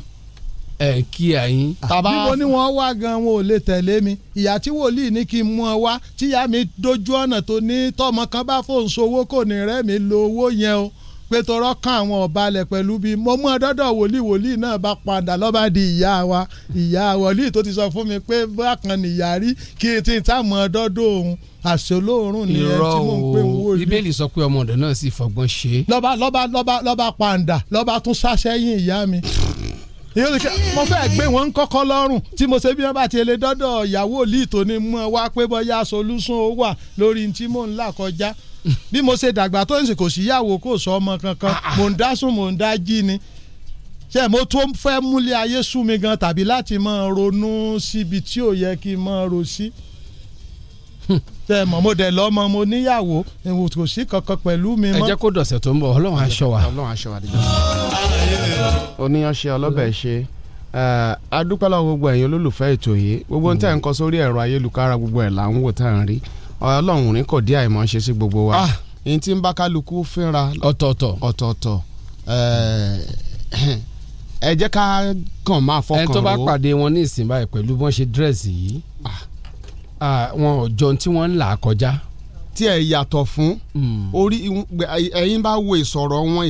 [SPEAKER 5] ẹ kí àyín.
[SPEAKER 23] níbo ni wọ́n wá gan wọn ò lè tẹ̀lé mi ìyá tí wòlíì ní kí n mú ọ wá tíyá mi dojú ọ̀nà tó ní tọmọ kan bá fòun sowó kò ní rẹ́ mi lo owó yẹn o pé torọ́ kan àwọn ọ̀balẹ̀ pẹ̀lú bí mo mú ọ dọ́dọ̀ wòlíì wòlíì náà bá padà lọ́ba di ìyá wa ìyá wòlíì tó ti sọ fún mi pé bákan nìyá rí kí n ti ta mọ́ ọ dọ́dọ̀ òun àṣolóorùn ni ẹ
[SPEAKER 5] irọ́
[SPEAKER 23] tí mò ń pè ń
[SPEAKER 5] o
[SPEAKER 23] wò yìí
[SPEAKER 5] bíbélì sọ pé ọmọ ọ̀dọ̀ náà sì fọgbọ́n ṣe é.
[SPEAKER 23] lọ́ba lọ́ba lọ́ba lọ́ba pàǹdà lọ́ba tún sáṣẹ́yìn ìyá mi. Èyí ni kí- mo fẹ́ gbé wọn ń kọ́kọ́ lọ́rùn tí mo ṣe bí wọ́n bá ti lè dọ́dọ̀ ìyàwó òlì tó ní mú ẹ wá pé bọ́yá solúsùn ó wà lórí tí mò ń là kọjá. Bí mo ṣe dàgbà tó ń sìn kò síyàwó kò sọ ọmọ kankan mò ń dá sùn mò ń dá jí ni ṣe mo tó fẹ́ múlé ayé sú mi gan tàbí láti máa ronú síbi tí ò yẹ kí n máa ro sí.
[SPEAKER 5] Hmm.
[SPEAKER 23] ṣe mọ̀ mo dẹ̀ lọ́mọ mo níyàwó kò sí kankan pẹ̀lú mi
[SPEAKER 5] ẹ
[SPEAKER 23] mọ́.
[SPEAKER 5] jẹ́ kó dọ̀sẹ̀ tó ń bọ̀ ọlọ́run aṣọ wa.
[SPEAKER 19] ọlọ́run aṣọ wa dídá. oníyanṣẹ́ ọlọ́bẹ̀ ṣe adúpẹ́ lọ́wọ́ gbogbo ẹ̀yin olólùfẹ́ ètò yìí gbogbo ń tẹ̀ ń kọ sórí ẹ̀rọ ayélujára gbogbo ẹ̀ là ń wò tá à ń rí ọlọ́run ní kò dí àìmọ̀ ṣe sí gbogbo wa èyí tí ń bá kálukú fínra
[SPEAKER 5] Ah! ọ̀tọ̀ọ̀tọ̀
[SPEAKER 19] ọ̀tọ̀ọ̀tọ̀ ẹ jẹ́ ká kàn máa fọkàn
[SPEAKER 5] ẹni tó bá
[SPEAKER 19] rò ó.
[SPEAKER 5] pàdé wọn ní ìsìn báyìí pẹ̀lú bọ́n ṣe dírẹ́sì yìí ah, wọn ò jọ ohun tí wọ́n ń là kọjá. Hmm.
[SPEAKER 19] tí ẹ yàtọ̀ fún orí ìwọ̀n- gbẹ- ẹ̀yin bá wo ìsọ̀rọ̀ wọn